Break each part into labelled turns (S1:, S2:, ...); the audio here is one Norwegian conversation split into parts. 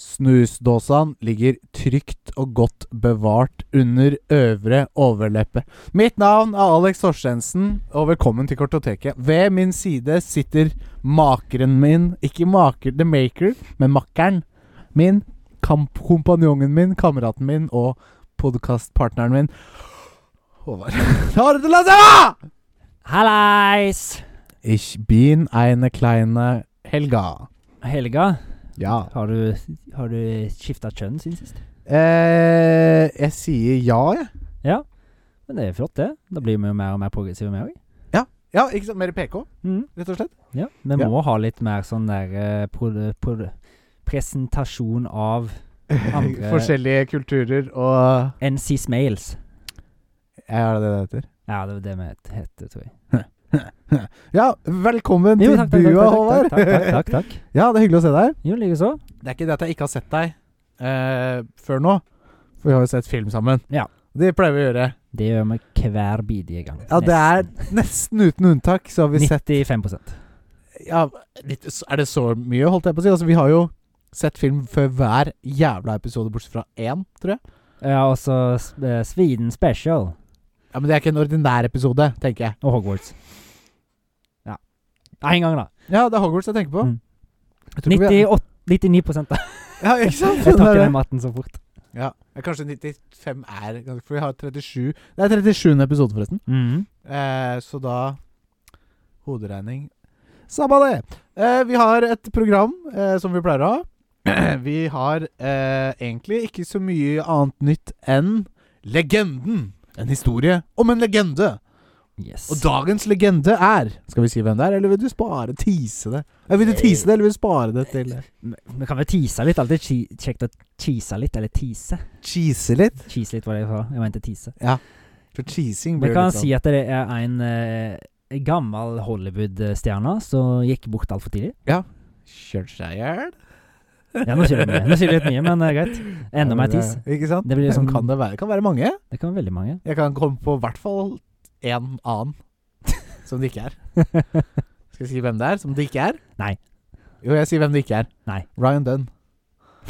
S1: Snusdåsene ligger trygt og godt bevart under øvre overleppe. Mitt navn er Alex Torstensen, og velkommen til Kortoteket. Ved min side sitter makeren min, ikke maker the maker, men makkeren min, kamp kompanjongen min, kameraten min og podkastpartneren min, Håvard. Håvard Lasse!
S2: Hallais!
S1: Ich bin eine kleine Helga.
S2: Helga,
S1: Ja.
S2: har du, har du skifta kjønn siden sist?
S1: Eh, jeg sier ja, jeg.
S2: Ja. Men det er flott, det. Da blir vi jo mer og mer progressive, vi òg.
S1: Ja, ikke sant? Mer PK, rett og slett.
S2: Ja. Vi
S1: Mm. Ja.
S2: må ha litt mer sånn der eh, produ- produ- presentasjon av
S1: Eh.
S2: Andre-
S1: Forskjellige kulturer og
S2: NC Smales.
S1: Er det det det heter?
S2: Ja, det er det vi het- heter, tror jeg.
S1: Ja, velkommen til
S2: Jo, takk, takk,
S1: bua,
S2: takk,
S1: Håvard.
S2: takk, takk, takk, takk, takk.
S1: ja, det er hyggelig å se deg.
S2: Jo, likeså.
S1: Det er ikke det at jeg ikke har sett deg eh, før nå, for vi har jo sett film sammen.
S2: Ja.
S1: Det pleier vi å gjøre.
S2: Det gjør vi hver bidige gang.
S1: Ja, det er nesten uten unntak, så har vi sett
S2: Nesten 95
S1: ja, litt, Er det så mye, holdt jeg på å si? Altså, vi har jo sett film før hver jævla episode, bortsett fra én, tror jeg.
S2: Ja, og så s- eh, Sweden Special
S1: Ja, Men det er ikke en ordinær episode, tenker jeg.
S2: og Hogwarts. Ja. Én gang, da.
S1: Ja, det er Hogwarts jeg tenker på.
S2: Mm.
S1: Jeg tror ikke vi-
S2: 98, 99 da.
S1: Ja, ikke sant?
S2: Jeg tar
S1: Det
S2: ikke
S1: er
S2: den matten så fort.
S1: det. Ja, Ja, Kanskje 95 er ganske- For vi har 37 Det er 37. episode, forresten. Eh, så da Hoderegning. Sabba det! Eh, vi har et program eh, som vi pleier å ha. vi har eh, egentlig ikke så mye annet nytt enn legenden. En historie om en legende.
S2: Yes.
S1: Og dagens legende er Skal vi si hvem det er, eller vil du spare tease det? Ja, vil du tease det, eller vil du spare det til
S2: Vi vi kan vel tease litt. Alltid chi- kjekt å tease litt, eller tease.
S1: Cheese litt?
S2: Cheese litt, var det jeg sa. Jeg mente tease.
S1: For cheesing
S2: Vi
S1: blir
S2: kan
S1: litt sånn.
S2: si at det er en eh, gammel Hollywood-stjerne som gikk bort altfor tidlig.
S1: Kjørt seg i hjel?
S2: Ja, nå sier du mye, Nå sier du litt mye, men eh, greit. Enda mer tease.
S1: eh, Ikke sant?
S2: Det blir
S1: Hvem
S2: sånn-
S1: kan det være? Det kan være mange.
S2: Det kan være veldig mange.
S1: Jeg kan komme på i hvert fall én annen som det ikke er. Skal jeg si hvem det er, som det ikke er?
S2: Nei.
S1: Jo, jeg sier hvem det ikke er.
S2: Nei.
S1: Ryan Dunn.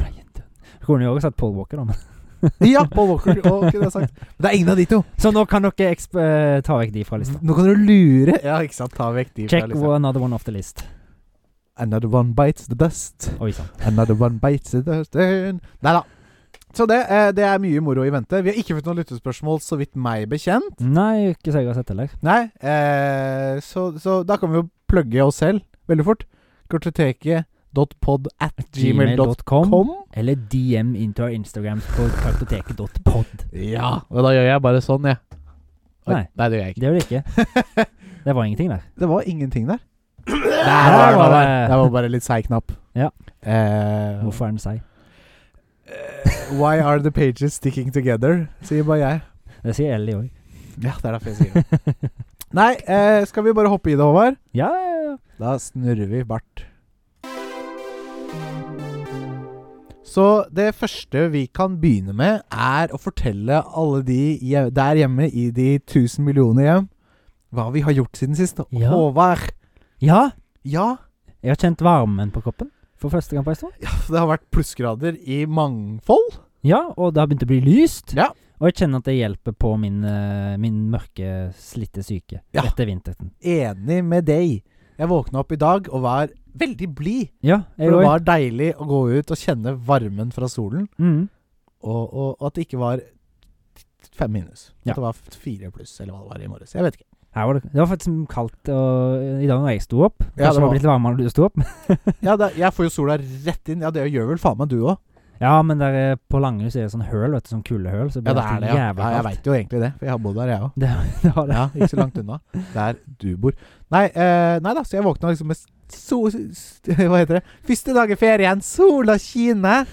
S2: Ryan Dunn. Vi kunne jo også sagt Paul Walker, da. men-
S1: Ja, Paul Walker. Og kunne jeg sagt. Men det er ingen av de to.
S2: Så nå kan dere eksp eh, ta vekk de fra lista.
S1: Nå kan du lure Ja, ikke sant. Ta vekk de. Mm. fra
S2: Check
S1: lista.
S2: another one off the list.
S1: Another one bites the dust.
S2: Oi sann.
S1: Another one bites the dust. Nei da. Så det, eh, det er mye moro i vente. Vi har ikke fått noen lyttespørsmål, så vidt meg bekjent.
S2: Nei, ikke så jeg har sett heller.
S1: Nei, eh, så, så da kan vi jo plugge oss selv veldig fort. Kartoteket.pod at gmail.com.
S2: Eller DM into our Instagram på kartoteket.pod.
S1: Ja, og da gjør jeg bare sånn, jeg. Oi,
S2: Nei.
S1: nei, det gjør jeg ikke.
S2: Det gjør det ikke. Det var ingenting der.
S1: Det var ingenting der. Der
S2: var
S1: var det bare,
S2: det.
S1: det var bare litt seig knapp.
S2: Ja.
S1: Eh,
S2: Hvorfor er den seig?
S1: Why are the pages sticking together? Sier bare jeg.
S2: Det sier Ellie òg.
S1: Ja, det er derfor jeg sier det. Nei, eh, skal vi bare hoppe i det, Håvard?
S2: Ja, ja, ja.
S1: Da snurrer vi bart. Så det første vi kan begynne med, er å fortelle alle de hje- der hjemme i de tusen millioner hjem, hva vi har gjort siden sist.
S2: Ja.
S1: Håvard.
S2: ja.
S1: Ja,
S2: Jeg har kjent varmen på kroppen for første gang på en stund.
S1: det har vært plussgrader i mangfold.
S2: Ja, og det har begynt å bli lyst.
S1: Ja.
S2: Og jeg kjenner at det hjelper på min, eh, min mørke, slitte psyke
S1: Ja.
S2: etter vinteren.
S1: Enig med deg. Jeg våkna opp i dag og var veldig blid.
S2: Ja,
S1: For
S2: jeg
S1: det
S2: òg.
S1: var deilig å gå ut og kjenne varmen fra solen,
S2: Mm.
S1: og, og, og at det ikke var fem minus.
S2: Ja.
S1: At det var fire pluss, eller hva det var i morges. Jeg vet ikke.
S2: Her var det, det var faktisk kaldt og, i dag når jeg sto opp. Kanskje
S1: Ja, det
S2: det
S1: var-
S2: var blitt varmere når du sto opp.
S1: Ja, det, jeg får jo sola rett inn. Ja, det gjør vel faen meg du òg.
S2: Ja, men der eh, på Langhus er det sånn høl, vet du, sånn kuldehøl. Så
S1: Ja,
S2: blir
S1: det er
S2: alltid
S1: det. Ja.
S2: jævla
S1: Ja, jeg
S2: kaldt.
S1: veit jo egentlig det, for jeg har bodd der, jeg òg.
S2: Det var det.
S1: Ja, ikke så langt unna. Der du bor. Nei, eh, nei da, så jeg våkna liksom med so... s- Hva heter det? Første dag i ferien, sola kine.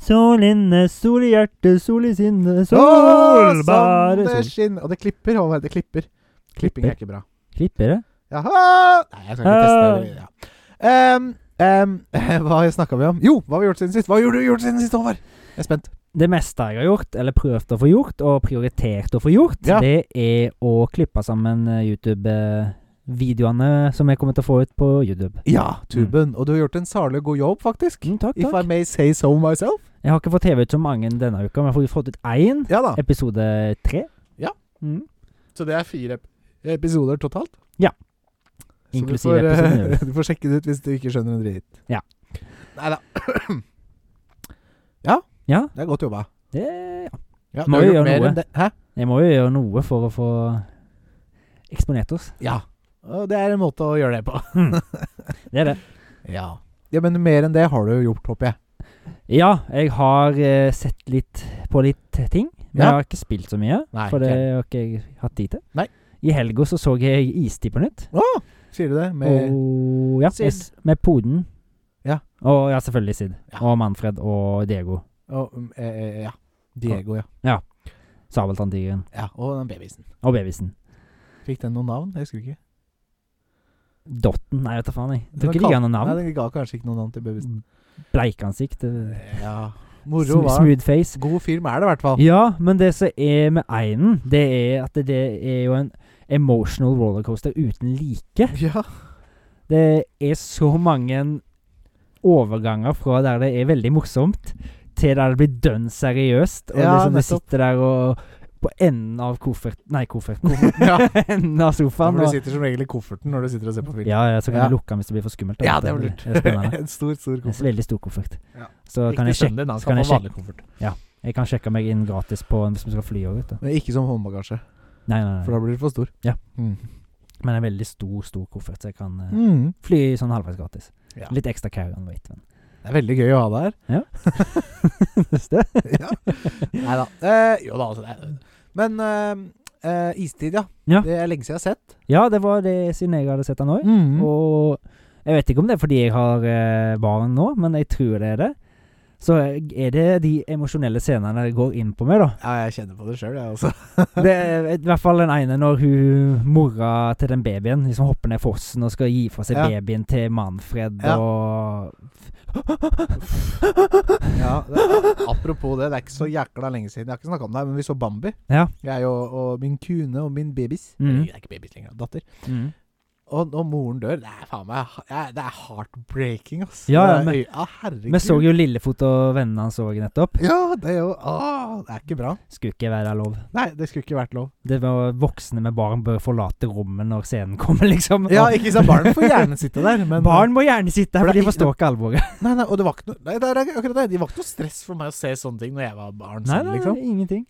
S2: Sol inne, sol i hjertet, sol i sinnet,
S1: Å,
S2: sol
S1: som
S2: bare
S1: det
S2: sol.
S1: skinner. Og det klipper. Håvard, det klipper. Klipping er ikke bra.
S2: Klipper det?
S1: Jaha! Nei, jeg skal ikke teste det. Ja. Em, em, ehm, hva snakka vi om? Jo, hva har vi gjort siden sist? Hva har du gjort siden sist, Håvard? Jeg er spent.
S2: Det meste jeg har gjort, eller prøvd å få gjort, og prioritert å få gjort,
S1: Ja.
S2: det er å klippe sammen eh, YouTube eh, videoene som jeg kommer til å få ut på YouTube.
S1: Ja, tuben. Og du har gjort en særlig god jobb, faktisk.
S2: Mm, takk,
S1: If I
S2: takk.
S1: may say so myself.
S2: Jeg har ikke fått TV ut så mange denne uka, men jeg har fått ut én.
S1: Ja da.
S2: Episode tre.
S1: Ja.
S2: Mm.
S1: Så det er fire ep- episoder totalt.
S2: Ja.
S1: Så du
S2: Inklusive
S1: får, eh,
S2: episoden, ja.
S1: Du får sjekke det ut hvis du ikke skjønner en drit.
S2: Ja.
S1: Nei da.
S2: Ja,
S1: Det er godt jobba.
S2: det
S1: Ja,
S2: Må
S1: du har
S2: jo
S1: gjort
S2: gjøre
S1: mer
S2: noe.
S1: enn det. Hæ?
S2: Jeg må jo gjøre noe for å få eksponert oss.
S1: Ja. Og det er en måte å gjøre det på.
S2: Det er det.
S1: Ja. ja men mer enn det har du gjort, håper jeg.
S2: Ja, jeg har eh, sett litt på litt ting.
S1: Ja.
S2: Men jeg har ikke spilt så mye,
S1: Nei,
S2: for det
S1: ikke.
S2: har ikke jeg hatt tid til.
S1: Nei.
S2: I helga så så jeg Istid på nytt.
S1: Å, sier du det? Med
S2: og, ja,
S1: Sid.
S2: jeg s- med Poden.
S1: Ja.
S2: Og ja, selvfølgelig Sid.
S1: Ja.
S2: Og Manfred og Diego.
S1: Å, mm, eh, eh, Ja. Diego, ja.
S2: Sabeltanntigeren.
S1: ja. Og den babysen.
S2: Og babysen.
S1: Fikk den noe navn? Jeg husker ikke.
S2: Dotten Nei, vet da faen, jeg.
S1: Den
S2: Tror ikke
S1: kal-
S2: de ga noe
S1: Nei,
S2: navn.
S1: den ga kanskje ikke noe navn til babysen.
S2: Bleikansikt. eh,
S1: Ja. Moro
S2: Sm
S1: var den.
S2: smooth face.
S1: God film er det i hvert fall.
S2: Ja, men det som er med einen, det er at det, det er jo en emotional rollercoaster uten like.
S1: Ja.
S2: Det er så mange overganger fra der det er veldig morsomt, til der det blir dønn seriøst. Og
S1: Ja,
S2: liksom du
S1: nettopp.
S2: sitter der og På enden av koffert... Nei, kofferten.
S1: ja.
S2: enden av
S1: Ja,
S2: sofaen.
S1: for du
S2: Og,
S1: sitter som regel i kofferten når du sitter og ser på film.
S2: ja, ja, så kan
S1: Ja.
S2: du lukke den hvis det blir for skummelt. da.
S1: Ja, det var lurt.
S2: er spennende.
S1: en stor, stor
S2: Det er
S1: koffert.
S2: En veldig stor koffert.
S1: Ja.
S2: Så
S1: Ikke
S2: kan jeg,
S1: sønnen din,
S2: sjekke,
S1: han
S2: kan
S1: skal
S2: jeg
S1: få vanlig koffert.
S2: jeg kan sjekke meg inn gratis på hvis vi skal fly òg, vet du.
S1: Men ikke som håndbagasje,
S2: Nei, nei,
S1: for
S2: nei.
S1: da blir du for stor.
S2: Ja.
S1: Mm.
S2: Men en veldig stor, stor koffert, så jeg kan eh,
S1: Mm.
S2: fly sånn halvveis gratis.
S1: Ja.
S2: Litt ekstra carry-on weight. Men.
S1: Det er veldig gøy å ha deg her. ja. Nei da. Eh, jo da, altså. Det er. Men eh, eh, Istid, ja.
S2: Ja.
S1: Det er lenge siden jeg har sett.
S2: Ja, det var det siden jeg hadde sett han òg.
S1: Mm.
S2: Og jeg vet ikke om det er fordi jeg har eh, barn nå, men jeg tror det er det. Så eh, er det de emosjonelle scenene det går inn på meg, da.
S1: Ja, jeg kjenner på det sjøl, jeg altså. også.
S2: Det er eh, i hvert fall den ene når hun mora til den babyen liksom hopper ned fossen og skal gi fra seg
S1: Ja.
S2: babyen til Manfred
S1: Ja.
S2: og
S1: Ja, det, apropos det, det er ikke så jækla lenge siden. Jeg har ikke snakka om det, men vi så Bambi.
S2: Ja.
S1: Jeg og, og min kune og min babys.
S2: Mm.
S1: Nei, Det er ikke babys lenger, datter. Og når moren dør Det er faen meg Det er, det er heartbreaking, ass.
S2: Ja, ja,
S1: Det er
S2: men-
S1: øy- ja, herregud.
S2: Vi så jo Lillefot og vennene hans òg nettopp.
S1: Ja, det er jo Åh, det er ikke bra.
S2: Skulle ikke være lov.
S1: Nei, det skulle ikke vært lov.
S2: Det var Voksne med barn bør forlate rommet når scenen kommer, liksom.
S1: Ja, ikke sant. Barn får gjerne sitte der, men
S2: Barn må gjerne sitte her,
S1: For det
S2: for
S1: er
S2: de
S1: ikke-
S2: forstår ikke alvoret.
S1: Nei, nei, og det var ikke noe Nei, det er akkurat det. Det var ikke noe stress for meg å se sånne ting når jeg var barn
S2: Nei,
S1: selv,
S2: nei,
S1: liksom.
S2: ingenting.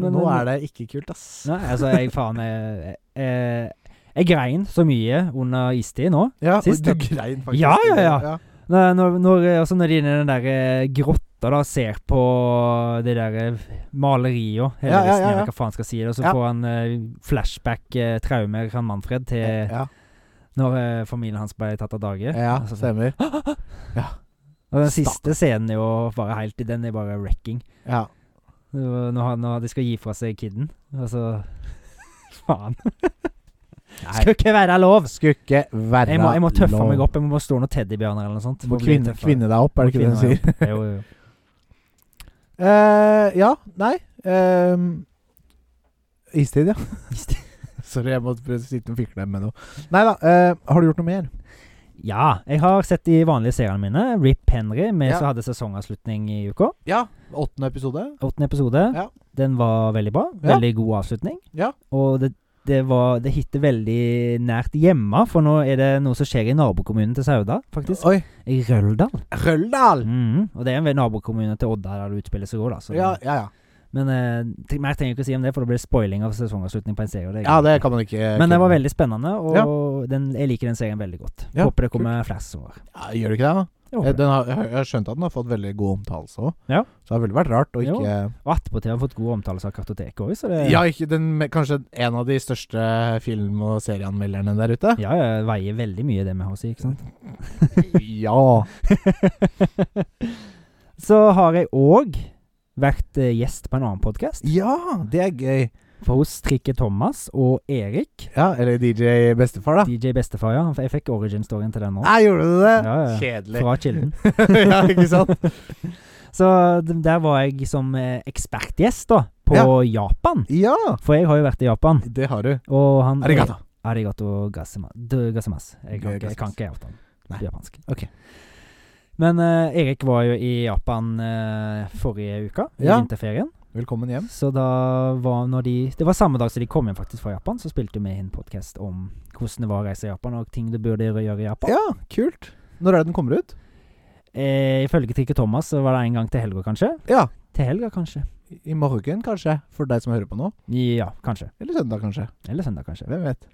S1: Men nå er det ikke kult, ass.
S2: Nei, altså, jeg faen Jeg, jeg, jeg grein så mye under istid nå.
S1: Ja, og
S2: Sist,
S1: du
S2: da.
S1: grein faktisk.
S2: Ja, ja, ja. Når, når, når, altså når de inne i den der eh, grotta da ser på det der eh, maleriet og hele
S1: Ja, ja,
S2: resten,
S1: ja,
S2: jeg vet
S1: ja.
S2: ikke hva faen skal si det, og så
S1: Ja.
S2: får han eh, flashback eh, traumer, han Manfred, til
S1: Ja,
S2: når eh, familien hans ble tatt av
S1: ja,
S2: dage.
S1: ja
S2: Eh, Altså, så-
S1: stemmer.
S2: og den
S1: Stakkars.
S2: siste scenen er jo bare helt Den er bare wrecking.
S1: Ja.
S2: Det var Når, han, når de skal gi fra seg kiden, altså Faen.
S1: Nei,
S2: Skulle ikke være lov!
S1: skulle ikke være
S2: Jeg må, jeg må tøffe
S1: lov.
S2: meg opp. Jeg må bare stå noen teddybjørner eller noe sånt.
S1: Må
S2: for å bli
S1: kvinne,
S2: tøffere.
S1: kvinne deg opp, er det ikke det
S2: Kvinne,
S1: hun sier?
S2: ja. Jo, jo, jo.
S1: Eh, ja, nei ehm, Istid, ja. Sorry, jeg måtte prøve å sitte og fikle med noe. Nei da, eh, har du gjort noe mer?
S2: Ja, jeg har sett de vanlige seriene mine. Rip Henry, vi
S1: Ja.
S2: som hadde sesongavslutning i uka.
S1: Ja. Åttende episode.
S2: Åttende episode.
S1: Ja.
S2: Den var veldig bra.
S1: Ja.
S2: Veldig god avslutning.
S1: Ja.
S2: Og det, det, var, det hitter veldig nært hjemme, for nå er det noe som skjer i nabokommunen til Sauda, faktisk.
S1: Oi.
S2: I Røldal.
S1: Røldal!
S2: Mhm. Og det er en nabokommune til Odda der det utspiller seg òg, da. Så
S1: Ja, ja, ja.
S2: Men eh, t- mer trenger jeg ikke å si om det, for det blir spoiling av sesongavslutning på en serie. og det er
S1: Ja,
S2: greit.
S1: det kan man ikke
S2: Men den var veldig spennende, og
S1: Ja.
S2: den, jeg liker den serien veldig godt.
S1: Ja,
S2: Håper det kommer flere sesonger.
S1: ja, Gjør det ikke det, da?
S2: Jeg
S1: Eh,
S2: håper det.
S1: Den har, jeg har- jeg har skjønt at den har fått veldig god omtale òg.
S2: Ja.
S1: Så det har veldig vært rart å
S2: Jo.
S1: ikke
S2: Og attpåtil har jeg fått gode omtaler av Kartoteket òg, så det
S1: Ja, ikke den, me- kanskje en av de største film- og serieanmelderne der ute?
S2: ja, ja, veier veldig mye, det vi har å si, ikke sant?
S1: ja.
S2: Så har jeg òg vært eh, gjest på en annen podkast,
S1: Ja, det er gøy.
S2: for hos Trikke Thomas og Erik.
S1: Ja, Eller DJ Bestefar, da.
S2: DJ Bestefar, ja. Jeg fikk origin-storyen til den nå.
S1: Nei, gjorde du det?
S2: Ja, ja.
S1: Ah, Kjedelig.
S2: Fra Kilden.
S1: ja, ikke sant?
S2: Så d- der var jeg som eh, ekspertgjest, da, på Japan.
S1: Ja,
S2: For jeg har jo vært i Japan,
S1: det har du.
S2: og han
S1: Arigato.
S2: Arigato gasema- dø- gasemasu. Jeg kan ikke, jeg kan
S1: Gasemasu.
S2: ikke japan.
S1: Nei.
S2: japansk. Men eh, Erik var jo i Japan eh, forrige uke, i
S1: Ja.
S2: vinterferien.
S1: Velkommen hjem.
S2: Så da var når de Det var samme dag som de kom hjem faktisk fra Japan, så spilte vi en podkast om hvordan det var å reise i Japan, og ting du burde gjøre i Japan.
S1: Ja, kult. Når er det den kommer ut?
S2: Eh, ifølge Trikke Thomas så var det en gang til helga, kanskje.
S1: Ja.
S2: Til helga, kanskje.
S1: I- I morgen, kanskje. For deg som hører på nå.
S2: Ja, kanskje.
S1: Eller søndag, kanskje.
S2: Eller søndag, kanskje.
S1: Hvem vet.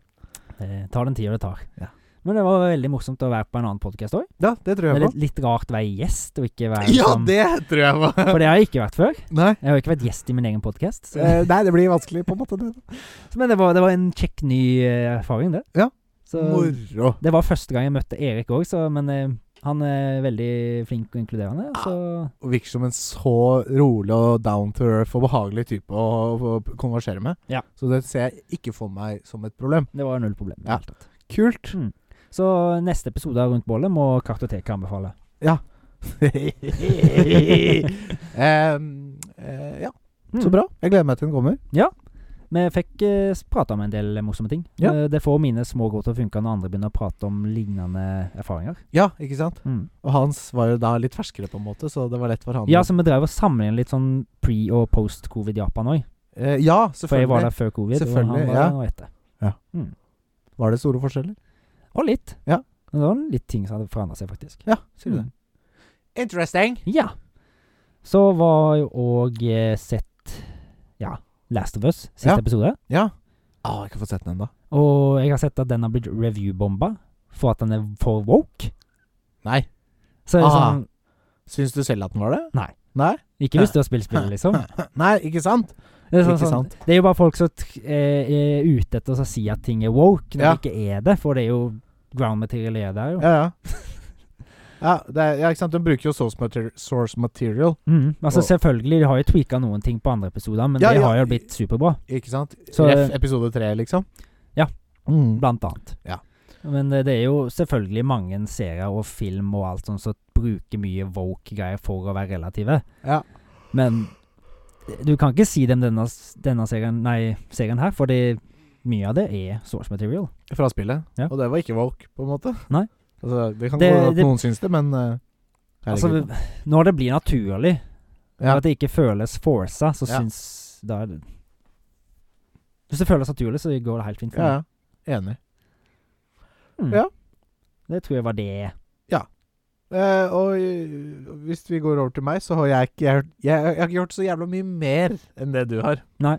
S2: Eh, tar den tida det tar.
S1: Ja.
S2: Men det var veldig morsomt å være på en annen podkast òg.
S1: Ja, det tror jeg på.
S2: Litt, litt rart å være gjest og ikke være
S1: Ja,
S2: liksom-
S1: det tror jeg på.
S2: For det har jeg ikke vært før.
S1: Nei.
S2: Jeg har ikke vært gjest i min egen podkast.
S1: Eh, nei, det blir vanskelig, på en måte. Det.
S2: Men det var, det var en kjekk ny eh, erfaring, det.
S1: Ja.
S2: Så,
S1: Moro.
S2: det var første gang jeg møtte Erik òg, men eh, han er veldig flink og inkluderende.
S1: Ah.
S2: Så
S1: Og virker som en så rolig og down to earth og behagelig type å, å konversere med.
S2: Ja.
S1: Så det ser jeg ikke for meg som et problem.
S2: det var null problem. i det
S1: Ja.
S2: hele tatt.
S1: Kult.
S2: Mm. Så neste episode av Rundt bålet må Kartoteket anbefale.
S1: Em, eh, ja,
S2: Mm.
S1: så bra. Jeg gleder meg til den kommer.
S2: Vi fikk eh, s- prata om en del morsomme ting.
S1: Ja.
S2: Eh, det får mine små råd til å funke når andre begynner å prate om lignende erfaringer.
S1: Ja, ikke sant?
S2: Mm.
S1: Og hans var jo da litt ferskere, på en måte, så det var lett for han.
S2: Ja, så vi drev og sammenlignet litt sånn pre- og post-covid Japan òg.
S1: eh, ja
S2: For jeg
S1: selvfølgelig. Var
S2: var der før covid, og han
S1: Selvfølgelig,
S2: var
S1: ja.
S2: der nå etter.
S1: det. store forskjeller?
S2: Og litt.
S1: Ja.
S2: Men det var litt ting som hadde forandra seg, faktisk.
S1: Ja, sier du
S2: Mm.
S1: det. Interesting.
S2: Ja. Så var jo òg eh, sett Ja, Last of Us, siste
S1: Ja.
S2: episode.
S1: Ja. Ah, jeg har ikke fått sett den ennå.
S2: Og jeg har sett at den har blitt review-bomba for at den er for woke.
S1: Nei.
S2: Så er det
S1: Ah.
S2: sånn
S1: Syns du selv at den var det?
S2: Nei.
S1: Nei,
S2: Ikke hvis du har spilt spillet, liksom.
S1: Nei ikke sant?
S2: Det er, sånn,
S1: Ikke
S2: sånn,
S1: sant.
S2: det er jo bare folk som t- eh, er ute etter å si at ting er woke, når
S1: Ja.
S2: det ikke er det. For det er jo ground material er der, jo.
S1: Ja, ja. Ja, det er, ja, ikke sant. Den bruker jo source material. Source material
S2: Mm, altså
S1: Og-
S2: Selvfølgelig, de har jo tweaka noen ting på andre episoder, men
S1: Ja,
S2: det
S1: ja.
S2: har jo blitt superbra.
S1: ikke sant?
S2: Så-
S1: Ref episode tre, liksom.
S2: Ja.
S1: Mm.
S2: Blant annet.
S1: Ja.
S2: Men eh, det er jo selvfølgelig mange serier og film og alt sånt som bruker mye woke-greier for å være relative.
S1: Ja.
S2: Men eh, du kan ikke si dem denne, denne serien, nei, serien her, fordi mye av det er source material.
S1: Fra spillet.
S2: Ja.
S1: Og det var ikke woke, på en måte.
S2: Nei.
S1: Altså, det kan
S2: Det-
S1: gå at
S2: det-
S1: noen syns det, men eh,
S2: Altså,
S1: herregud.
S2: når det blir naturlig,
S1: ja.
S2: og at det ikke føles forsa, så
S1: Ja.
S2: syns da er det Hvis det føles naturlig, så går det helt fint. for
S1: ja,
S2: meg.
S1: ja. Enig.
S2: Mm.
S1: Ja.
S2: Det tror jeg var det.
S1: Eh, og eh, hvis vi går over til meg, så har jeg ikke jeg, jeg, jeg har ikke gjort så jævla mye mer enn det du har.
S2: Nei.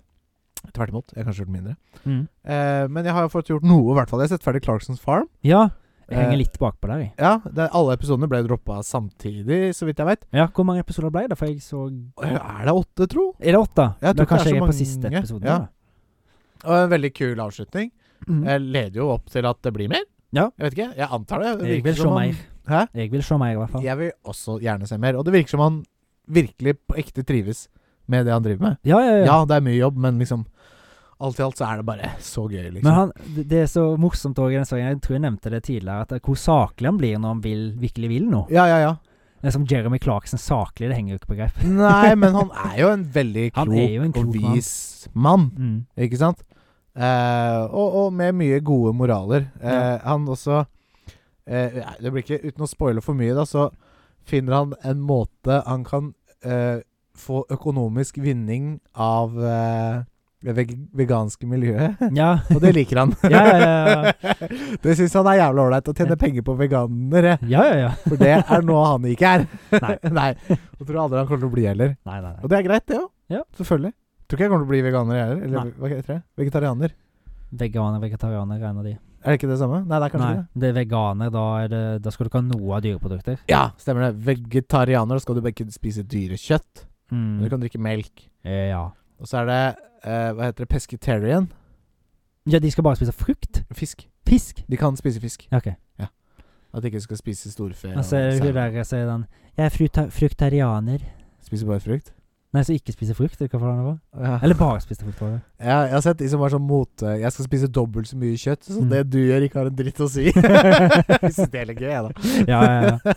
S1: Tvert imot. Jeg har kanskje gjort mindre.
S2: Mm.
S1: Eh, men jeg har fått gjort noe, i hvert fall. Jeg har sett ferdig Clarksons Farm.
S2: Ja. Jeg
S1: Eh,
S2: henger litt bakpå der, jeg.
S1: Ja, det, Alle episodene ble droppa samtidig, så vidt jeg veit.
S2: Ja, hvor mange episoder ble det? For jeg så
S1: Er det åtte, tro?
S2: Er det åtte?
S1: Jeg tror
S2: da
S1: ikke det er så
S2: kanskje jeg er på
S1: mange,
S2: siste episoden.
S1: ja.
S2: da.
S1: Og en veldig kul avslutning.
S2: Mm.
S1: Jeg leder jo opp til at det blir mer.
S2: Ja.
S1: Jeg vet ikke. Jeg antar det. det
S2: Jeg
S1: virker
S2: vil
S1: som
S2: se
S1: han-
S2: mer.
S1: Hæ?
S2: Jeg vil se mer, i hvert fall.
S1: Jeg vil også gjerne se mer. Og det virker som han virkelig på ekte trives med det han driver med.
S2: Ja, ja, ja.
S1: Ja, det er mye jobb, men liksom Alt i alt så er det bare så gøy, liksom.
S2: Men han, det- det er så morsomt òg i den serien, jeg tror jeg nevnte det tidligere, at hvor saklig han blir når han vil, virkelig vil noe.
S1: Ja, ja, ja.
S2: Det er som Jeremy Clarkson saklig, det henger jo ikke på greip.
S1: Nei, men han er jo en veldig
S2: Han
S1: klok,
S2: er jo en klok
S1: og vis mann,
S2: Mm.
S1: ikke sant? Eh, og, og med mye gode moraler. Eh,
S2: Ja.
S1: Han også eh, nei, Det blir ikke Uten å spoile for mye, da, så finner han en måte han kan eh, få økonomisk vinning av eh, det veg veganske miljøet.
S2: Ja.
S1: Og det liker han.
S2: Ja, ja, ja, ja.
S1: det syns han er jævlig ålreit å tjene penger på veganere,
S2: ja, ja, ja.
S1: for det er noe han ikke er.
S2: Nei.
S1: Nei. Og tror aldri han kommer til å bli heller.
S2: Nei, nei, nei.
S1: Og det er greit, det òg.
S2: Ja.
S1: Selvfølgelig. Tror ikke jeg kommer til å bli veganer, jeg heller.
S2: Nei.
S1: Eller hva heter det? Vegetarianer.
S2: Veganer, vegetarianer er en av de.
S1: Er det ikke det samme? Nei, det er kanskje
S2: Nei,
S1: det.
S2: det er veganer, da, er det, da skal du ikke ha noe av dyreprodukter.
S1: Ja, stemmer det. Vegetarianer, da skal du bare ikke spise dyrekjøtt. Men
S2: Mm.
S1: du kan drikke melk.
S2: Eh, Ja.
S1: Og så er det eh, Hva heter det? Pescetarian?
S2: ja, de skal bare spise frukt.
S1: Fisk.
S2: Fisk.
S1: De kan spise fisk.
S2: Ja, OK.
S1: At de ikke skal spise storfe.
S2: Og så er
S1: og
S2: det
S1: sau.
S2: hun der som er den Jeg er fruta fruktarianer.
S1: Spiser bare frukt.
S2: Nei, som ikke spiser frukt. Eller hva faen det var?
S1: Ja.
S2: Eller bare spiser frukt. Var det.
S1: Ja, jeg har sett de som var sånn mote Jeg skal spise dobbelt så mye kjøtt, så
S2: Mm.
S1: det du gjør, ikke har en dritt å si. jeg synes det er litt gøy, jeg, da.
S2: Ja, ja, ja.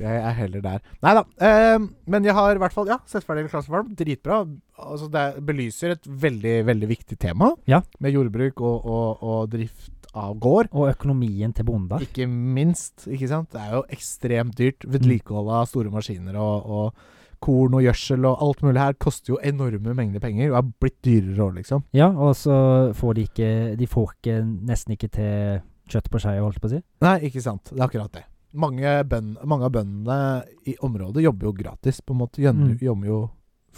S1: Jeg er heller der. Nei da. ehm, men jeg har i hvert fall ja, sett ferdig Klassefarm. Dritbra. Altså, det er- belyser et veldig, veldig viktig tema
S2: Ja.
S1: med jordbruk og, og, og drift av gård.
S2: Og økonomien til bonder.
S1: Ikke minst. ikke sant? Det er jo ekstremt dyrt. Vedlikehold av store maskiner og, og korn og gjødsel og alt mulig her koster jo enorme mengder penger og er blitt dyrere òg, liksom.
S2: Ja, og så får de ikke De får ikke, nesten ikke til kjøtt på skeia, holdt jeg på å si.
S1: Nei, ikke sant. Det er akkurat det. Mange, bønd, mange av bøndene i området jobber jo gratis, på en måte. Jobber,
S2: Mm.
S1: jobber jo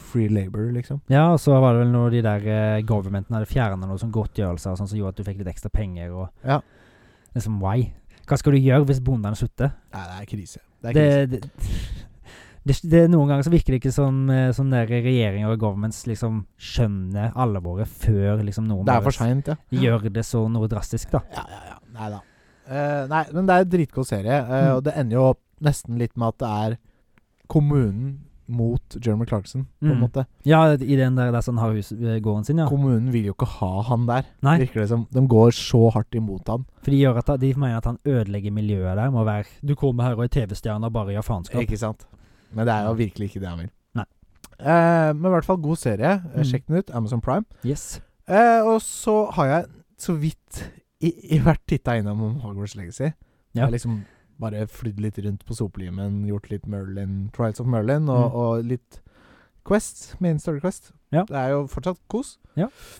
S1: free labor, liksom.
S2: Ja, og så var det vel når de der eh, governmenten hadde fjerna noe sånn godtgjørelser og sånn som gjorde at du fikk litt ekstra penger og
S1: Ja.
S2: Liksom why? Hva skal du gjøre hvis bonden slutter?
S1: Nei, det er krise. Det er
S2: Det,
S1: krise.
S2: det, det, det er Noen ganger så virker det ikke som eh, sånn der regjeringer og governments liksom skjønner alvoret før liksom noen
S1: Det, er for seint, ja.
S2: gjør det så noe drastisk, da.
S1: Ja, ja, ja. Nei da. Eh, nei, men det er en dritgod serie, eh,
S2: Mm.
S1: og det ender jo opp nesten litt med at det er kommunen mot Jeremy Clarkson, på en
S2: Mm.
S1: måte.
S2: Ja, i den der, der sånn har hus- eh, gården sin, ja.
S1: Kommunen vil jo ikke ha han der.
S2: Nei.
S1: Virker det som. De går så hardt imot han.
S2: For de, gjør at, de mener at han ødelegger miljøet der med å være Du kommer her og er TV-stjerne og bare gjør faenskap.
S1: Ikke sant? Men det er jo virkelig ikke det han vil.
S2: Nei.
S1: Eh, men i hvert fall god serie. Eh,
S2: Mm.
S1: Sjekk den ut. Amazon Prime.
S2: Yes.
S1: Eh, og så har jeg så vidt i, i vært titta innom om Hogwarts Legacy.
S2: Ja.
S1: Jeg har liksom bare flydd litt rundt på sopelimen, gjort litt Merlin, Trials of Merlin og,
S2: Mm.
S1: og litt Quest. Main Story Quest.
S2: Ja.
S1: Det er jo fortsatt kos.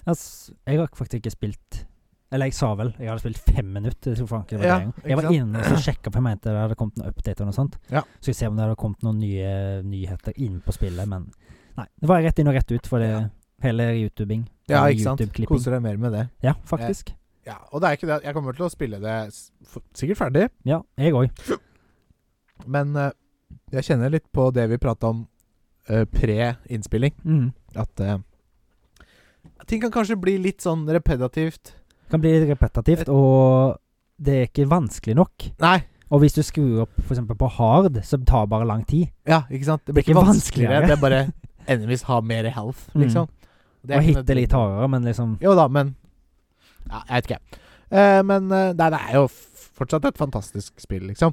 S2: Altså, jeg har faktisk ikke spilt Eller jeg sa vel jeg hadde spilt fem minutter. Jeg, faen ikke det var
S1: Ja,
S2: det engang.
S1: ikke
S2: jeg var
S1: sant?
S2: inne og så sjekka, for jeg mente det hadde kommet noen updater og noe sånt.
S1: Ja.
S2: Så skal vi se om det hadde kommet noen nye nyheter inn på spillet, men nei. Det var rett inn og rett ut, for det
S1: Ja.
S2: hele YouTubing.
S1: Ja,
S2: Eller
S1: ikke sant?
S2: YouTube-klipping.
S1: Koser deg mer med det.
S2: Ja, faktisk.
S1: Ja, Og det er ikke det at jeg kommer til å spille det s- f sikkert ferdig,
S2: Ja, jeg òg.
S1: men eh, jeg kjenner litt på det vi prata om eh, pre-innspilling,
S2: Mm.
S1: at eh, Ting kan kanskje bli litt sånn repetitivt.
S2: Kan bli repetitivt, og det er ikke vanskelig nok.
S1: Nei,
S2: Og hvis du skrur opp f.eks. på hard, så tar det bare lang tid.
S1: Ja, ikke sant? Det blir
S2: Det er
S1: ikke
S2: ikke
S1: vanskeligere.
S2: vanskeligere.
S1: det er bare enemies har mer health,
S2: Mm.
S1: liksom. Det er
S2: Og
S1: ikke
S2: hitte litt
S1: nødvendig.
S2: hardere, men liksom
S1: Jo da, men ja, Jeg vet ikke. Eh, men eh, nei, det er jo f- fortsatt et fantastisk spill, liksom.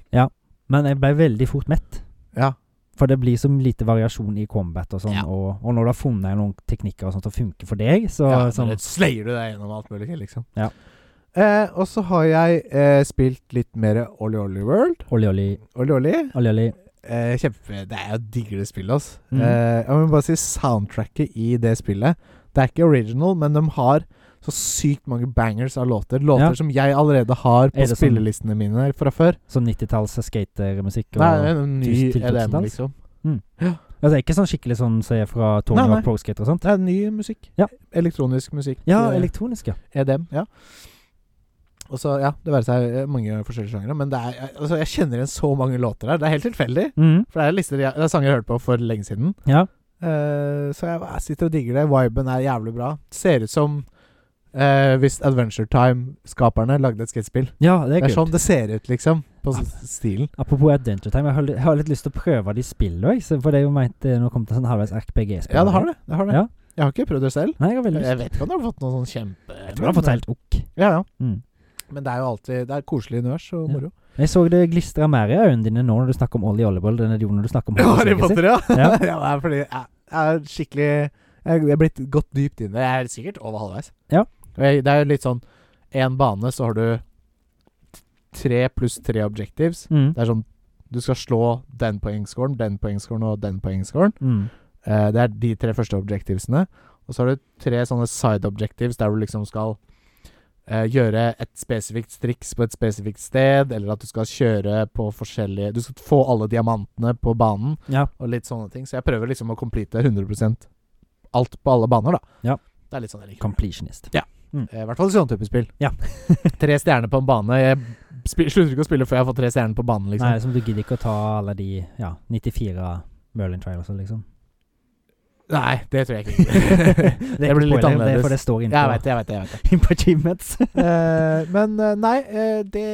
S2: Men jeg ble veldig fort mett.
S1: Ja.
S2: For det blir så lite variasjon i combat og sånn.
S1: Ja.
S2: Og, og når du har funnet noen teknikker og sånt som funker for deg, så
S1: ja,
S2: sånn,
S1: sånn. Slayer du deg gjennom alt mulig, liksom.
S2: Ja.
S1: Eh, og så har jeg eh, spilt litt mer Olly Olly World.
S2: Olje, olje,
S1: Olly Olly.
S2: olje, olje.
S1: Eh, kjempe Det er jo digger det spillet, ass.
S2: Mhm.
S1: Eh, jeg må bare si soundtracket i det spillet. Det er ikke original, men de har så sykt mange bangers av låter. Låter
S2: Ja.
S1: som jeg allerede har på
S2: Er det sånn-
S1: spillelistene mine fra før.
S2: Sånn 90-talls skatermusikk. og-
S1: Nei, en en ny
S2: til- til
S1: EDM,
S2: totals.
S1: liksom.
S2: Altså, det er ikke sånn skikkelig sånn som er fra Tony
S1: Nei, nei.
S2: Hawk Pro Skater og sånt.
S1: Det er ny musikk.
S2: Ja.
S1: Elektronisk musikk.
S2: Ja,
S1: eh,
S2: elektronisk, ja.
S1: EDM. Ja. Og så, ja, det være seg eh, mange forskjellige sjangere, men det er, jeg- altså, jeg kjenner igjen så mange låter her. Det er helt tilfeldig,
S2: Mhm.
S1: for det er, lister jeg, det er sanger jeg hørte på for lenge siden.
S2: ja.
S1: Eh, så jeg, jeg sitter og digger det. Viben er jævlig bra. Ser ut som eh, hvis Adventure Time-skaperne lagde et skatespill.
S2: Ja, det
S1: Det
S2: er
S1: er
S2: kult.
S1: sånn det ser ut, liksom. På s- stilen.
S2: Apropos Adventure Time, jeg har, li- jeg har litt lyst til å prøve de spillene òg. For det er jo meint eh, nå kom det sånn halvveis RPG-spill.
S1: Ja, det har det. det, har det.
S2: Ja.
S1: Jeg har ikke prøvd det selv.
S2: Nei, jeg har veldig lyst.
S1: Jeg vet ikke om det har fått noen sånn kjempe...
S2: Jeg tror jeg har fått helt ok.
S1: Ja, ja.
S2: Mm.
S1: Men det er jo alltid Det er koselig univers og
S2: Ja.
S1: moro.
S2: Jeg så det glistra mer i øynene dine nå når du snakker om Ollie Olliball. Den er jo når du snakker om
S1: Harry
S2: Legacy.
S1: Potter, ja! ja.
S2: Ja.
S1: det er fordi jeg, jeg er skikkelig Jeg er blitt gått dypt inn i det. Jeg er sikkert over halvveis.
S2: Ja.
S1: Og jeg, det er jo litt sånn Én bane, så har du t- tre pluss tre objectives.
S2: Mm.
S1: Det er sånn Du skal slå den poengscoren, den poengscoren og den poengscoren.
S2: Mm.
S1: Eh, det er de tre første objectivesene. Og så har du tre sånne side objectives der du liksom skal eh, gjøre et spesifikt triks på et spesifikt sted, eller at du skal kjøre på forskjellige Du skal få alle diamantene på banen,
S2: Ja.
S1: og litt sånne ting. Så jeg prøver liksom å complete 100 alt på alle baner, da.
S2: Ja.
S1: Det er litt sånn jeg liker.
S2: Completionist.
S1: Eh, I hvert fall i sånn type spill.
S2: Ja.
S1: tre stjerner på en bane. Jeg spi- slutter ikke å spille før jeg har fått tre stjerner på banen, liksom.
S2: Nei, som du gidder ikke å ta alle de ja, 94 Merlin Trailers, liksom.
S1: Nei, det tror jeg ikke.
S2: Det er
S1: blir litt
S2: ikke spoiler, det er for
S1: annerledes.
S2: det står
S1: jeg
S2: innpå,
S1: veit det, jeg veit det. Jeg vet det.
S2: innpå achievements.
S1: Eh, men eh, nei, eh, det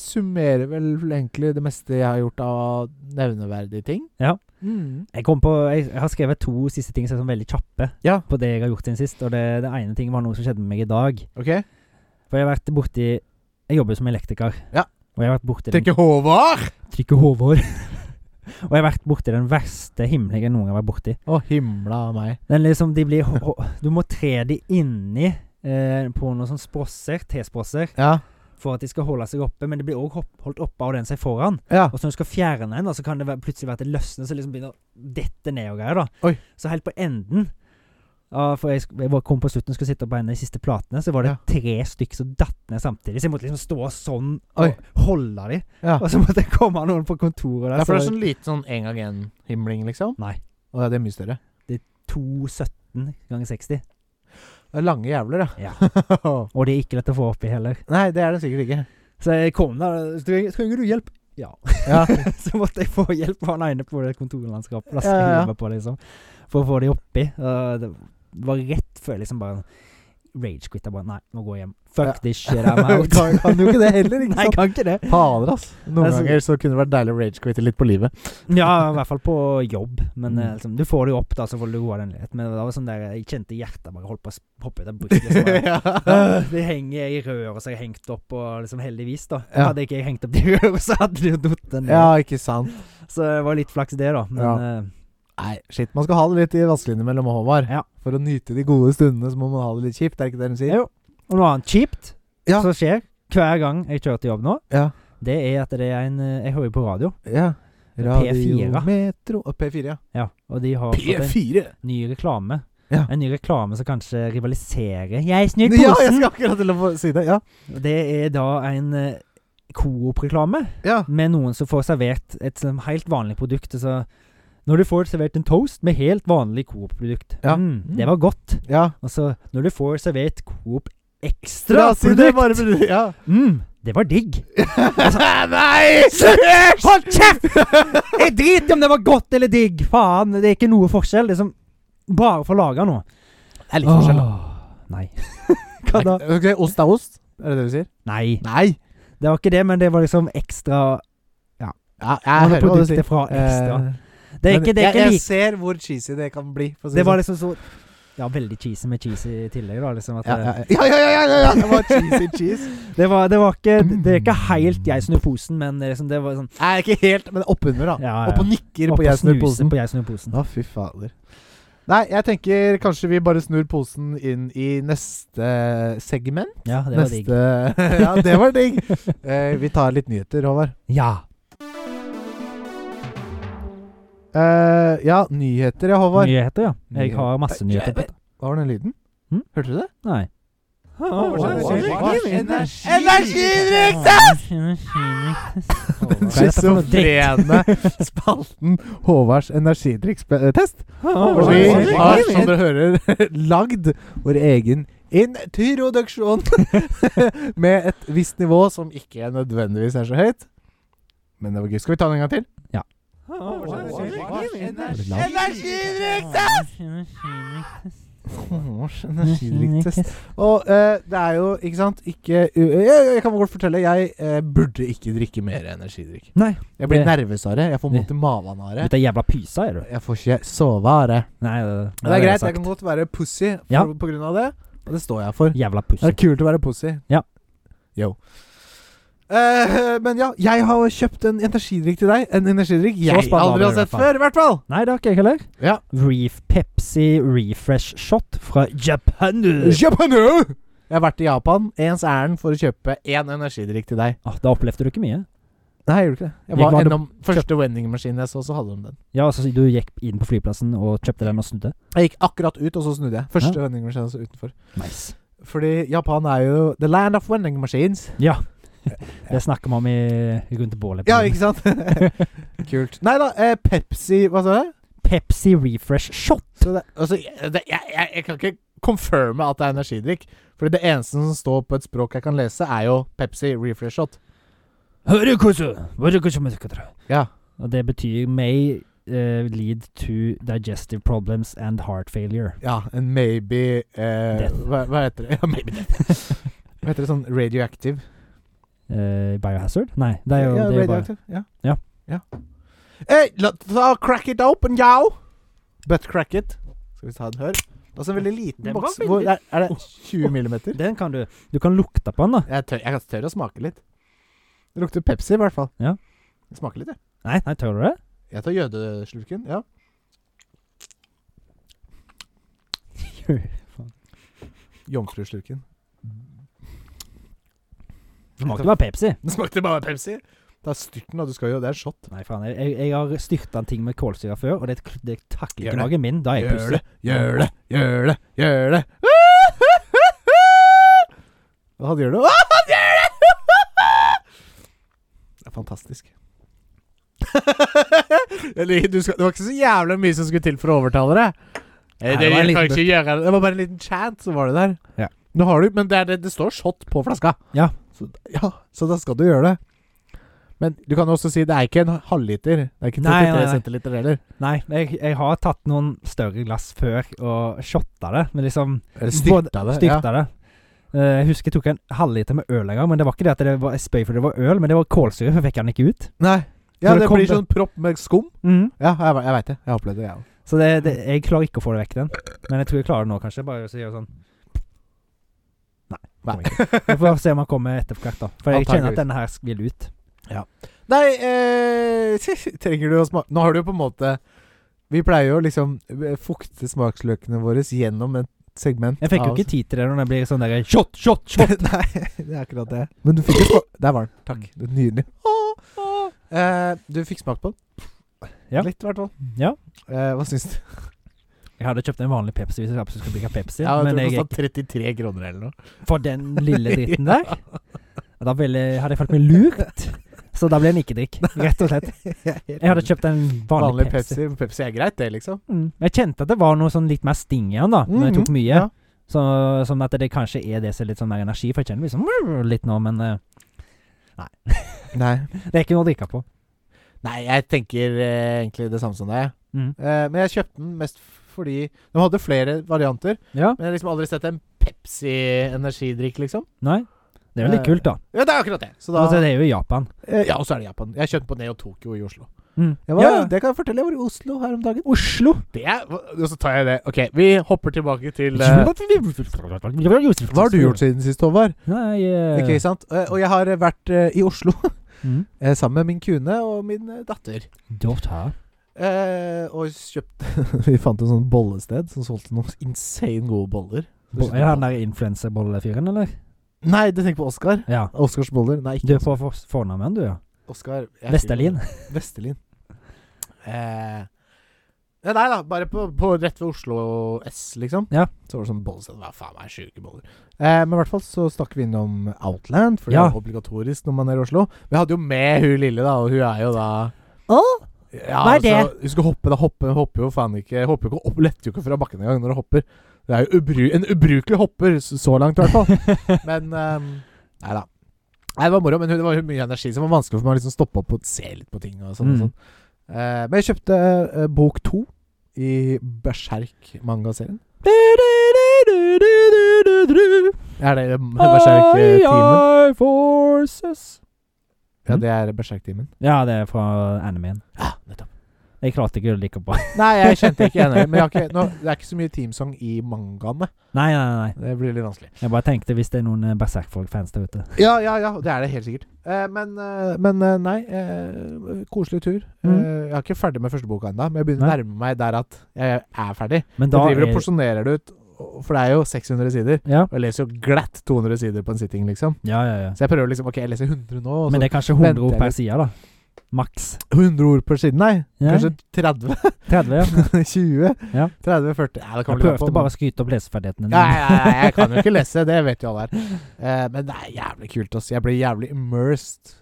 S1: summerer vel egentlig det meste jeg har gjort av nevneverdige ting.
S2: Ja.
S1: Mm.
S2: Jeg, kom på, jeg, jeg har skrevet to siste ting som er sånn veldig kjappe
S1: Ja.
S2: på det jeg har gjort siden sist. Og det, det ene ting var noe som skjedde med meg i dag.
S1: Ok.
S2: For jeg har vært borti Jeg jobber jo som elektriker.
S1: Ja.
S2: Og jeg har vært borti den
S1: Tenker Håvard!
S2: Trykker Håvard. Og jeg har vært borti den verste himmelen jeg noen gang har vært borti.
S1: Å, himla meg.
S2: Den liksom, de blir, hå- hå- du må tre de inni eh, på noen sånn sprosser, tesprosser,
S1: Ja.
S2: for at de skal holde seg oppe. Men de blir òg holdt oppe av den seg foran.
S1: ja.
S2: Og så når du skal fjerne en, da, så kan det være, plutselig være at det løsner, så liksom begynner å dette ned og greier. da.
S1: Sk- Oi.
S2: Så helt på enden ja, For jeg, sk- jeg var- kom på slutten og skulle sitte på en av de siste platene, så var det tre stykker som datt ned samtidig. Så jeg måtte liksom stå sånn og
S1: Oi.
S2: holde de.
S1: Ja.
S2: Og så måtte jeg komme noen på kontoret der.
S1: ja, for det er
S2: så
S1: sånn liten sånn en gang én-himling, liksom?
S2: Nei.
S1: Å, ja, det er mye større.
S2: 217 ganger 60.
S1: Det er lange jævler,
S2: Ja.
S1: ja.
S2: Og det er ikke lett å få oppi heller.
S1: Nei, det er det sikkert ikke.
S2: Så jeg kom der. "Treng- 'Trenger du hjelp?' Ja.
S1: Ja.
S2: så måtte jeg få hjelp av han ene på det kontorlandskapet. Da, som
S1: Ja, ja,
S2: jeg
S1: ja.
S2: jobber på, liksom, for å få de oppi. Uh, det var rett før jeg liksom bare rage-quitta. Bare, Nei, nå går jeg hjem. Fuck
S1: Ja.
S2: this shit, I'm out.
S1: Kan- kan du ikke det heller, ikke
S2: Nei,
S1: sant?
S2: jeg kan ikke det.
S1: Fader, ass. Noen
S2: Altså-
S1: ganger så kunne det vært deilig å rage-quitte litt på livet.
S2: Ja, i hvert fall på jobb. Men
S1: Mm.
S2: eh, liksom, du får det jo opp, da, så får du roa den litt. Men det var sånn der, jeg kjente hjertet bare holdt på å s- hoppe ut av brystet. så bare, Øh,
S1: Eh,
S2: Det henger i røret som jeg har hengt opp, og liksom heldigvis, da.
S1: Ja.
S2: Hadde ikke jeg hengt opp de røret, så hadde det jo datt ned.
S1: Ja, ikke sant.
S2: Så det var litt flaks, det, da. Men
S1: Ja.
S2: eh,
S1: Nei, shit. Man skal ha det litt i vaskelinjen mellom Håvard.
S2: Ja.
S1: For å nyte de gode stundene så må man ha det litt kjipt, er det ikke det de sier?
S2: Jo. Og noe annet kjipt
S1: Ja.
S2: som skjer hver gang jeg kjører til jobb nå,
S1: Ja.
S2: det er at det er en eh, Jeg hører jo på radio,
S1: Ja.
S2: P4.
S1: Radiometro og P4, ja.
S2: ja, og de har fått en ny reklame.
S1: Ja.
S2: En ny reklame som kanskje rivaliserer Jeg snur
S1: Ja, jeg
S2: posen!
S1: skal akkurat til å få si det. Ja.
S2: Det er da en eh, Coop-reklame
S1: ja.
S2: med noen som får servert et sånn helt vanlig produkt. Altså, når du får servert en toast med helt vanlig Coop-produkt
S1: Ja.
S2: mm, Det var godt.
S1: ja.
S2: Altså, når du får servert Coop
S1: Bra, si det bare
S2: Extra-produkt
S1: fordi Ja.
S2: mm, Det var digg.
S1: Nei! Slutt!
S2: Hold kjeft! Jeg driter i om det var godt eller digg. Faen, det er ikke noe forskjell. Det er som bare for å lage noe.
S1: Det er litt forskjell, da.
S2: Nei. Hva da?
S1: Ok, ost er ost? Er det det du sier?
S2: Nei,
S1: Nei.
S2: det var ikke det, men det var liksom ekstra
S1: Ja,
S2: var
S1: jeg
S2: det
S1: hører hva du sier.
S2: Produktet fra ekstra.
S1: Eh,
S2: Det er
S1: men
S2: ikke, det er
S1: jeg,
S2: ikke
S1: jeg
S2: like
S1: ser hvor cheesy det kan bli. for å si
S2: Det var
S1: sånn.
S2: liksom så Ja, veldig cheesy med cheesy i tillegg, da. Liksom at
S1: ja,
S2: det-
S1: ja, ja, ja, ja, ja, ja! Det var cheesy cheese. Mm.
S2: Det, var, det var ikke Det er ikke helt jeg snur posen, men det er liksom, det var sånn
S1: Nei, ikke helt, men oppunder, da.
S2: Ja, ja.
S1: Opp og nikker
S2: opp
S1: på
S2: og
S1: jeg snur
S2: snuse
S1: posen.
S2: På jeg snur posen.
S1: Å, fy fader. Nei, jeg tenker kanskje vi bare snur posen inn i neste segment.
S2: Ja, det var digg.
S1: neste Ja, det var digg. Eh, vi tar litt nyheter, Håvard.
S2: Ja.
S1: Eh, ja, nyheter, ja, Håvard.
S2: Nyheter, ja. Jeg har masse
S1: Nyheter.
S2: nyheter på dette.
S1: Hva var den lyden?
S2: Hm?
S1: Hørte du det?
S2: Nei.
S1: Schizofrene spalten Håvards eh, energidrikkstest. Og vi har, som dere hører, lagd vår egen introduksjon med et visst nivå som ikke nødvendigvis er så høyt. Men det var gøy. Skal vi ta den en gang til? Håvards energidrikktest. Og eh, det er jo, ikke sant ikke, u- jeg, jeg kan godt fortelle, jeg eh, burde ikke drikke mer energidrikk.
S2: Nei.
S1: Jeg blir
S2: Det-
S1: nervøsare, jeg får vondt i maven av det.
S2: Dette er jævla pysa, er du?
S1: Jeg får ikke sove av det.
S2: Nei, det,
S1: Men det er greit, jeg kan godt være pussy for,
S2: Ja.
S1: på grunn av det, og det står jeg for.
S2: Jævla
S1: Det
S2: pussy.
S1: er kult å være pussy.
S2: Ja.
S1: Yo. Eh, men ja, jeg har kjøpt en energidrikk til deg. En energidrikk jeg
S2: spennende
S1: aldri
S2: var
S1: har
S2: det i
S1: sett
S2: hvert fall.
S1: før, i hvert fall.
S2: Nei, det har ikke jeg heller.
S1: Ja.
S2: Reef Pepsi Refresh Shot fra Japan. Åh,
S1: Japan, yo! Jeg har vært i Japan ens ærend for å kjøpe én energidrikk til deg.
S2: Ah, da opplevde du ikke mye.
S1: Nei, jeg gjorde ikke det. Jeg
S2: Gikk
S1: var
S2: man-
S1: innom første vendingmaskinen jeg så, så hadde de den.
S2: Ja, altså Du gikk inn på flyplassen og kjøpte den og snudde?
S1: Jeg gikk akkurat ut, og så snudde jeg. Første vendingmaskinen jeg så utenfor.
S2: Nice.
S1: Fordi Japan er jo the land of vending machines.
S2: Ja. Det snakker vi om i rundt bålet.
S1: Ja, ikke sant? Kult. Nei da, eh, Pepsi Hva sa jeg?
S2: Pepsi Refresh Shot.
S1: Så det, altså, jeg- det, jeg, jeg, jeg kan ikke confirme at det er energidrikk. Fordi det eneste som står på et språk jeg kan lese, er jo Pepsi refresh shot.
S2: Hører du hva som- hører du hva som er sikkert?
S1: Ja.
S2: Og det betyr may eh, lead to digestive problems and heart failure.
S1: Ja, en maybe eh,
S2: Death.
S1: hva, hva heter det? Ja, maybe death. Hva heter det sånn radioactive?
S2: Eh, biohazard? Nei, det er jo,
S1: ja,
S2: det er jo bare
S1: radioactive. Ja.
S2: Ja.
S1: Hey, la, ta, crack it open, yo! Butt crack it. Skal vi ta en hør? Det er også en veldig liten
S2: Den var
S1: boks.
S2: veldig-
S1: Hvor, er, er det 20 millimeter?
S2: Den kan du Du kan lukte på den, da.
S1: Jeg, tør, jeg tør å smake litt. Det lukter Pepsi, i hvert fall.
S2: Ja.
S1: Det smaker litt, jeg.
S2: Nei, nei, tør du det?
S1: Jeg tar jødeslurken. Ja. Jomfruslurken.
S2: Det smakte bare Pepsi.
S1: Den smakte bare Pepsi. Det er styrten, da. Du skal jo Det er en shot.
S2: Nei, faen. Jeg, jeg, jeg har styrta en ting med kålsyre før, og det, det takler
S1: Gjør
S2: ikke
S1: det.
S2: magen min. Da er jeg
S1: Gjør det,
S2: pussig.
S1: gjør det, gjør det, gjør det. Og han gjør det. Og han gjør det! Det er fantastisk. Eller, du skal, det var ikke så jævlig mye som skulle til for å overtale deg. Eh,
S2: Nei, det var en liten
S1: gjøre det. Det var bare en liten chant, så var det der.
S2: Ja.
S1: Nå har du, men det, er, det, det står shot på flaska.
S2: Ja.
S1: Så, ja. så da skal du gjøre det. Men du kan også si det er ikke en halvliter. Det er ikke
S2: Nei, nei,
S1: 33
S2: nei.
S1: centiliter heller.
S2: Nei, jeg, jeg har tatt noen større glass før og shotta det, men liksom
S1: Eller
S2: Både-
S1: styrta det. ja.
S2: Styrta det. Eh, jeg husker jeg tok en halvliter med øl en gang, men det var ikke det at det var jeg spøy fordi det var øl, men det var kålsyre, for jeg fikk den ikke ut.
S1: Nei. Ja,
S2: Når det
S1: det
S2: kom
S1: blir
S2: til-
S1: sånn propp med skum. Ja, jeg, ve- jeg veit det. Jeg har opplevd det, jeg òg.
S2: Så det, det, jeg klarer ikke å få det vekk, den. Men jeg tror jeg klarer det nå, kanskje. Bare å gjøre sånn. Nei.
S1: Nei.
S2: kommer ikke. Vi får se om han kommer etter hvert, da. For jeg kjenner
S1: Antageligvis.
S2: at denne her vil ut.
S1: Nei, eh, trenger du å smake Nå har du jo på en måte Vi pleier jo å liksom eh, fukte smaksløkene våre gjennom et segment.
S2: Jeg fikk jo
S1: av-
S2: ikke tid til det når det blir sånn derre shot, shot, shot.
S1: Nei, det er akkurat det. Men du fikk jo smak Der var den. Takk. Det er Nydelig. Åh, åh. Eh, du fikk smakt på den?
S2: Mm. Ja.
S1: Litt, i hvert fall.
S2: Ja.
S1: Eh, hva syns du?
S2: Jeg hadde kjøpt en vanlig Pepsi hvis jeg absolutt skulle drikke Pepsi,
S1: Ja, jeg tror
S2: men
S1: det sånn.
S2: jeg,
S1: kostet 33 sånn kroner eller noe.
S2: for den lille dritten der Da ville, hadde jeg følt meg lurt. Så da ble det en ikke-drikk, rett og slett. Jeg hadde kjøpt en vanlig,
S1: vanlig
S2: Pepsi.
S1: Pepsi. Pepsi er greit, det, liksom.
S2: Mm. Jeg kjente at det var noe sånn litt mer sting i den, da, når jeg tok
S1: Mhm,
S2: mye.
S1: ja.
S2: Så, sånn at det kanskje er det som er litt sånn mer energi, for jeg kjenner liksom litt nå, men eh,
S1: Nei.
S2: det er ikke noe å drikke på.
S1: Nei, jeg tenker eh, egentlig det samme som deg. jeg.
S2: Mm.
S1: Eh, men jeg kjøpte den mest f- fordi De hadde flere varianter,
S2: Ja,
S1: men jeg har liksom aldri sett en Pepsi-energidrikk, liksom.
S2: nei. Det er jo litt
S1: Eh,
S2: kult, da.
S1: Ja, det er akkurat det. Så da,
S2: altså, det er jo i Japan.
S1: eh, ja, og så er det Japan. Jeg kjøpte den på Neo Tokyo i Oslo.
S2: Mm.
S1: Jeg var,
S2: ja, ja.
S1: Det kan jeg fortelle. Jeg var i Oslo her om dagen.
S2: Oslo.
S1: Det er, og så tar jeg det. Ok, vi hopper tilbake til eh, Hva
S2: Hva
S1: har du gjort siden sist, Håvard?
S2: Nei eh,
S1: Ikke sant? Eh, og jeg har eh, vært eh, i Oslo
S2: mm.
S1: eh, sammen med min kone og min eh, datter.
S2: Dot her.
S1: Eh, og kjøpte Vi fant et sånt bollested som solgte noen insane gode boller.
S2: Bo- Er han der influenserbollefyren, eller?
S1: Nei, du tenker på Oskar?
S2: Ja.
S1: Oskars boller? Nei,
S2: Du
S1: ikke
S2: er på for- fornavnet, du, ja.
S1: Oskar. jeg husker ikke
S2: Vesterlin.
S1: hva det- Vesterlin. Eh, ja, nei da, bare på, på rett ved Oslo S, liksom.
S2: Ja.
S1: Så var det sånn bollested. Hva faen meg sjuke boller. Eh, men i hvert fall så stakk vi innom Outland, for
S2: Ja.
S1: det er obligatorisk når man er i Oslo. Vi hadde jo med hun lille, da, og hun er jo da Ja,
S2: Hva er det?
S1: Altså, hun skal hoppe, da hoppe, hopper jo faen ikke Hopper jo ikke opp, letter jo ikke fra bakken engang når hun hopper. Det er jo ubru, en ubrukelig hopper, s- så langt i hvert fall. Men ehm, Nei da. Nei, det var moro, men hun- det var jo mye energi, så det var vanskelig for meg å liksom stoppe opp og se litt på ting. og sånn.
S2: Mm.
S1: Og sånn. Eh, men jeg kjøpte eh, bok to i Berserk-mangaserien. Er det eh,
S2: eh,
S1: Berserk-teamen?
S2: I forces.
S1: Ja, det er Berserk-teamen.
S2: Ja, det er fra animeen.
S1: Ja, nettopp.
S2: Jeg klarte ikke å like på.
S1: Nei, jeg kjente ikke henne. Men jeg har ikke, nå, det er ikke så mye teamsong i mangaene.
S2: Nei, nei, nei.
S1: Det blir litt vanskelig.
S2: Jeg bare tenkte hvis det er noen eh, Berserk-folk-fans der ute.
S1: Ja, ja, ja, det er det helt sikkert. Eh, men, eh, men eh, nei, eh, koselig tur.
S2: Mm.
S1: Eh, jeg er ikke ferdig med første boka ennå, men jeg begynner å
S2: Nei.
S1: nærme meg der at jeg er ferdig.
S2: Men
S1: Du
S2: da
S1: driver og
S2: er
S1: porsjonerer det ut, og- for det er jo 600 sider.
S2: ja.
S1: Og jeg leser jo glatt 200 sider på en sitting, liksom.
S2: ja, ja, ja.
S1: Så jeg prøver liksom Ok, jeg leser 100 nå, og så
S2: Men det er kanskje
S1: venter
S2: 100 ord
S1: jeg
S2: per
S1: litt.
S2: side, da. Maks.
S1: 100 ord per side. Nei,
S2: Ja.
S1: kanskje 30?
S2: 30, ja.
S1: 20?
S2: Ja.
S1: 30-40? Nei, det
S2: Jeg
S1: kommer litt an
S2: prøvde
S1: på.
S2: bare å skryte opp leseferdighetene dine.
S1: Ja, ja, ja, jeg kan jo ikke lese, det vet jo alle her. Eh, men det er jævlig kult, ass. Jeg blir jævlig immersed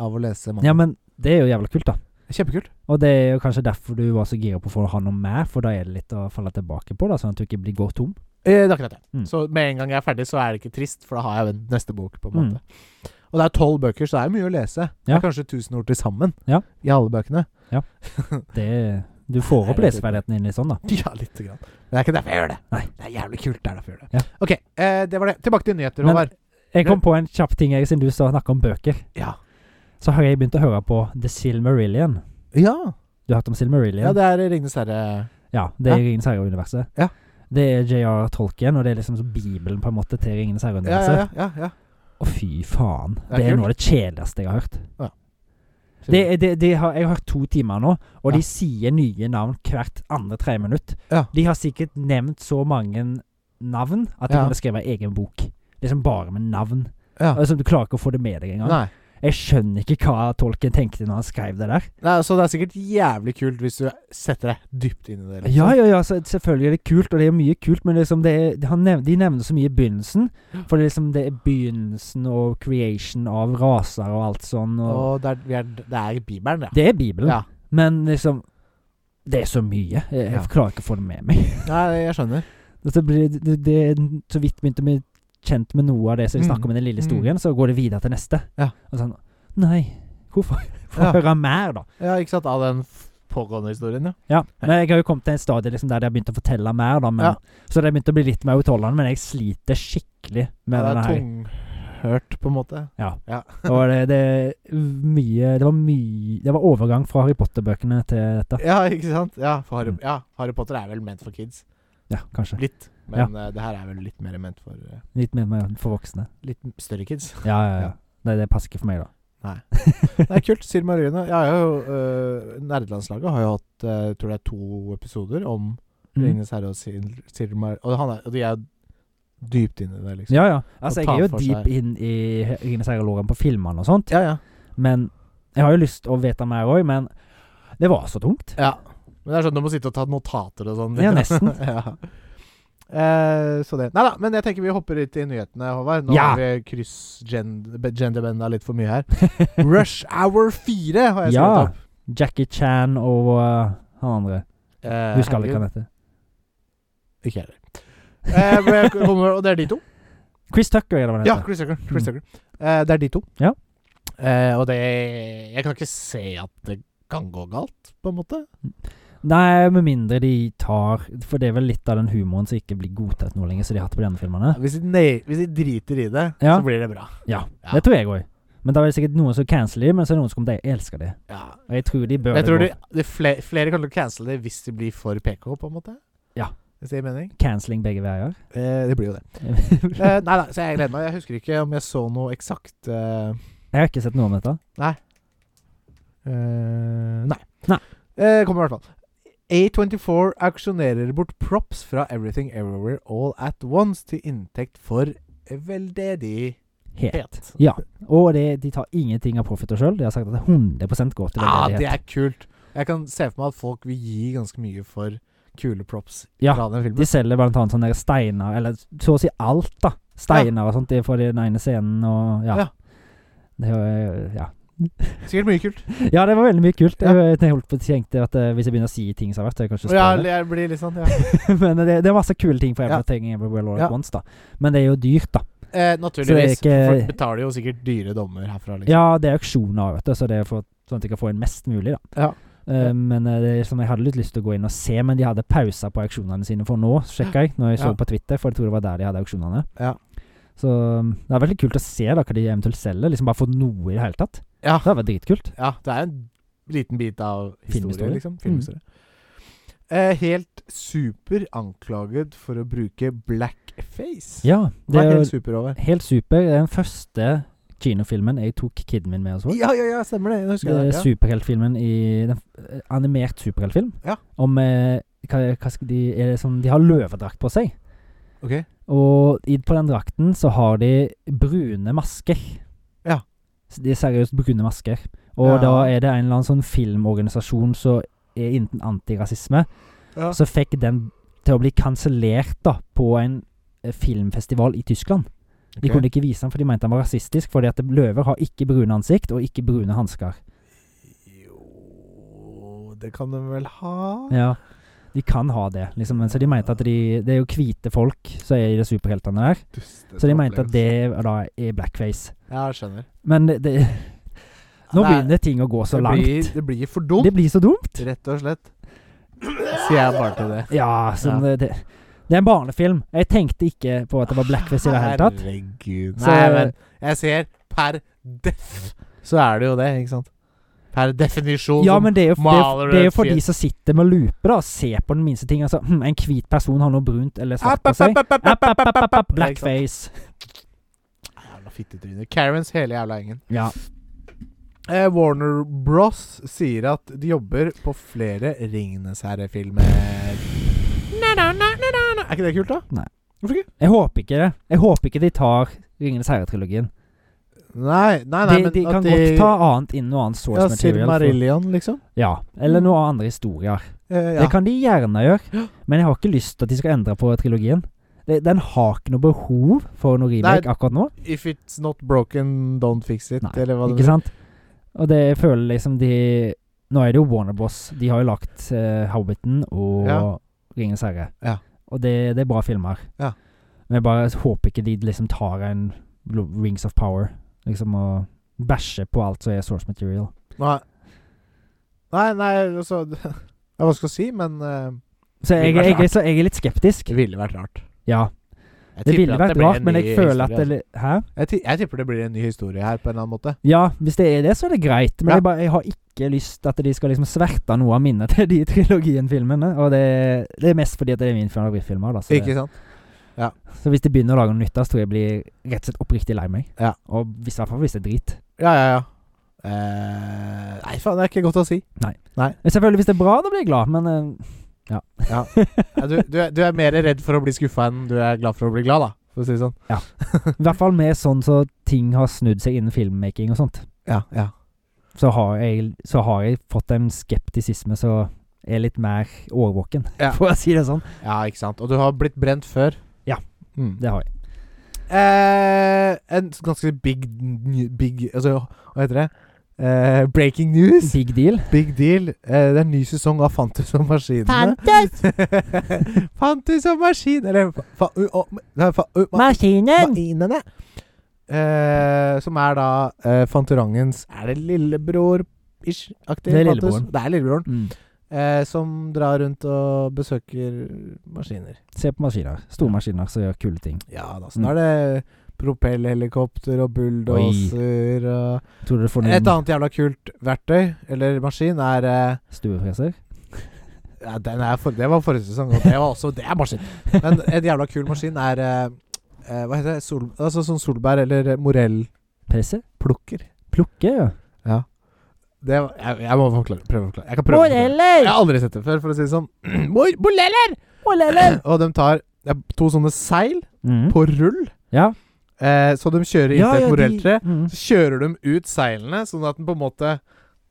S1: av å lese manga.
S2: Ja, men det er jo jævla kult, da.
S1: Kjempekult.
S2: Og det er jo kanskje derfor du var så gira på å få ha noe mer, for da er det litt å falle tilbake på, da, sånn at du ikke blir gått tom.
S1: Eh, det er akkurat det.
S2: Mm.
S1: Så med en gang jeg er ferdig, så er det ikke trist, for da har jeg jo neste bok, på en
S2: Mm.
S1: måte. Og det er tolv bøker, så det er mye å lese. Det
S2: Ja.
S1: er kanskje 1000 ord til sammen
S2: Ja.
S1: i alle bøkene.
S2: Det Du får opp
S1: Nei, det er
S2: leseferdighetene dine litt sånn, da.
S1: Ja, lite grann. Men det er ikke derfor jeg gjør det.
S2: Nei.
S1: Det er jævlig kult, det er derfor jeg gjør det.
S2: Ja.
S1: Ok, eh, det var det. Tilbake til nyheter,
S2: Men-
S1: Håvard.
S2: Jeg kom på en kjapp ting, jeg, siden du snakka om bøker.
S1: Ja.
S2: Så har jeg begynt å høre på The Silmarillion.
S1: Ja.
S2: Du har hørt om
S1: ja,
S2: Silmarillion?
S1: det er Ringenes herre
S2: Ja, det er Ringenes herre-universet.
S1: Ja.
S2: Det er J.R. Tolkien, og det er liksom så bibelen på en måte til Ringenes
S1: ja, ja,
S2: herre-universet.
S1: ja, ja, ja.
S2: Å, fy faen.
S1: Det er
S2: Det er
S1: kult.
S2: noe av det kjedeligste jeg har hørt.
S1: Ja.
S2: Det, det, det har, jeg har hørt to timer nå, og
S1: Ja.
S2: de sier nye navn hvert andre-tredje minutt.
S1: Ja.
S2: De har sikkert nevnt så mange navn at de
S1: Ja.
S2: kunne skrevet egen bok. Liksom bare med navn.
S1: ja.
S2: Altså, du klarer ikke å få det med deg engang.
S1: Nei.
S2: Jeg skjønner ikke hva Tolkien tenkte når han skrev det der.
S1: Nei, Så det er sikkert jævlig kult hvis du setter deg dypt inn i det. liksom.
S2: Ja, ja, ja, så selvfølgelig er det kult, og det er mye kult, men liksom det er, han nev de nevner så mye i begynnelsen. For det er liksom det er begynnelsen og creation av raser og alt sånn. Og
S1: Og det er, vi er, det er Bibelen, ja.
S2: Det er Bibelen.
S1: Ja.
S2: Men liksom Det er så mye. Jeg, jeg
S1: Ja.
S2: klarer ikke å få det med meg.
S1: Nei, jeg skjønner.
S2: Dette blir, det, det er så vidt begynte vi kjent med noe av det som de
S1: Mm.
S2: snakker om i den lille historien, så går det videre til neste.
S1: Ja.
S2: Og sånn Nei, hvorfor? Få
S1: Ja.
S2: høre mer, da.
S1: Ja, ikke sant? Av den f- pågående historien, ja.
S2: Ja. Men jeg har jo kommet til en stadie liksom, der de har begynt å fortelle mer, da. Men,
S1: Ja.
S2: Så det har begynt å bli litt mer utholdende, men jeg sliter skikkelig med
S1: ja det
S2: denne
S1: er
S2: her.
S1: tunghørt, på en måte.
S2: Og det, det er mye Det var mye Det var overgang fra Harry Potter-bøkene til dette.
S1: Ja, ikke sant? Ja, for Harry,
S2: Mm.
S1: ja, Harry Potter er vel ment for kids.
S2: Ja, kanskje.
S1: Litt. Men eh, det her er vel litt mer ment for eh,
S2: Litt mer mer for voksne.
S1: litt større kids.
S2: Ja, ja, ja.
S1: Ja.
S2: Nei, det passer ikke for meg, da.
S1: Det er kult. Sir Marine. Jeg har jo, eh, Nerdelandslaget har jo hatt eh, tror det er to episoder om
S2: Mm.
S1: Ringenes herre og Sir, Sir Mar... Og, han er, og de er jo dypt inne i det, liksom.
S2: Ja, ja. Altså, jeg
S1: ta
S2: er jo
S1: for
S2: deep
S1: seg.
S2: inn i Ringenes herre-loren på filmene og sånt,
S1: ja. ja.
S2: men jeg har jo lyst til å vite mer òg, men det var så tungt.
S1: Ja. Men det er sånn du må sitte og ta notater og sånn.
S2: Ja, nesten.
S1: ja. Eh, så det Nei da, men jeg tenker vi hopper litt i nyhetene, Håvard. Nå
S2: Ja.
S1: har vi kryss-genderbenda litt for mye her. Rush Hour 4 har jeg skrevet
S2: Ja.
S1: opp.
S2: Jackie Chan og uh, han andre.
S1: Eh,
S2: Husker
S1: herregud.
S2: alle hva han heter.
S1: Ikke heller. Eh, men jeg kommer, og det er de to?
S2: Chris Tucker, er det hva han
S1: Ja,
S2: heter.
S1: Chris Tucker. Chris
S2: Mm.
S1: Tucker. Eh, det er de to.
S2: Ja.
S1: Eh, og det Jeg kan ikke se at det kan gå galt, på en måte.
S2: Nei, med mindre de tar For det er vel litt av den humoren som ikke blir godtatt nå lenger, som de har hatt på de andre filmene.
S1: Hvis de, nei, hvis de driter i det,
S2: Ja.
S1: så blir det bra. Ja.
S2: Det tror jeg òg. Men da er det sikkert noen som canceler dem, men så er det noen som kommer til å elske dem.
S1: Ja,
S2: Og jeg tror de bør
S1: Men jeg tror de,
S2: gå
S1: de flere, flere kommer til å cancele det hvis de blir for PK, på en måte.
S2: Ja.
S1: Hvis det gir mening?
S2: canceling begge veier.
S1: Eh, det blir jo det.
S2: jeg
S1: Eh, nei da, så jeg gleder meg. Jeg husker ikke om jeg så noe eksakt eh,
S2: har ikke sett noe om dette.
S1: eh, Nei.
S2: Nei.
S1: Eh, kommer i hvert fall. A24 auksjonerer bort props fra Everything Everywhere All At Once til inntekt for veldedighet.
S2: Helt. Ja. Og det, de tar ingenting av profiter sjøl. De har sagt at 100 går til
S1: Ah, det
S2: veldedighet.
S1: er kult. Jeg kan se for meg at folk vil gi ganske mye for kule props
S2: Ja,
S1: fra den filmen.
S2: de selger blant annet sånne der steiner, eller så å si alt, da. Steiner og sånt det er fra den ene scenen og ja.
S1: Ja.
S2: Det, var- ja.
S1: Sikkert mye kult.
S2: ja, det var veldig mye kult.
S1: Ja.
S2: Jeg, jeg holdt på å tenke at eh, hvis jeg begynner å si ting som har vært, så jeg kanskje
S1: Og jeg,
S2: spoiler.
S1: jeg blir litt sånn ja.
S2: Men det, det er masse kule ting fra
S1: Ja.
S2: Everything Everywhere All At
S1: Ja.
S2: Once, da. Men det er jo dyrt, da.
S1: Eh, naturligvis.
S2: Så det er ikke-
S1: Folk betaler jo sikkert dyre dommer herfra. Liksom.
S2: Ja, det er auksjoner, vet du, så det er for, sånn at jeg kan få en mest mulig, da.
S1: Ja.
S2: Eh, men eh, det er som jeg hadde litt lyst til å gå inn og se, men de hadde pauser på auksjonene sine for nå, sjekka jeg, når jeg så
S1: Ja.
S2: på Twitter, for jeg tror det var der de hadde auksjonene.
S1: Ja.
S2: Så mm, det er veldig kult å se da hva de eventuelt selger, liksom bare få noe i det hele tatt.
S1: Ja.
S2: Det hadde vært dritkult.
S1: Ja, det er en liten bit av
S2: Filmhistorie. Mm.
S1: historie, liksom. Filmhistorie. Eh, helt super anklaget for å bruke blackface.
S2: Ja,
S1: det
S2: det
S1: er
S2: er
S1: helt
S2: jo
S1: super over.
S2: helt super. Det er den første kinofilmen jeg tok kiden min med og så.
S1: Ja, ja, ja, stemmer det. Nå husker
S2: Det
S1: jeg
S2: er
S1: det.
S2: superheltfilmen i den, f- eh, Animert superheltfilm.
S1: Ja.
S2: Om eh, hva, hva skal de er det som, De har løvedrakt på seg.
S1: Ja. Ok.
S2: Og i, på den drakten så har de brune masker.
S1: Ja.
S2: Så De er seriøst brune masker. Og
S1: Ja.
S2: da er det en eller annen sånn filmorganisasjon som er innen antirasisme,
S1: Ja.
S2: som fikk den til å bli kansellert da, på en eh, filmfestival i Tyskland. De
S1: Ok.
S2: kunne ikke vise den, for de mente den var rasistisk. Fordi at løver har ikke brune ansikt, og ikke brune hansker.
S1: Jo Det kan de vel ha?
S2: Ja, de kan ha det, liksom. Men så de mente at de Det er jo hvite folk som er i de superheltene der.
S1: Dustete
S2: Så de mente at
S1: opplevelse.
S2: det da er blackface.
S1: Ja, jeg skjønner.
S2: Men det, det Nå
S1: Nei,
S2: begynner ting å gå så
S1: det Blir,
S2: langt.
S1: det blir for dumt,
S2: Det blir så dumt.
S1: rett og slett. Sier jeg bare til det.
S2: Ja, så Det, det det er en barnefilm. Jeg tenkte ikke på at det var blackface i det hele tatt.
S1: Herregud.
S2: Så-
S1: Nei, men jeg ser per def, så er det jo det, ikke sant? Per definisjon.
S2: Ja,
S1: som-
S2: men det er jo, det er,
S1: maler
S2: det er jo
S1: et
S2: for de
S1: fjes.
S2: som sitter med lupe da, og ser på den minste ting. Altså, hm, en hvit person har noe brunt eller svart
S1: App,
S2: på
S1: app,
S2: seg.
S1: app, app,
S2: App, app, app, app, app,
S1: Ikke sant?
S2: blackface.
S1: Jævla fittetryne. Karens hele jævla gjengen.
S2: Ja.
S1: Eh, Warner Bros sier at de jobber på flere Ringenes herre-filmer. Na, na, na, na, na, na. Er ikke det kult, da?
S2: Jeg håper ikke det. Jeg håper ikke de tar Ringenes herre-trilogien.
S1: Nei, nei, nei
S2: De,
S1: men
S2: de
S1: at
S2: kan godt ta annet inn noe annet source
S1: ja,
S2: material. For,
S1: Silmarillion, liksom.
S2: ja, eller noen andre historier.
S1: Eh,
S2: Det
S1: ja.
S2: kan de gjerne gjøre, men jeg har ikke lyst til at de skal endre på trilogien. Det, den har ikke noe behov for noe remake akkurat nå.
S1: If it's not broken, don't fix it,
S2: Nei,
S1: eller hva det
S2: Ikke sant? Og det jeg føler liksom de Nå er det jo Warner Bros. De har jo lagt eh, Hobbiten og
S1: Ja.
S2: Ringenes herre.
S1: Ja.
S2: Og det, det er bra filmer.
S1: Ja.
S2: Men jeg bare håper ikke de liksom tar en Lo- Rings of Power Liksom og bæsjer på alt som er source material.
S1: Nei. Nei, nei, altså Jeg vet hva skal jeg si, men eh, Det
S2: Så jeg,
S1: ville vært
S2: jeg,
S1: rart.
S2: jeg, så jeg er litt skeptisk.
S1: Det ville vært rart.
S2: Ja.
S1: Jeg
S2: Det
S1: tipper
S2: ville
S1: at
S2: vært
S1: blir
S2: rart,
S1: en
S2: men
S1: ny
S2: jeg føler at
S1: historie,
S2: det Hæ?
S1: altså. jeg, ti- jeg tipper det blir en ny historie her, på en eller annen måte.
S2: Ja, hvis det er det, så er det greit. Men
S1: Ja.
S2: jeg, bare, jeg har ikke lyst til at de skal liksom sverte noe av minnet til de trilogien-filmene. Og det, det er mest fordi at det er min favorittfilmer. da, Så,
S1: Ikke
S2: det-
S1: sant?
S2: så hvis de begynner å lage noe nytt, da, så tror jeg jeg blir rett og slett oppriktig lei meg.
S1: Ja.
S2: Og hvis, i hvert fall hvis det er drit.
S1: Ja, ja, ja. Eh, nei, faen, det er ikke godt å si.
S2: Men selvfølgelig, hvis det er bra, da blir jeg glad, men eh, ja.
S1: Ja. Ja, du, du, er- du er mer redd for å bli skuffa enn du er glad for å bli glad, da. For å si det sånn.
S2: I hvert fall med sånn så ting har snudd seg innen filmmaking og sånt.
S1: Ja, ja.
S2: Så har jeg, så har jeg fått en skeptisisme som er litt mer årvåken,
S1: Ja.
S2: for å si det sånn.
S1: ja ikke sant. Og du har blitt brent før.
S2: Ja.
S1: Mm.
S2: Det har jeg.
S1: Eh, en s- ganske big, n- big Altså, hva heter det? Eh, breaking news.
S2: Big deal.
S1: Big deal. Eh, det er en ny sesong av Fantus og maskinene.
S2: Fantes!
S1: Fantus og maskin Eller fa, fa, u, og, nei, fa, u, ma,
S2: Maskinen!
S1: Mainene. Eh, som er da eh, Fantorangens Er det lillebror-ish-aktig?
S2: Det er
S1: Fantus?
S2: lillebroren.
S1: Det er lillebroren.
S2: Mm.
S1: Eh, som drar rundt og besøker maskiner.
S2: Se på maskiner. Store maskiner som gjør kule ting.
S1: Ja da, så da er det propellhelikopter og bulldoser og
S2: Tror du du får
S1: Et
S2: noen
S1: annet jævla kult verktøy, eller maskin, er eh,
S2: stuefreser?
S1: ja, den er for, Det var forrige sesong, og det var også Det er maskin! Men en jævla kul maskin er eh, eh, Hva heter det? Sol, altså sånn solbær- eller morellplukker.
S2: Presse? Plukke, ja.
S1: Det var, jeg, jeg må forklare, prøve å forklare. Jeg kan prøve å forklare. Jeg har aldri sett det før, for å si det sånn. Mor- Moreller!
S2: Moreller!
S1: Og de tar det er to sånne seil
S2: Mm.
S1: på rull,
S2: Ja.
S1: eh, så de kjører inntil et morelltre.
S2: de- mm.
S1: Så kjører de ut seilene, sånn at den på en måte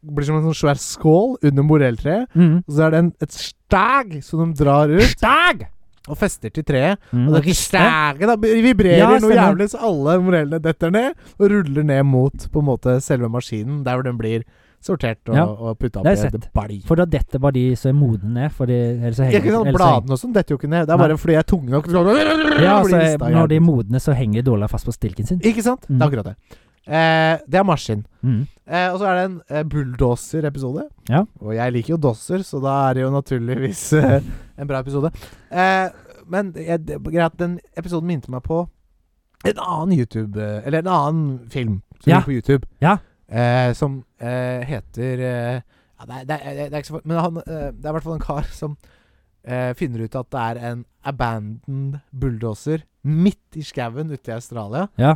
S1: blir som en sånn svær skål under morelltreet.
S2: Mm.
S1: Og så er det en, et stag som de drar ut
S2: Stag!
S1: og fester til treet. Og
S2: Mm. Og
S1: det
S2: riste.
S1: staget da vibrerer
S2: Ja,
S1: noe
S2: stemmer.
S1: jævlig, så alle morellene detter ned og ruller ned mot på en måte selve maskinen, der hvor den blir sortert og,
S2: Ja,
S1: og putta opp
S2: det har
S1: i
S2: jeg
S1: en balj.
S2: For da detter bare de som er modne ned. For de, ellers så
S1: Det er
S2: henger
S1: ikke sånn
S2: ellers så henger-
S1: Bladene og sånn detter jo ikke ned. Det er bare fordi jeg er tung nok.
S2: Ja,
S1: Blir
S2: så
S1: rista i
S2: når de er
S1: hjernen.
S2: modne, så henger de dårligere fast på stilken sin.
S1: Ikke sant? Det
S2: Mm.
S1: er akkurat det. Eh, det er maskin.
S2: Mm.
S1: Eh, og så er det en eh, bulldoser-episode.
S2: Ja.
S1: Og jeg liker jo dosser, så da er det jo naturligvis eh, en bra episode. Eh, men jeg, det, greit, den episoden minte meg på en annen YouTube eh, Eller en annen film som
S2: Ja.
S1: ligger på YouTube,
S2: Ja.
S1: eh, som eh, heter eh, ja, det, er, det, er, det er ikke så for- Men han, eh, det er i hvert fall en kar som eh, finner ut at det er en abandoned bulldoser midt i skauen ute i Australia.
S2: Ja.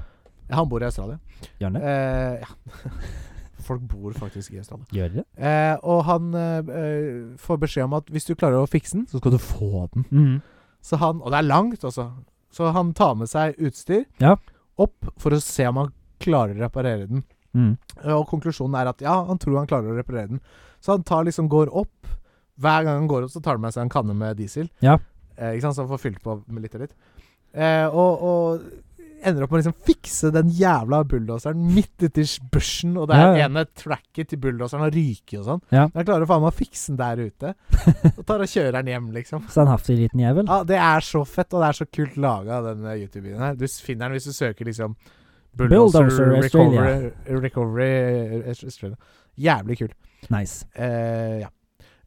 S1: Han bor i Australia.
S2: Gjør det?
S1: Eh, ja. Folk bor faktisk i Østlandet.
S2: Gjør det?
S1: Eh, og han eh, eh, får beskjed om at hvis du klarer å fikse den, så skal du få den.
S2: Mm.
S1: Så han, og det er langt, også. Så han tar med seg utstyr
S2: Ja.
S1: opp for å se om han klarer å reparere den.
S2: Mm.
S1: Eh, Og konklusjonen er at ja, han tror han klarer å reparere den. Så han tar liksom går opp. Hver gang han går opp, så tar han med seg en kanne med diesel.
S2: Ja.
S1: Eh, ikke sant? Så han får fylt på med litt og litt. Eh, og, og ender opp med å liksom fikse den jævla bulldoseren midt ute i børsen, og det er
S2: Ja, ja. ene
S1: ene tracket til bulldoseren har ryket og sånn.
S2: Ja.
S1: Men Han klarer faen meg å fikse den der ute. Og tar og kjører den hjem, liksom.
S2: Standhaftig liten jævel.
S1: Ja, Det er så fett, og det er så kult laga, den eh, YouTube-videoen her. Du s- finner den hvis du søker liksom
S2: Bulldozer
S1: Recovery, recovery eh, Australia. Jævlig kul.
S2: Nice.
S1: Eh, ja.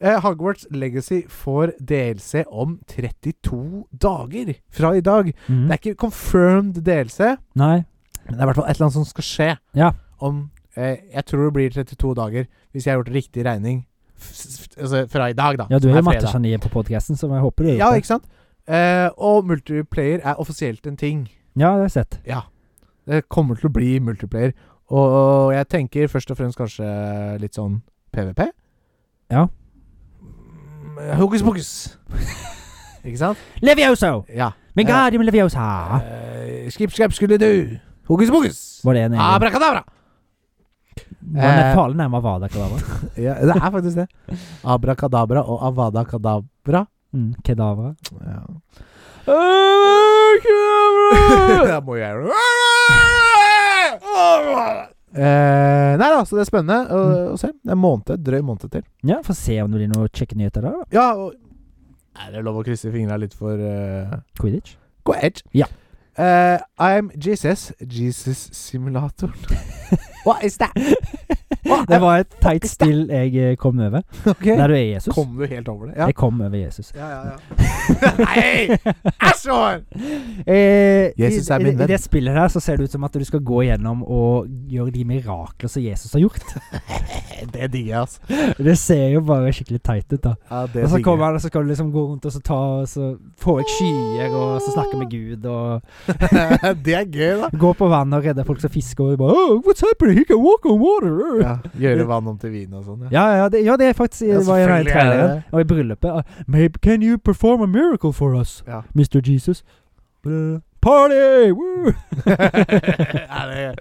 S1: Eh, Hogwarts Legacy får DLC om 32 dager fra i dag.
S2: Mm.
S1: Det er ikke confirmed DLC,
S2: Nei.
S1: men det er i hvert fall et eller annet som skal skje
S2: Ja.
S1: om eh, Jeg tror det blir 32 dager, hvis jeg har gjort riktig regning. F f altså fra i dag, da.
S2: Ja, du
S1: som
S2: er jo
S1: fredag.
S2: mattegeniet på podkasten, så jeg håper du er
S1: Ja,
S2: oppe.
S1: ikke sant? Eh, og multiplayer er offisielt en ting.
S2: Ja, det har jeg sett.
S1: Ja. Det kommer til å bli multiplayer. Og jeg tenker først og fremst kanskje litt sånn PVP.
S2: Ja.
S1: Mm, Hokus pokus. Ikke sant?
S2: Levioso!
S1: Ja.
S2: Wingardium Leviosa!
S1: Eh, skip, skap, skulle du. Hokus pokus.
S2: Var det en
S1: Ah,
S2: egen?
S1: Abrakadabra.
S2: Man er
S1: eh,
S2: farlig nærme Avada Kedavra.
S1: Ja, det er faktisk det. Abrakadabra og avada kadabra.
S2: Mm, kedavra.
S1: Ja. Eh,
S2: Kedavra!
S1: Da må jeg Eh, Nei da, så det er spennende å, å se. Det er en måned, drøy måned til.
S2: Ja, Få se om det blir noen kjekke nyheter der. da.
S1: Ja, og Er det lov å krysse fingra litt for eh,
S2: Quidditch.
S1: Go ahead.
S2: Ja.
S1: Eh, I'm Jesus. Jesus-simulatoren. Hva er det?
S2: Det var et teit still jeg eh, kom over. Der du er Jesus.
S1: Kom du helt over det? Ja.
S2: Jeg kom over Jesus.
S1: ja, ja, ja. Nei! Æsj! Håvard!
S2: Eh,
S1: Jesus
S2: i-
S1: er
S2: i-
S1: min venn.
S2: I det spillet her så ser det ut som at du skal gå igjennom og gjøre de mirakler som Jesus har gjort.
S1: Det digger jeg, altså.
S2: Det ser jo bare skikkelig teit ut, da.
S1: Ja, det
S2: Og så
S1: digger jeg.
S2: kommer han, og så skal du liksom gå rundt og så ta og så få ut skyer, og så snakke med Gud, og
S1: det er gøy, da.
S2: gå på vannet og redde folk som fisker, og bare oh, What's happening? He can walk on water.
S1: Ja, gjøre vann om til vin og sånn. Ja.
S2: Ja, ja, det, ja, det er faktisk
S1: Ja,
S2: det var i den
S1: selvfølgelig er det
S2: traileren.
S1: det.
S2: Og i bryllupet. ah, Maybe can you perform a miracle for us,
S1: Ja.
S2: Mr. Jesus? Blah. Party! Woo!
S1: ja, det,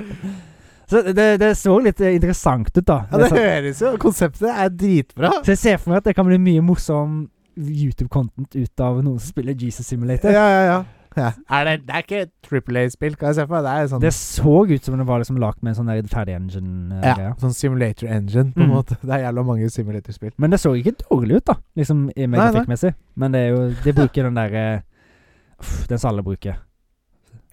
S2: Så det, det så litt eh, interessant ut, da.
S1: ja,
S2: Det er
S1: det
S2: sånn-
S1: høres jo Konseptet er dritbra.
S2: så jeg ser for meg at det kan bli mye morsom YouTube-content ut av noen som spiller Jesus Simulator.
S1: Ja, ja, ja. ja. Er det, det er ikke et Triple A-spill, kan jeg se for meg. Det er sånn
S2: Det så ut som det var liksom lagd med en sånn der ferdig eh, engine-greie.
S1: ja, sånn simulator engine, på en
S2: Mm.
S1: måte. Det er jævla mange simulatorspill.
S2: Men det så ikke dårlig ut, da, liksom
S1: Nei,
S2: i
S1: nei.
S2: megafikkmessig. Men det er jo De bruker den derre Uff, den som alle bruker.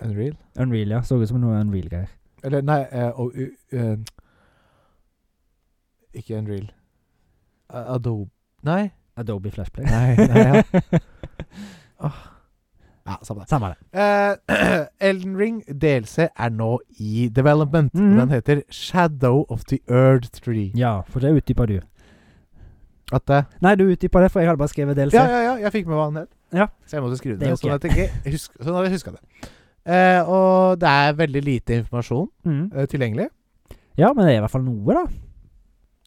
S1: Unreal?
S2: Unreal, ja. Så ut som noe Unreal-greier.
S1: Eller nei eh, og, u- eh, Ikke Unreal. A- Adobe Nei.
S2: Adobe Flashplay.
S1: Nei, nei ja. ja, samme det.
S2: Samme det.
S1: Eh, Elden Ring DLC er nå i development.
S2: Mhm.
S1: Den heter Shadow of the Earth Tree.
S2: Ja, for det utdypa du.
S1: At eh, det
S2: Nei, du utdypa det, for jeg hadde bare skrevet DLC.
S1: Ja, ja, ja, jeg fikk med hva han het.
S2: Ja.
S1: Så jeg måtte skrive det,
S2: Det er
S1: ned,
S2: jo
S1: sånn at jeg ikke husk, sånn at jeg huska det. Eh, og det er veldig lite informasjon
S2: Mm.
S1: eh, tilgjengelig.
S2: ja, men det er i hvert fall noe, da.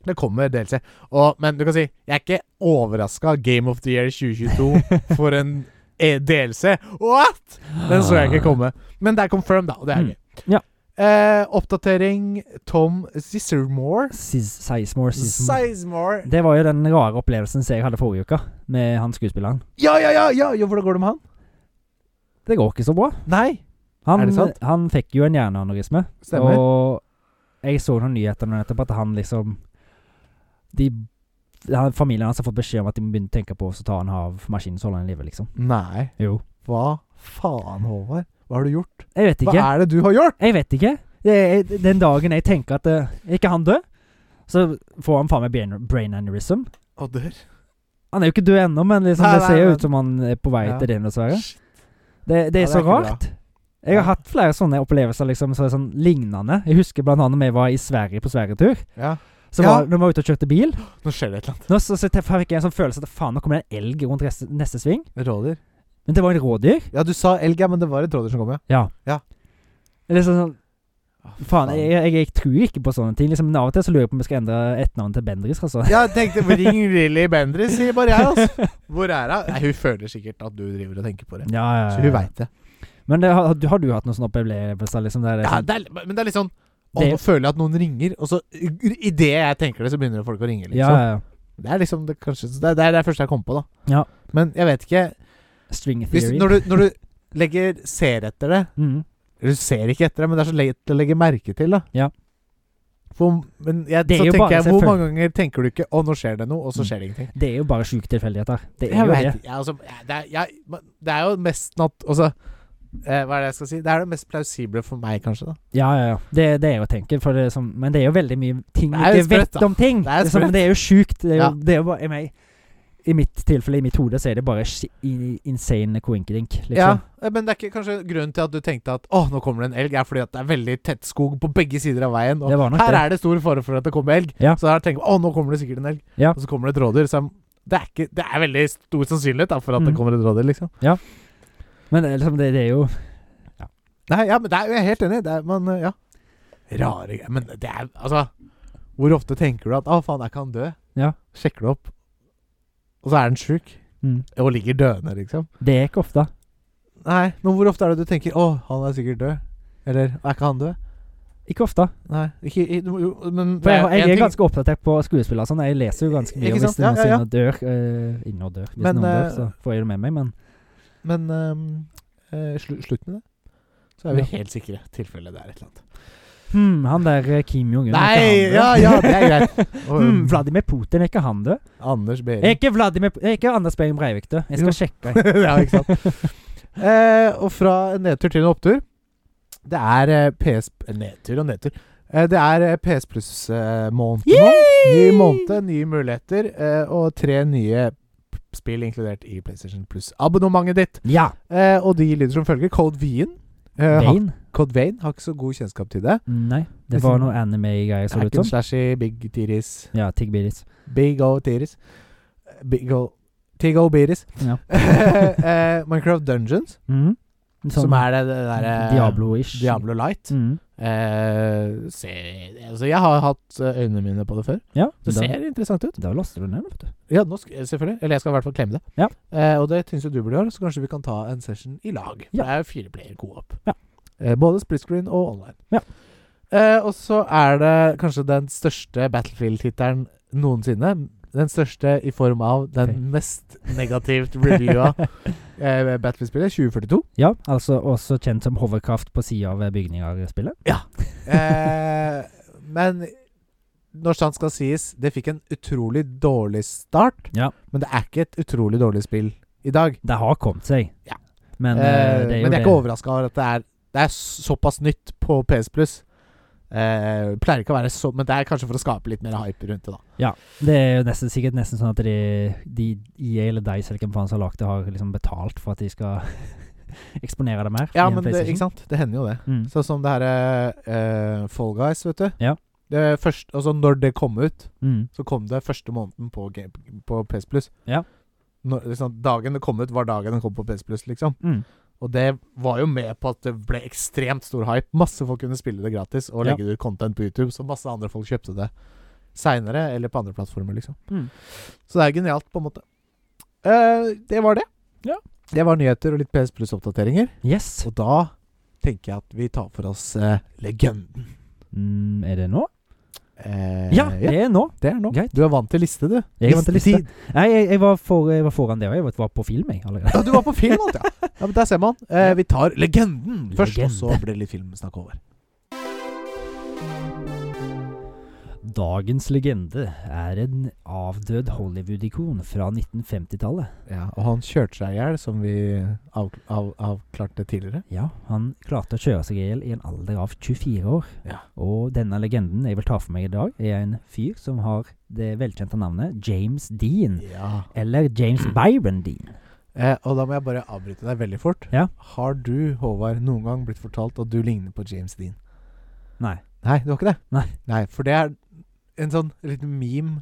S1: Det kommer DLC. Og, men du kan si jeg er ikke overraska. Game of the Year 2022 for en e DLC. What?! Den så jeg ikke komme. Men det er confirmed, da. Og det er
S2: Ah. Mm.
S1: gøy.
S2: Ja.
S1: Eh, oppdatering Tom Zizermore.
S2: Sis- Sizemore Sizemore.
S1: Sizemore.
S2: Det var jo den rare opplevelsen som jeg hadde forrige uke, med han skuespilleren.
S1: Ja, ja, ja! ja. Jo, hvordan går det med han?
S2: Det går ikke så bra.
S1: Nei,
S2: Han,
S1: Er det sant?
S2: han fikk jo en hjerneanorisme,
S1: stemmer.
S2: og jeg så noen nyheter nå nettopp at han liksom De han, Familien hans har fått beskjed om at de må begynne å tenke på å ta han av maskinen så holder han i live, liksom.
S1: Nei.
S2: Jo.
S1: Hva faen, Håvard? Hva har du gjort?
S2: Jeg vet
S1: Hva
S2: ikke.
S1: er det du har gjort?
S2: Jeg vet ikke. Det er, den dagen jeg tenker at eh, Er ikke han død? Så får han faen meg brain, brain aneurysm.
S1: Og dør.
S2: Han er jo ikke død ennå, men liksom,
S1: Nei,
S2: det
S1: nei,
S2: ser jo
S1: men-
S2: ut som han er på vei
S1: Ja.
S2: til det, dessverre. Det, det er
S1: Ja, det
S2: så
S1: er ikke
S2: rart. Jeg har
S1: Ja.
S2: hatt flere sånne opplevelser liksom, så sånn lignende. Jeg husker blant annet når jeg var i Sverige på sverigetur.
S1: Ja.
S2: Så
S1: Ja.
S2: var, når vi var ute og kjørte bil,
S1: Nå skjer det et eller annet.
S2: nå, så, så fikk jeg en sånn følelse at faen, nå kommer det en elg rundt rest, neste sving.
S1: Rådyr.
S2: Men det var en rådyr.
S1: Ja, du sa elg, ja, men det var et rådyr som kom, ja.
S2: Eller sånn, sånn
S1: Ah,
S2: Faen, jeg, jeg, jeg tror ikke på sånne ting. Liksom, men av og til så lurer jeg på om jeg skal endre etternavnet til Bendris. Altså.
S1: Ja, jeg tenkte Ring Lily Bendriss, sier bare jeg, altså. Hvor er hun? Nei, hun føler sikkert at du driver og tenker på det.
S2: Ja, ja,
S1: Så
S2: ja.
S1: hun veit det.
S2: Men det, har, du- har du hatt noen sånne opplevelser? Liksom, der, det er
S1: Ja,
S2: sånn-
S1: det er, men det er litt sånn Å,
S2: Det-
S1: nå føler jeg at noen ringer, og så idet jeg tenker det, så begynner folk å ringe,
S2: ja,
S1: liksom.
S2: ja, ja.
S1: Det er liksom det, kanskje, så det, er- det er det første jeg kom på, da.
S2: Ja.
S1: Men jeg vet ikke
S2: String
S1: Hvis,
S2: theory.
S1: når, du, når du legger ser etter det
S2: mm.
S1: Du ser ikke etter det, men det er så lett å legge merke til, da.
S2: Ja.
S1: For, men jeg,
S2: Det er
S1: så
S2: jo
S1: tenker
S2: bare
S1: jeg, hvor
S2: selvfølgelig-
S1: mange ganger tenker du ikke 'Å, nå skjer det noe', og så
S2: Mm.
S1: skjer det ingenting?
S2: Det er jo bare sjuke tilfeldigheter. Det er
S1: Jeg
S2: jo
S1: vet
S2: det.
S1: ikke. Jeg, altså, jeg, det, er, jeg, men det er jo mest nat... Altså, eh, hva er det jeg skal si? Det er det mest plausible for meg, kanskje. da
S2: Ja, ja, ja. Det, det er jo å tenke. For det er sånn, men det er jo veldig mye ting
S1: Det
S2: vi
S1: er jo
S2: ikke
S1: sprøtt,
S2: vet
S1: da.
S2: om ting.
S1: Det er
S2: Liksom,
S1: sprøtt.
S2: det er jo sjukt. Det er jo,
S1: Ja.
S2: det er jo bare, jeg mener, I mitt tilfelle, i mitt hode, så er det bare sh- i- insane coinkydink. Liksom.
S1: Ja, eh, Men det er ikke kanskje grunnen til at du tenkte at Å, nå kommer det en elg, er fordi at det er veldig tett skog på begge sider av veien. Og
S2: Det var nok
S1: her
S2: det.
S1: er det stor fare for at det kommer elg.
S2: Ja.
S1: Så da tenker man å, nå kommer det sikkert en elg.
S2: Ja.
S1: Og så kommer det et rådyr. Så det er, ikke, det er veldig stor sannsynlighet da, for at
S2: Mhm.
S1: det kommer et rådyr, liksom.
S2: Men det er liksom, det, det er jo
S1: Nei, ja, men det er, jeg er helt enig. Det er, man, eh, ja. rare greier. Men det er Altså, hvor ofte tenker du at 'Å, faen, der kan han dø'?
S2: Ja.
S1: Sjekker du opp, og så er den sjuk.
S2: Mm.
S1: Og ligger døende, liksom.
S2: Det er ikke ofte.
S1: Nei, men hvor ofte er det du tenker 'Å, han er sikkert død'? Eller 'Er ikke han død'?
S2: Ikke ofte.
S1: Nei. Ikke, i- jo, jo, men
S2: For jeg,
S1: det
S2: jeg,
S1: en
S2: er
S1: ting-
S2: ganske oppdatert på skuespillere. og Sånn. Jeg leser jo ganske mye
S1: Ikke
S2: og hvis
S1: sant? Ja,
S2: noen
S1: ja, ja.
S2: senere dør. eh, inne og dør. Hvis
S1: Men,
S2: noen dør,
S1: eh,
S2: så får jeg det med meg, men
S1: Men ehm, eh, slu, slutt med det. Så er vi
S2: Ja.
S1: helt sikre, tilfelle det er et eller annet.
S2: hmm, Han der eh, Kim Jong-un er ikke
S1: Nei!
S2: han død?
S1: Ja, ja, det er greit. Og,
S2: Hmm,
S1: ehm,
S2: Vladimir Putin, er ikke han død?
S1: Anders
S2: Er
S1: Behring.
S2: ikke, Vladimir, er ikke Anders Behring Breivik død? Jeg skal sjekke.
S1: ja, ikke sant. Eh, og fra en nedtur til en opptur. Det er eh, PS Nedtur og nedtur. Eh, det er eh, PS Pluss-måned nå. Ny måned, nye muligheter, eh, og tre nye p- spill inkludert i PlayStation Pluss-abonnementet ditt.
S2: Ja.
S1: Eh, og de lyder som følger. Code Vein. Eh, har-
S2: Bane?
S1: Code Vein har ikke så god kjennskap til det.
S2: Nei. Det
S1: Hvis-
S2: var noe anime-greier, så
S1: Hack
S2: det ut
S1: and
S2: som.
S1: slashy, big titties.
S2: Ja, Tig Bidis.
S1: Big O titties. Big O Tig O beaties.
S2: Ja.
S1: Eh, Minecraft Dungeons,
S2: Mhm. Sånn
S1: som er det, det derre
S2: Diablo-ish.
S1: Diablo Light.
S2: Mhm.
S1: Eh, ser, altså jeg har hatt eh, øynene mine på det før.
S2: Ja,
S1: Det
S2: da,
S1: ser interessant ut.
S2: da laster du ned, vet du.
S1: Ja, nå sk selvfølgelig. Eller jeg skal i hvert fall klemme det.
S2: Ja.
S1: Eh, og det syns jo du burde gjøre, så kanskje vi kan ta en session i lag. For
S2: Ja.
S1: det er jo fire player co-op.
S2: Ja.
S1: Eh, både split screen og online.
S2: Ja.
S1: Eh, og så er det kanskje den største Battlefield-tittelen noensinne. Den største i form av den
S2: Ok.
S1: mest negativt reviewa eh, Battlefield-spillet, 2042.
S2: Ja, altså også kjent som hovercraft på sida av bygninger i spillet.
S1: Eh, men når sant skal sies, det fikk en utrolig dårlig start.
S2: Ja.
S1: Men det er ikke et utrolig dårlig spill i dag.
S2: Det har kommet seg.
S1: Ja.
S2: Men
S1: Eh,
S2: eh, det er
S1: men jeg
S2: jo
S1: er
S2: det.
S1: ikke overraska over at det er, det er såpass nytt på PS Pluss. Eh, pleier ikke å være så Men det er kanskje for å skape litt mer hype rundt det, da.
S2: Det er jo nesten, sikkert nesten sånn at de, de EA eller Dice eller hvem faen som har lagd det, har liksom betalt for at de skal eksponere det mer.
S1: Ja,
S2: i en
S1: men det,
S2: PlayStation.
S1: ikke sant? Det hender jo det.
S2: Mm.
S1: Sånn som det her eh, Fall Guys, vet du.
S2: Ja.
S1: Det først, altså når det kom ut,
S2: Mm.
S1: så kom det første måneden på, Game- på PS Pluss.
S2: Ja.
S1: Når, liksom, dagen det kom ut, var dagen det kom på PS Pluss, liksom.
S2: Mm.
S1: Og det var jo med på at det ble ekstremt stor hype. Masse folk kunne spille det gratis og
S2: Ja.
S1: legge ut content på YouTube, så masse andre folk kjøpte det seinere eller på andre plattformer, liksom.
S2: Mm.
S1: Så det er genialt, på en måte. Eh, det var det.
S2: Ja.
S1: Det var nyheter og litt PS Pluss-oppdateringer.
S2: Yes.
S1: Og da tenker jeg at vi tar for oss eh, legenden.
S2: Mm, er det nå?
S1: Eh,
S2: Ja, det er nå.
S1: det er nå.
S2: greit.
S1: Du er vant til liste, du.
S2: Jeg er vant til liste.
S1: Listetid.
S2: Nei, jeg, jeg, var for, jeg var foran det òg. Jeg var på film, jeg. allerede.
S1: Ja, du var på film alt, ja. ja men der ser man. Eh, vi tar legenden først, og
S2: Legende.
S1: så blir det litt filmsnakk over.
S2: Dagens legende er en avdød Hollywood-ikon fra 1950-tallet.
S1: Ja, og han kjørte seg i hjel, som vi av, av, avklarte tidligere.
S2: Ja, han klarte å kjøre seg i hjel i en alder av 24 år.
S1: Ja.
S2: Og denne legenden jeg vil ta for meg i dag, er en fyr som har det velkjente navnet James Dean. Eller James Byron Dean.
S1: Mm. Eh, og da må jeg bare avbryte deg veldig fort.
S2: Ja.
S1: Har du, Håvard, noen gang blitt fortalt at du ligner på James Dean?
S2: Nei.
S1: Nei, du har ikke det?
S2: Nei.
S1: For det er en sånn liten meme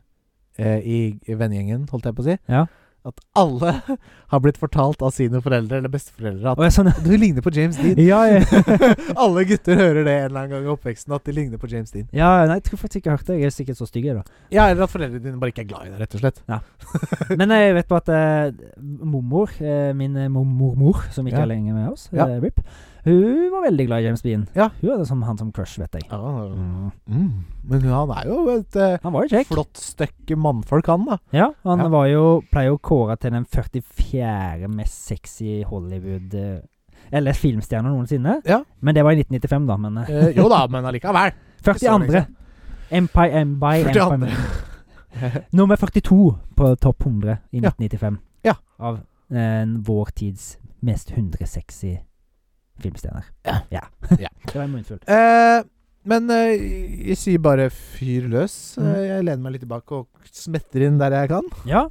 S1: eh, i, i vennegjengen, holdt jeg på å si.
S2: Ja.
S1: At alle har blitt fortalt av sine foreldre eller besteforeldre at
S2: Å, ja, sånn.
S1: du ligner på James Dean.
S2: Ja, ja.
S1: Alle gutter hører det en eller annen gang i oppveksten, at de ligner på James Dean.
S2: ja, nei, jeg tror faktisk ikke jeg har hørt det. Jeg er sikkert så stygg, jeg, da.
S1: Ja, eller at foreldrene dine bare ikke er glad i deg, rett og slett.
S2: Men jeg vet bare at eh, mormor, eh, min eh, mor- mormor, som ikke
S1: Ja.
S2: er lenger med oss,
S1: Ja.
S2: eh, RIP, hun var veldig glad i James Dean.
S1: Ja.
S2: Hun hadde som, han som crush, vet jeg. Mm.
S1: Mm. Men han er jo et eh,
S2: Han var jo kjekk.
S1: flott stykke mannfolk, han, da.
S2: Ja, han
S1: Ja.
S2: var jo, pleier å kåre til den 44. mest sexy Hollywood eh, Eller filmstjerna noensinne.
S1: Ja.
S2: Men det var i 1995, da. Men eh,
S1: Eh, jo da, men allikevel.
S2: 42. Empire Empire,
S1: 42.
S2: Empire. Nummer 42 på topp 100 i
S1: Ja.
S2: 1995.
S1: Ja.
S2: Av eh, vår tids mest 100 sexy filmstjerner.
S1: Ja. Ja.
S2: Det var en munnfull.
S1: Eh, men eh, jeg sier bare fyr løs. Eh,
S2: Mm.
S1: jeg lener meg litt tilbake og smetter inn der jeg kan.
S2: Ja.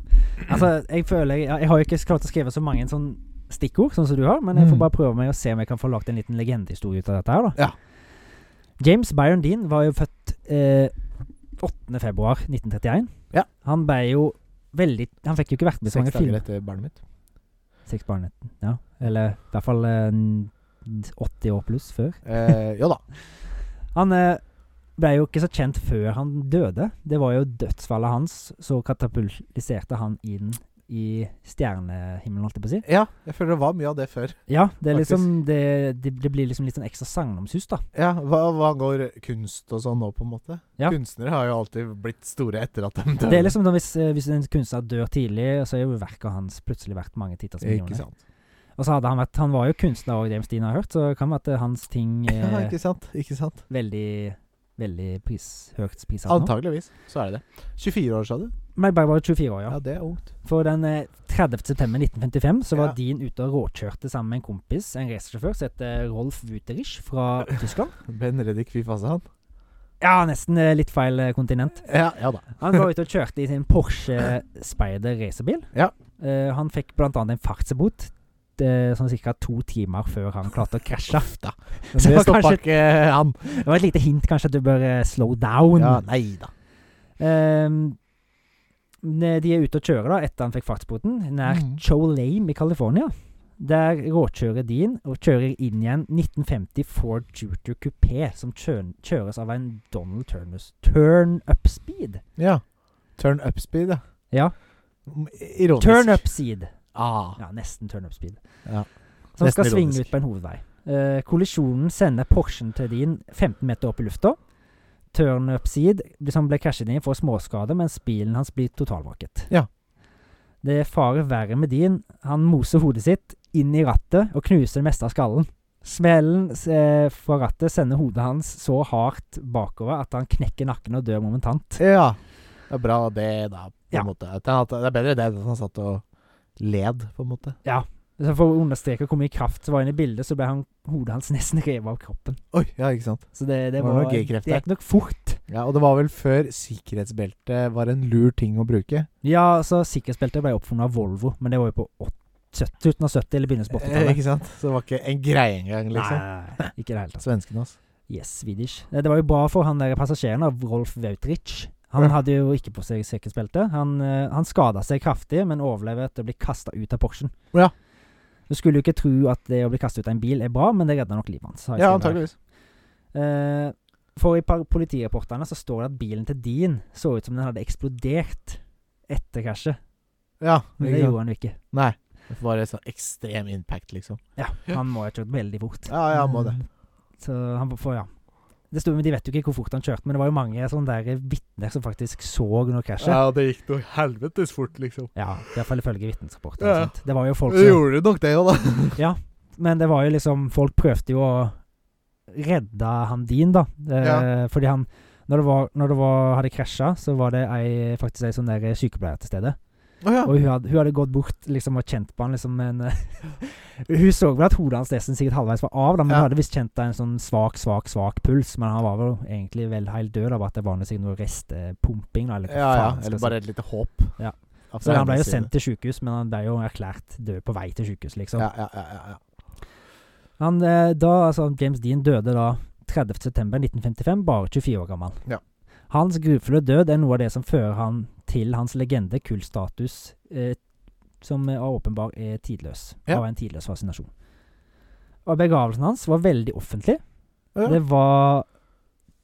S2: Altså, jeg føler Jeg, jeg har jo ikke klart å skrive så mange sånn stikkord, sånn som du har, men jeg får
S1: Mm.
S2: bare prøve meg og se om jeg kan få lagt en liten legendehistorie ut av dette her, da.
S1: Ja.
S2: James Byron Dean var jo født eh, 8. februar 1931.
S1: Ja.
S2: Han ble jo veldig Han fikk jo ikke vært med i så
S1: Seks
S2: mange
S1: dager
S2: filmer.
S1: etter barnet mitt.
S2: Seks barn, ja. Eller i hvert fall eh, 80 år pluss før.
S1: Eh, jo da.
S2: Han eh, ble jo ikke så kjent før han døde. Det var jo dødsfallet hans som katapultiserte han inn i stjernehimmelen, holdt jeg på å si.
S1: Ja, jeg føler det var mye av det før.
S2: Ja, det, er
S1: Faktisk.
S2: liksom, det, det, det blir liksom litt sånn ekstra sagnomsus, da.
S1: Ja, Hva, hva angår kunst og sånn nå, på en måte?
S2: Ja.
S1: Kunstnere har jo alltid blitt store etter at de døde.
S2: Det er liksom sånn hvis, eh, hvis en kunstner dør tidlig, så er jo verket hans plutselig verdt mange titalls
S1: Ikke
S2: millioner.
S1: sant.
S2: Og så hadde han vært Han var jo kunstner òg, James Dean har jeg hørt, så det kan være at eh, hans ting
S1: Ja,
S2: er
S1: ikke sant. Ikke sant.
S2: veldig Veldig pris, høyt prissatt nå.
S1: Antageligvis så er det det. 24 år, sa du?
S2: Mike Berg var jo 24 år, ja.
S1: Ja, det er ungt.
S2: For den eh, 30. september 1955 så
S1: Ja.
S2: var Dean ute og råkjørte sammen med en kompis, en racersjåfør som heter Rolf Wuterich fra Tyskland.
S1: Benredik Fifasan.
S2: Ja, nesten eh, litt feil eh, kontinent.
S1: Ja, ja da.
S2: Han var ute og kjørte i sin Porsche Speider racerbil.
S1: Ja.
S2: Eh, han fikk blant annet en fartsbot. eh, Sånn ca. to timer før han klarte å krasje.
S1: Men
S2: Så
S1: det stoppa
S2: kanskje-
S1: ikke han.
S2: Det var et lite hint kanskje at du bør eh, slow down.
S1: Ja, nei da.
S2: Ehm, ne- de er ute og kjører da, etter han fikk fartsboten, nær
S1: Mhm.
S2: Cholame i California. Der råkjører Dean og kjører inn i en 1950 Ford Juter Coupé som kjø- kjøres av en Donald Turnus turn up speed.
S1: Ja. Turn up speed, ja. Mm,
S2: Ja.
S1: Ironisk.
S2: Turn up speed.
S1: Ah.
S2: Ja, nesten turn up speed.
S1: Ja.
S2: Som
S1: Nesten
S2: skal svinge
S1: ironisk.
S2: ut på en hovedvei. Eh, kollisjonen sender Porschen til Dean 15 meter opp i lufta. Turn upside liksom ble krasjet inn for småskader, mens bilen hans blir totalvraket.
S1: Ja.
S2: Det er fare verre med Dean. Han moser hodet sitt inn i rattet og knuser det meste av skallen. Smellen eh, fra rattet sender hodet hans så hardt bakover at han knekker nakken og dør momentant.
S1: Ja. Det er bra det, da, på
S2: Ja.
S1: en måte. At han, det er bedre det enn at han satt og led, på en måte.
S2: Så For å understreke hvor mye kraft som var inne i bildet, så ble han, hodet hans nesten revet av kroppen.
S1: Oi, ja, ikke sant.
S2: Så det, det
S1: Var
S2: var,
S1: det noe
S2: Det
S1: G-krefter?
S2: gikk nok fort.
S1: Ja, Og det var vel før sikkerhetsbelte var en lur ting å bruke.
S2: Ja, så sikkerhetsbeltet ble oppfunnet av Volvo, men det var jo på åt- 70, slutten av 70 eller begynnelsen på
S1: Eh,
S2: 80-tallet.
S1: ikke sant? Så det var ikke en greie engang, liksom.
S2: Nei, ikke i det hele tatt.
S1: Svenskene, altså.
S2: Yes, Swedish. Eh, Det var jo bra for han der passasjeren av Rolf Wautrich. Han
S1: Ja.
S2: hadde jo ikke på seg sikkerhetsbelte. Han, eh, han skada seg kraftig, men overlevde etter å bli kasta ut av Porschen.
S1: Ja.
S2: Du skulle jo ikke tro at det å bli kasta ut av en bil er bra, men det redda nok livet hans. har jeg
S1: Ja,
S2: skrevet her.
S1: antageligvis.
S2: Eh, for i par- politirapportene så står det at bilen til Dean så ut som den hadde eksplodert etter krasjet.
S1: Ja,
S2: Men
S1: ikke
S2: det
S1: sant?
S2: gjorde han jo ikke.
S1: Nei. Det var et sånn ekstrem impact, liksom.
S2: Ja, han må ha kjørt veldig fort. Mm.
S1: Ja, ja, må det.
S2: Så han får, ja. Det sto, men De vet jo ikke hvor fort han kjørte, men det var jo mange sånne der vitner som faktisk så under krasjet. Ja.
S1: det gikk noe helvetes fort, liksom.
S2: i hvert fall ifølge vitnesrapporten.
S1: Ja.
S2: sant? Det var jo folk
S1: Det
S2: som,
S1: gjorde nok det òg, da.
S2: Men det var jo liksom Folk prøvde jo å redde han din, da. Eh, Fordi han Når det, var, når det var, hadde krasja, så var det ei, faktisk ei sånn der sykepleier til stede.
S1: Å ja.
S2: Og hun hadde, hun hadde gått bort liksom, og kjent på han, liksom, men eh, Hun så vel at hodet hans nesten sikkert halvveis var av, da, men
S1: Ja.
S2: hun hadde visst kjent en sånn svak, svak, svak puls. Men han var vel egentlig vel helt død av at det var noe sikkert noe restepumping, da, eller hva
S1: Ja, ja.
S2: faen. skal
S1: Eller
S2: jeg si.
S1: bare et lite håp.
S2: Ja.
S1: Av
S2: Så han ble
S1: hennes
S2: jo
S1: side.
S2: sendt til sykehus, men han ble jo erklært død på vei til sykehus, liksom.
S1: Ja, ja, ja, ja, ja.
S2: Han, eh, da, altså, James Dean døde da 30.9.1955, bare 24 år gammel.
S1: Ja.
S2: Hans grufulle død er noe av det som fører han til hans legende, kultstatus, eh, som er åpenbar er tidløs.
S1: Ja.
S2: Av en tidløs fascinasjon. Og begravelsen hans var veldig offentlig.
S1: Å ja.
S2: Det var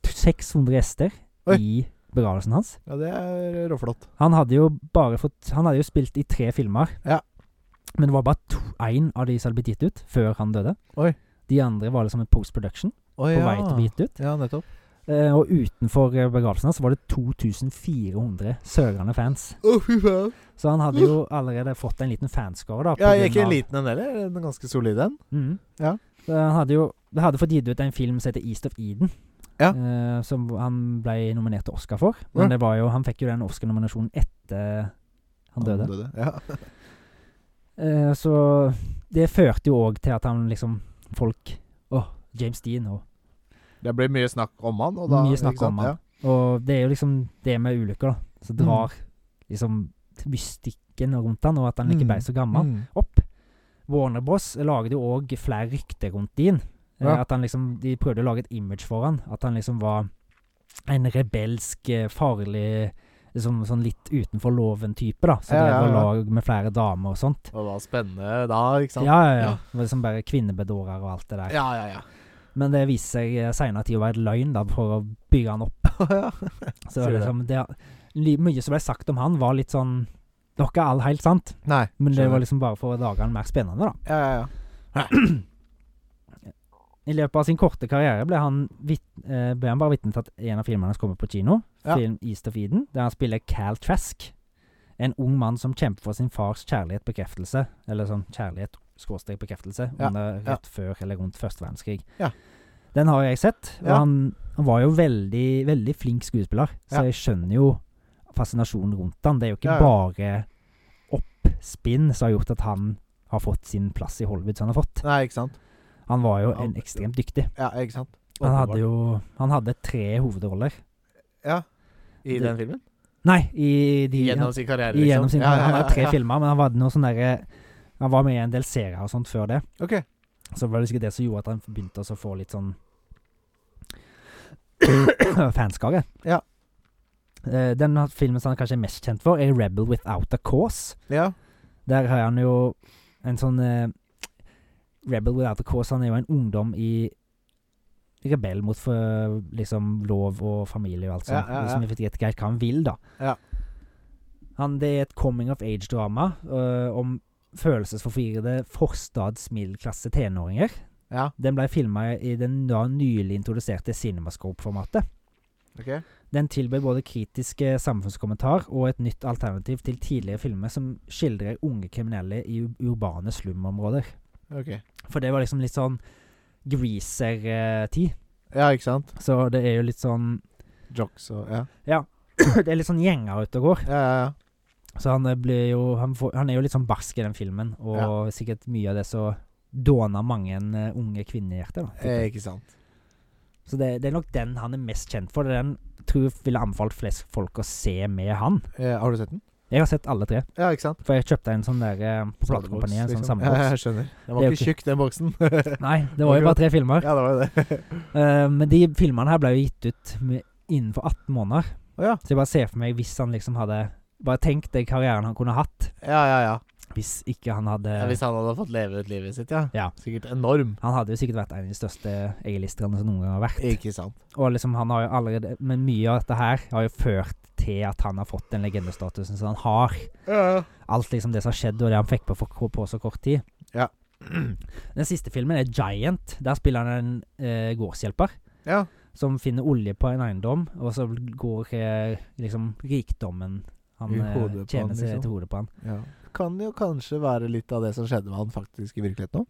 S2: 600 gjester
S1: Oi.
S2: i begravelsen hans.
S1: ja, det er råflott.
S2: Han hadde jo bare fått Han hadde jo spilt i tre filmer.
S1: Ja.
S2: Men det var bare én av de som hadde blitt gitt ut før han døde.
S1: Oi.
S2: De andre var liksom en post-production
S1: Å,
S2: på
S1: ja.
S2: vei til å bli gitt ut.
S1: Ja, nettopp.
S2: Eh, og utenfor eh, begravelsen hans var det 2400 sørende fans.
S1: Å, fy faen.
S2: Så han hadde jo allerede fått en liten fanskare, da. på
S1: Ja,
S2: grunn
S1: ikke
S2: av-
S1: en liten en heller. En ganske solid en.
S2: Mhm.
S1: Ja.
S2: Så han hadde jo det hadde fått gitt ut en film som heter East of Eden.
S1: Ja.
S2: eh, som han ble nominert til Oscar for. Men
S1: Ja.
S2: det var jo, han fikk jo den Oscar-nominasjonen etter han døde.
S1: Ja.
S2: Eh, så det førte jo òg til at han liksom Folk Å, James Dean. Og,
S1: Det blir mye snakk om han. Og da,
S2: Mye snakk
S1: ikke sant?
S2: om han. og det er jo liksom det med ulykker, da.
S1: Mm.
S2: Som drar liksom mystikken rundt han, og at han ikke
S1: Mm.
S2: ble så
S1: Ja.
S2: gammel,
S1: Mm.
S2: opp. Warner Bros lagde jo òg flere rykter rundt Dean. Eh,
S1: Ja.
S2: At han liksom De prøvde å lage et image for han At han liksom var en rebelsk, eh, farlig Liksom sånn litt utenfor loven-type, da. Så
S1: Ja,
S2: det
S1: ja,
S2: var
S1: ja.
S2: lag med flere damer og sånt.
S1: Det var spennende da, ikke sant?
S2: Ja, ja, ja.
S1: Ja.
S2: Det var liksom bare kvinnebedårer og alt det der.
S1: ja, ja. ja.
S2: Men det viser seg eh, senere tid å være løgn da, for å bygge han opp.
S1: ja.
S2: Så det,
S1: Sier
S2: var
S1: det.
S2: liksom, det, li- mye som ble sagt om han, var litt sånn Det var ikke all helt sant,
S1: Nei.
S2: men det
S1: skjønner.
S2: var liksom bare for å lage han mer spennende, da.
S1: Ja, ja, ja.
S2: I løpet av sin korte karriere ble han, vit, eh, ble han bare vitne til at en av filmene hans kommer på kino.
S1: Ja.
S2: Film 'East of Eden', der han spiller Cal Trask. En ung mann som kjemper for sin fars kjærlighet bekreftelse, eller sånn kjærlighet skråstrek bekreftelse,
S1: Ja,
S2: under,
S1: ja.
S2: rett før eller rundt første verdenskrig.
S1: Ja.
S2: Den har jeg sett, og
S1: Ja.
S2: han, han var jo veldig, veldig flink skuespiller,
S1: Ja.
S2: så jeg skjønner jo fascinasjonen rundt han. Det er jo
S1: Ja,
S2: ikke
S1: ja.
S2: bare oppspinn som har gjort at han har fått sin plass i Hollywood som han har fått.
S1: Nei, ikke sant.
S2: Han var jo
S1: Han-
S2: en ekstremt dyktig.
S1: Ja, ikke sant.
S2: Han hadde jo Han hadde tre hovedroller.
S1: Ja. I den filmen?
S2: Nei, i de
S1: Gjennom sin karriere, liksom?
S2: han, gjennom sin,
S1: Ja, ja,
S2: Han
S1: ja,
S2: hadde tre
S1: ja.
S2: filmer, men han var noe sånn derre Han var med i en del serier og sånt før det.
S1: Ok.
S2: Så var det sikkert det som gjorde at han begynte å få litt sånn fanskare.
S1: Ja.
S2: Eh, Den filmen som han kanskje er mest kjent for, er 'Rebel Without a Cause'.
S1: Ja.
S2: Der har han jo en sånn eh, Rebel Without a Cause. Han er jo en ungdom i Rebell mot for, liksom, lov og familie og alt
S1: Ja,
S2: sånt.
S1: ja, ja.
S2: Som ikke vet helt hva han vil, da.
S1: Ja.
S2: Han, det er et coming of age-drama øh, om følelsesforvirrede forstadsmiddelklasse tenåringer.
S1: Ja,
S2: Den ble filma i den da nylig introduserte Cinemascope-formatet.
S1: ok.
S2: Den tilbød både kritiske samfunnskommentar og et nytt alternativ til tidligere filmer som skildrer unge kriminelle i u- urbane slumområder.
S1: ok.
S2: For det var liksom litt sånn greaser-tid.
S1: Ja, ikke sant.
S2: Så det er jo litt sånn
S1: Jocks og Ja,
S2: Det er litt sånn gjenger ute og går.
S1: ja, ja. ja.
S2: Så han eh, blir jo han, får, han er jo litt sånn barsk i den filmen, og
S1: Ja.
S2: sikkert mye av det så dåner mange eh, unge kvinnehjerter. da, tipper
S1: Eh,
S2: jeg.
S1: ikke sant.
S2: Så det, det er nok den han er mest kjent for. Det er den jeg tror jeg ville anbefalt flest folk å se med han.
S1: Eh, har du sett den?
S2: Jeg har sett alle tre.
S1: Ja, ikke sant.
S2: For jeg kjøpte en sånn der eh, på platekompaniet, en
S1: liksom.
S2: sånn
S1: Ja,
S2: samleboks.
S1: jeg skjønner. Den
S2: Det er
S1: var
S2: jo
S1: ikke tjukk, den boksen.
S2: Nei, det var jo bare tre filmer.
S1: ja, det var jo det.
S2: Eh, men de filmene her ble jo gitt ut med, innenfor 18 måneder.
S1: Å ja.
S2: Så jeg bare ser for meg hvis han liksom hadde Bare tenk deg karrieren han kunne hatt
S1: Ja, ja, ja.
S2: hvis ikke han hadde
S1: ja. Hvis han hadde fått leve ut livet sitt, ja.
S2: Ja.
S1: Sikkert enorm.
S2: Han hadde jo sikkert vært en av de største A-listerne som noen gang har vært.
S1: Ikke sant.
S2: Og liksom han har jo allerede Men mye av dette her har jo ført til at han har fått den legendestatusen som han har.
S1: Ja,
S2: Alt liksom det som har skjedd, og det han fikk på, for, på så kort tid.
S1: Ja.
S2: Den siste filmen er Giant. Der spiller han en eh, gårdshjelper
S1: ja.
S2: som finner olje på en eiendom, og så går eh, liksom rikdommen han
S1: I
S2: eh,
S1: hodet på
S2: tjener
S1: han,
S2: seg
S1: liksom.
S2: til hodet på han.
S1: ja. Kan jo kanskje være litt av det som skjedde med han faktisk i virkeligheten òg.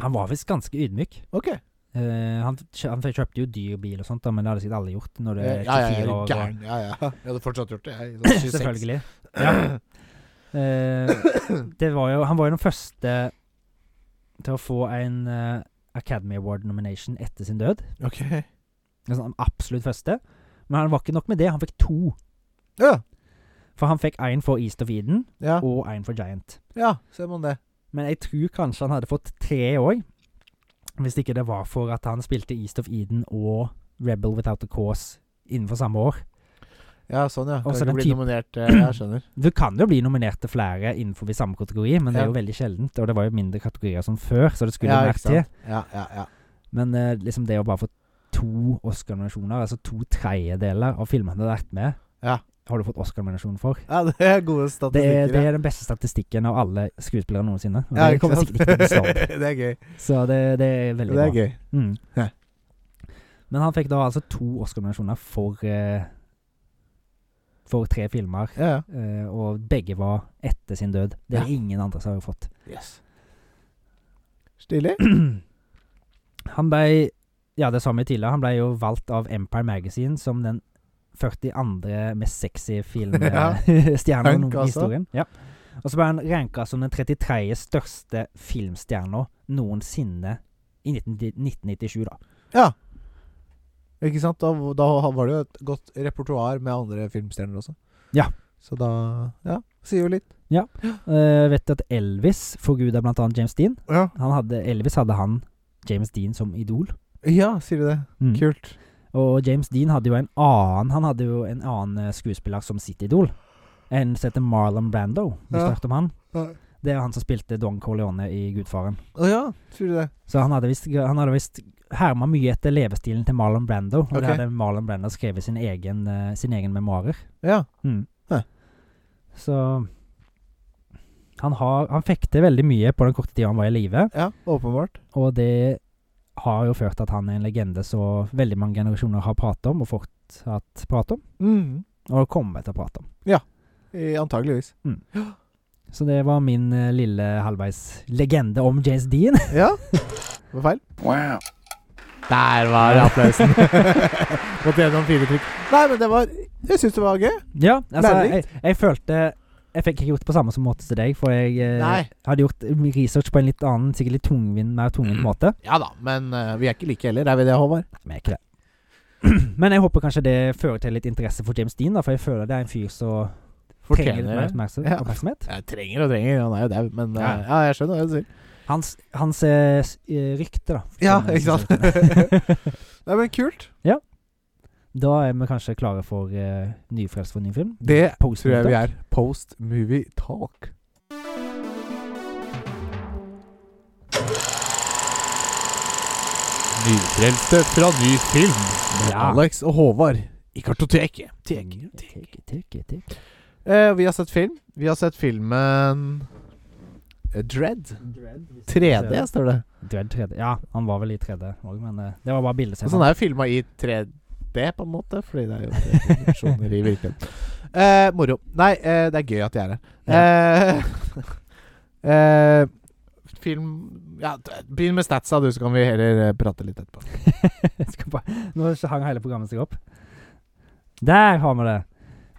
S2: Han var visst ganske ydmyk.
S1: Ok.
S2: Eh, han, kjø- han kjøpte jo dyr bil og sånt, da, men det hadde sikkert alle gjort når du
S1: Eh,
S2: er
S1: Ja, ja, ja,
S2: 24
S1: er du
S2: år. og-
S1: gæren. Ja, ja. Jeg hadde fortsatt gjort det. Jeg, sånn 26.
S2: Selvfølgelig. Ja. Eh, det var jo, han var jo den første til å få en eh, Academy Award nomination etter sin død.
S1: Ok.
S2: Altså, den absolutt første. Men han var ikke nok med det, han fikk to.
S1: Ja,
S2: For han fikk én for East of Eden
S1: ja.
S2: og én for Giant.
S1: Ja, ser man det.
S2: Men jeg tror kanskje han hadde fått tre òg, hvis ikke det var for at han spilte East of Eden og Rebel Without a Cause innenfor samme år.
S1: Ja, sånn, ja. Kan
S2: Også
S1: ikke
S2: den
S1: bli
S2: typ-
S1: nominert. eh, Jeg skjønner.
S2: Du kan jo bli nominert til flere innenfor samme kategori, men det er
S1: Ja.
S2: jo veldig sjeldent. Og det var jo mindre kategorier som før, så det skulle
S1: ja,
S2: jo
S1: ikke
S2: mer til.
S1: sant. Ja, ja, ja.
S2: Men eh, liksom det å bare få to Oscar-nominasjoner, altså to tredjedeler av filmene du har vært med,
S1: Ja.
S2: har du fått Oscar-nominasjon for.
S1: ja, det er gode
S2: Det er,
S1: statistikker.
S2: det er den beste statistikken av alle skuespillere noensinne. Og
S1: ja,
S2: det
S1: ikke
S2: kommer
S1: sant?
S2: sikkert ikke til å slå opp.
S1: det er gøy.
S2: Så det, det er veldig
S1: Det er
S2: bra.
S1: gøy.
S2: Mm.
S1: Ja.
S2: Men han fikk da altså to Oscar-nominasjoner for eh, For tre filmer,
S1: Ja, ja.
S2: eh, og begge var etter sin død. Det er ingen andre som har fått.
S1: Yes. Stilig.
S2: Han ble Ja, det sa vi tidligere. Han ble jo valgt av Empire Magazine som den 42. mest sexy
S1: Ja.
S2: filmstjerna
S1: Punk,
S2: i
S1: altså.
S2: historien. Ja. Og så ble han ranka som den 33. største filmstjerna noensinne i 19, 1997, da.
S1: Ja. Ikke sant? Da, da var det jo et godt repertoar med andre filmstjerner også.
S2: Ja.
S1: Så da Ja, sier jo litt.
S2: Eh, vet du at Elvis forguda blant annet James Dean?
S1: Ja,
S2: Han hadde, Elvis hadde han James Dean som idol.
S1: sier du det.
S2: Mm.
S1: Kult.
S2: Og James Dean hadde jo en annen Han hadde jo en annen eh, skuespiller som sitt idol. En som heter Marlon Brando. Hvis du
S1: Ja.
S2: har hørt om han. Det er han som spilte Don Corleone i Gudfaren.
S1: Å ja, tror du det?
S2: Så han hadde visst- han hadde visst herma mye etter levestilen til Marlon Brando. Og
S1: Ok.
S2: det hadde Marlon Brando skrevet sin egen, eh, sin egen memoarer.
S1: Ja.
S2: Mm.
S1: Hæ.
S2: Så han, har, han fikk til veldig mye på den korte tida han var i live,
S1: ja, åpenbart.
S2: og det har jo ført til at han er en legende så veldig mange generasjoner har pratet om, og fortsatt prater om,
S1: Mm.
S2: og kommer til å prate om.
S1: Eh, Antageligvis.
S2: Så det var min eh, lille halvveis legende om James Dean.
S1: Ja. Det var feil.
S3: Wow.
S1: Der var applausen. Måtte gjennom fire trykk. Nei, men det var Jeg syns det var gøy.
S2: ja, altså, jeg,
S1: Lærerikt.
S2: jeg følte jeg fikk ikke gjort på samme som måte som deg, for jeg eh,
S1: Nei.
S2: hadde gjort research på en litt annen, sikkert litt tungvint,
S1: Mm.
S2: mer tungvint måte.
S1: Ja da, men eh, vi er ikke like heller, er vi det, Håvard?
S2: Nei, Men jeg er ikke det. Men jeg håper kanskje det fører til litt interesse for James Dean, da, for jeg føler det er en fyr som trenger litt mer
S1: det.
S2: oppmerksom-
S1: Ja.
S2: oppmerksomhet.
S1: Jeg trenger og trenger, han er jo dau, men eh,
S2: Ja.
S1: ja, jeg skjønner hva du sier.
S2: Hans, hans eh, s- eh, rykte, da.
S1: Ja,
S2: Som-
S1: ikke sant? Nei, men kult.
S2: sånn. Da er vi kanskje klare for uh, nyfrelst for ny film.
S1: Det
S2: Post
S1: tror jeg vi
S2: Murdoch.
S1: er. Post movie talk. Nyfrelste fra ny film.
S2: Ja.
S1: Alex og Håvard i kartoteket.
S2: Teke, teke, teke, teke.
S1: Eh, vi har sett film. Vi har sett filmen eh, Dread. 3D, står det.
S2: Dread 3D. Ja, han var vel i 3D òg, men eh, det var bare bildet
S1: Og sånn er jo filma i 3D, på en måte. Fordi det er jo tre dimensjoner i virkeligheten. Eh, moro. Nei, eh, det er gøy at jeg er her. Eh, eh, film Ja, d- begynn med statsa, du, så kan vi heller eh, prate litt etterpå.
S2: Skal bare- Nå hang hele programmet seg opp. Der har vi det!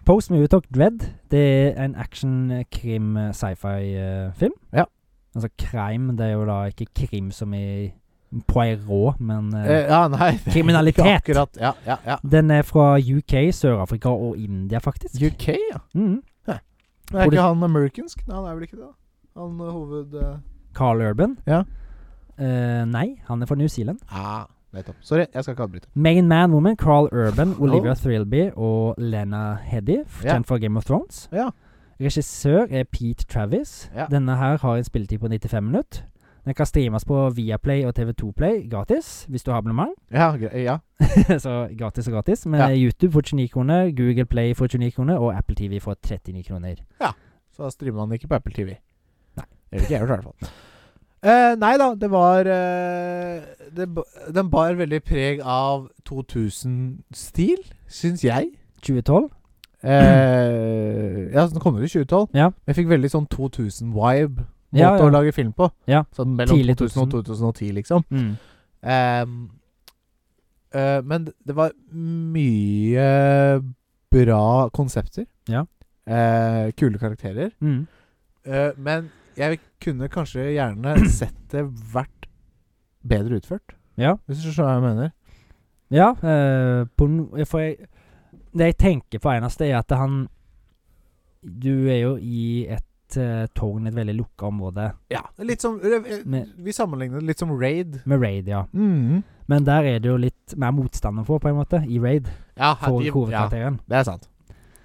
S2: Post med Utalk Dread. Det er en eh, action-krim-sci-fi-film.
S1: Ja.
S2: eh, Altså crime, det er jo da ikke krim som i Poirot, men eh,
S1: Eh, ja, nei det er
S2: Kriminalitet.
S1: ikke Akkurat. Ja, ja, ja.
S2: Den er fra UK, Sør-Afrika og India, faktisk.
S1: UK, ja.
S2: Mhm.
S1: Men er
S2: Hvor det-
S1: ikke han amerikansk? Nei, han er vel ikke det? da? Han eh, hoved... Eh.
S2: Carl Urban.
S1: Ja.
S2: Eh, nei, han er fra New Zealand.
S1: Ah, nettopp. Sorry, jeg skal ikke avbryte.
S2: Main Man Woman, Carl Urban, Olivia
S1: Oh.
S2: Thrillby og Lena Headey, f-
S1: Ja.
S2: kjent fra Game of Thrones.
S1: Ja.
S2: Regissør er Pete Travis.
S1: Ja.
S2: Denne her har en spilletid på 95 minutter. Den kan streames på Viaplay og TV2 Play gratis, hvis du har abonnement.
S1: Ja, gre- ja.
S2: så gratis og gratis. Men
S1: Ja.
S2: eh, YouTube for 29 kroner, Google Play for 29 kroner og Apple TV for 39 kroner.
S1: Så da streamer han ikke på Apple TV.
S2: Nei.
S1: Det vil ikke jeg gjøre, i hvert fall. Eh, nei da, det var eh, det, ba- Den bar veldig preg av 2000-stil, syns jeg.
S2: 2012?
S1: Eh, ja, så den kom ut i 2012.
S2: Ja.
S1: Jeg fikk veldig sånn 2000-vibe. Måte
S2: Ja,
S1: å
S2: ja.
S1: lage film på.
S2: Ja.
S1: Sånn mellom
S2: Tidlig
S1: 2000 og 2010, liksom.
S2: Mm.
S1: Ehm, eh, men d- det var mye bra konsepter.
S2: Ja.
S1: Eh, kule karakterer.
S2: Mm.
S1: Eh, men jeg kunne kanskje gjerne sett det vært bedre utført.
S2: Ja.
S1: Hvis du skjønner hva jeg mener.
S2: Ja, eh, på, n- for jeg, det jeg tenker på eneste er at han Du er jo i et eh, tårn, et veldig lukka område,
S1: Ja, litt som eh,
S2: Men-
S1: Vi sammenligner det litt som Raid.
S2: med raid, ja.
S1: Mhm.
S2: Men der er det jo litt mer motstander for, på en måte, i raid,
S1: Ja, her-
S2: for
S1: de- ja,
S2: hovedkarakteren.
S1: det er sant.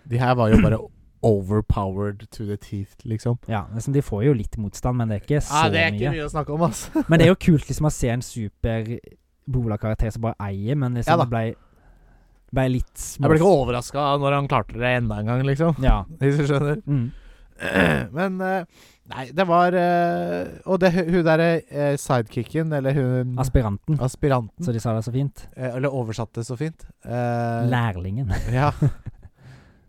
S1: De her var jo bare overpowered to the teeth, liksom.
S2: Ja, liksom, de får jo litt motstand, men det er ikke så
S1: Ja, det er ikke
S2: mye.
S1: mye å snakke om, altså. ass.
S2: Men det er jo kult liksom å se en super Bola-karakter som bare eier, men liksom
S1: Ja da.
S2: det ble, ble litt små.
S1: Jeg ble ikke overraska når han klarte det enda en gang, liksom.
S2: Ja.
S1: Hvis du skjønner.
S2: Mm.
S1: Men eh, Nei, det var eh, Og det, hun derre eh, sidekicken, eller hun
S2: Aspiranten,
S1: aspiranten,
S2: så de sa det så fint.
S1: eh, eller oversatte så fint eh,
S2: Lærlingen.
S1: Ja.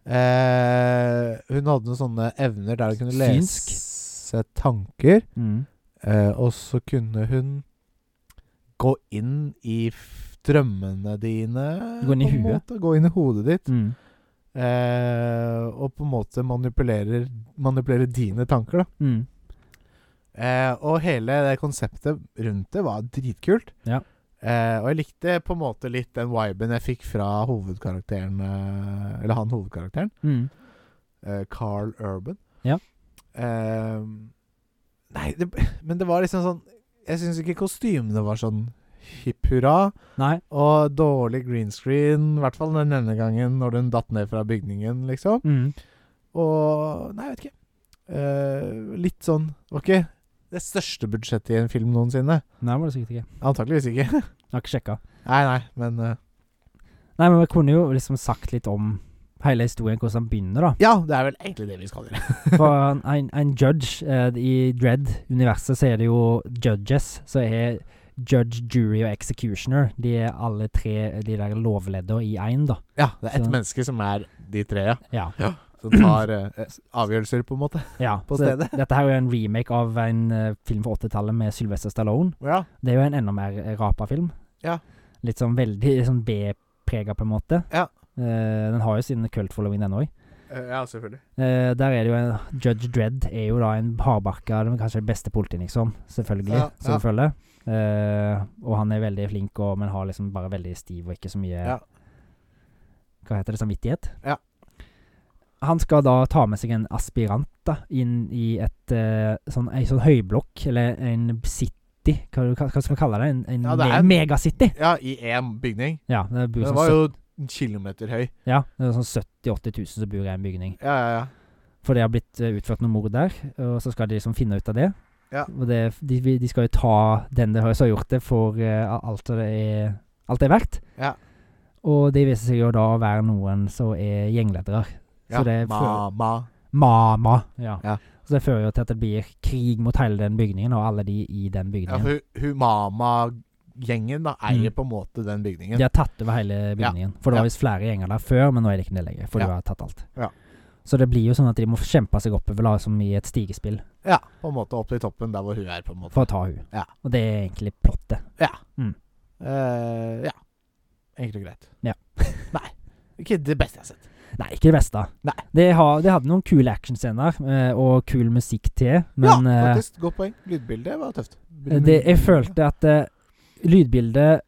S1: Eh, hun hadde noen sånne evner der hun kunne
S2: Synsk.
S1: lese tanker,
S2: Mm.
S1: eh, og så kunne hun gå inn i f drømmene dine.
S2: Gå inn i
S1: på en
S2: huet.
S1: Måte, gå inn i hodet ditt.
S2: Mm.
S1: Eh, og på en måte manipulerer, manipulerer dine tanker, da.
S2: Mm.
S1: Eh, og hele det konseptet rundt det var dritkult.
S2: Ja.
S1: Eh, og jeg likte på en måte litt den viben jeg fikk fra hovedkarakteren eh, Eller han hovedkarakteren,
S2: Mm.
S1: eh, Carl Urban.
S2: Ja.
S1: Eh, nei, det, men det var liksom sånn Jeg syns ikke kostymene var sånn hipp hurra.
S2: Nei.
S1: Og dårlig green screen, i hvert fall den ene gangen når den datt ned fra bygningen, liksom.
S2: Mm.
S1: Og Nei, jeg vet ikke. eh, litt sånn Det var ikke det største budsjettet i en film noensinne.
S2: Nei, var det sikkert ikke.
S1: Antakeligvis ikke.
S2: Jeg har ikke sjekka.
S1: nei, nei, men eh,
S2: Nei, men vi kunne jo liksom sagt litt om hele historien, hvordan han begynner, da.
S1: Ja, det er vel egentlig det vi skal gjøre.
S2: For han- en, en judge eh, i Dread-universet, så er det jo judges. Så er judge, jury og executioner. De er alle tre de der lovledda i én, da.
S1: Ja, det er ett
S2: Så-
S1: menneske som er de tre, ja.
S2: Ja.
S1: Som tar eh, eh, avgjørelser, på en måte.
S2: ja.
S1: På
S2: så
S1: stedet.
S2: Dette her er jo en remake av en eh, film fra 80-tallet med Sylvester Stallone.
S1: Ja.
S2: Det er jo en enda mer rapa film.
S1: Ja.
S2: Litt sånn veldig sånn B-prega, på en måte.
S1: Ja.
S2: Eh, den har jo sin cult following, den òg.
S1: ja, selvfølgelig.
S2: Eh, der er det jo en Judge Dredd er jo da en hardbarka men Kanskje den beste politien, liksom. Selvfølgelig.
S1: Ja,
S2: som
S1: ja.
S2: følger. Eh, og han er veldig flink, og, men har liksom bare veldig stiv og ikke så mye
S1: Ja.
S2: Hva heter det? Samvittighet?
S1: Ja.
S2: Han skal da ta med seg en aspirant da inn i et eh, sånn, ei sånn høyblokk, eller en city, hva, hva hva skal vi kalle det? En, en,
S1: Ja, det er
S2: me-
S1: en-
S2: megacity!
S1: Ja, i én bygning.
S2: Ja, det bor
S1: Den
S2: sånn,
S1: var
S2: søt-
S1: jo en kilometer høy.
S2: ja, det er sånn 70 000-80 000 som bor i en bygning.
S1: Ja, ja, ja.
S2: For det har blitt eh, utført noen mord der, og så skal de liksom finne ut av det.
S1: Ja.
S2: Og det, de, vi- de skal jo ta den det har som har gjort det, for eh, alt det er, alt det er verdt.
S1: Ja.
S2: Og de viser seg jo da å være noen som er gjengledere.
S1: ja.
S2: Så det
S1: ma, ma.
S2: Mama! Ja.
S1: Ja.
S2: Så det fører jo til at det blir krig mot hele den bygningen, og alle de i den
S1: Ja,
S2: bygningen.
S1: for Humama-gjengen da eier
S2: Mm.
S1: på en måte den bygningen.
S2: de har tatt over hele bygningen. For det
S1: Ja.
S2: var visst flere gjenger der før, men nå er det ikke det lenger. For
S1: Ja.
S2: de har tatt alt.
S1: Ja.
S2: Så det blir jo sånn at de må kjempe seg oppover, da, som i et stigespill.
S1: Ja, på en måte opp til toppen der hvor hun er, på en måte.
S2: For å ta hun
S1: Ja.
S2: Og det er egentlig plottet.
S1: Eh, ja. Enkelt og greit.
S2: Ja.
S1: Nei. Ikke det beste jeg har sett.
S2: Nei, ikke det beste.
S1: Nei.
S2: Det, har, det hadde noen kule actionscener eh, og kul musikk til, men
S1: ja,
S2: eh,
S1: faktisk. Godt poeng. Lydbildet var tøft.
S2: det, jeg følte at eh, lydbildet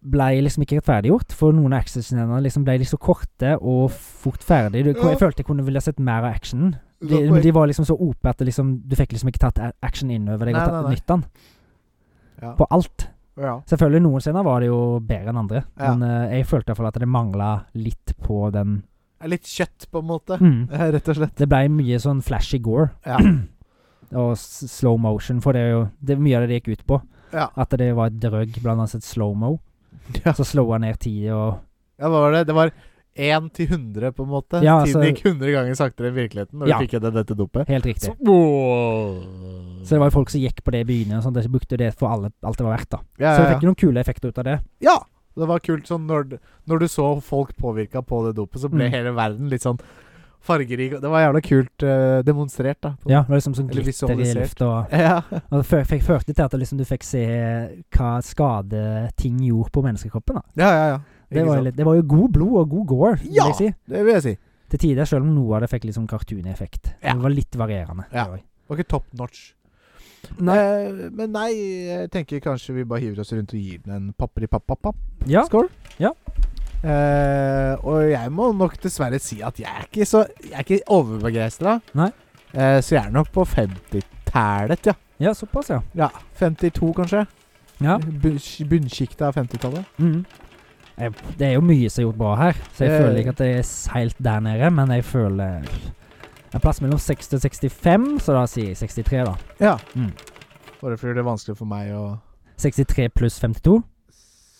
S2: ble liksom ikke rettferdiggjort, for noen av actionscenene liksom ble liksom korte og fort ferdig. Du,
S1: Ja.
S2: Jeg følte jeg kunne ville sett mer av actionen. De,
S1: Godt poeng.
S2: de var liksom så OP at det liksom, du fikk liksom ikke tatt a- action innover deg
S1: Nei,
S2: og tatt
S1: nei, nei.
S2: nytt av den
S1: Ja.
S2: på alt.
S1: ja.
S2: Selvfølgelig, noen scener var det jo bedre enn andre,
S1: Ja.
S2: men eh, jeg følte iallfall at det mangla litt på den
S1: Litt kjøtt, på en måte.
S2: mm.
S1: Eh, Rett og slett.
S2: Det ble mye sånn flashy gore
S1: Ja.
S2: og s- slow motion, for det er jo det, er mye av det det gikk ut på.
S1: Ja.
S2: At det var et drøgg, blant annet et slow-mo.
S1: Ja.
S2: Så slowa ned tida og
S1: Ja, hva var det? Det var 1 til 100, på en måte.
S2: Ja,
S1: Tiden
S2: altså-
S1: gikk 100 ganger saktere enn virkeligheten, og
S2: Ja.
S1: vi fikk det dette dopet.
S2: Helt riktig.
S1: Så,
S2: Så,
S1: wow.
S2: det var jo folk som gikk på det i byene, og sånt, de brukte det for alle, alt det var verdt. da
S1: ja,
S2: Så vi
S1: ja,
S2: fikk
S1: ja.
S2: jo noen kule effekter ut av det.
S1: ja, det var kult sånn når, d- når du så folk påvirka på det dopet, så ble
S2: Mm.
S1: hele verden litt sånn fargerik. og Det var jævla kult eh, demonstrert, da. på-
S2: Ja, det var liksom sånn
S1: Eller
S2: glitter i
S1: visualisert.
S2: lufta. og-
S1: Ja.
S2: Og det fø- fikk- førte til at det liksom, du fikk se hva skade ting gjorde på menneskekroppen. da
S1: ja, ja, ja.
S2: Det
S1: Ikke
S2: var, jo
S1: sant?
S2: litt, det var jo god blod og god gore,
S1: Ja!
S2: vil jeg si.
S1: Det vil jeg si.
S2: Til tider, selv om noe av det fikk litt sånn cartoon-effekt.
S1: Ja.
S2: Det var litt varierende. det
S1: Ja.
S2: var-
S1: Det var ikke top notch.
S2: Nei.
S1: Eh, men nei, jeg tenker kanskje vi bare hiver oss rundt og gir den en papper-i-papp-papp-papp.
S2: Ja.
S1: Skål.
S2: Ja.
S1: Eh, og jeg må nok dessverre si at jeg er ikke så Jeg er ikke overbegeistra.
S2: Nei.
S1: Eh, så jeg er nok på 50-tallet, ja.
S2: ja, såpass, ja.
S1: ja. 52, kanskje.
S2: ja.
S1: Bunnsjiktet av 50-tallet.
S2: Mhm. Jeg, det er jo mye som er gjort bra her, så jeg
S1: Mm. Eh.
S2: føler ikke at det er s- helt der nede, men jeg føler en plass mellom 60 og 65, så da sier jeg 63, da.
S1: Ja.
S2: Mm.
S1: Bare fordi det er vanskelig for meg å
S2: 63 pluss 52,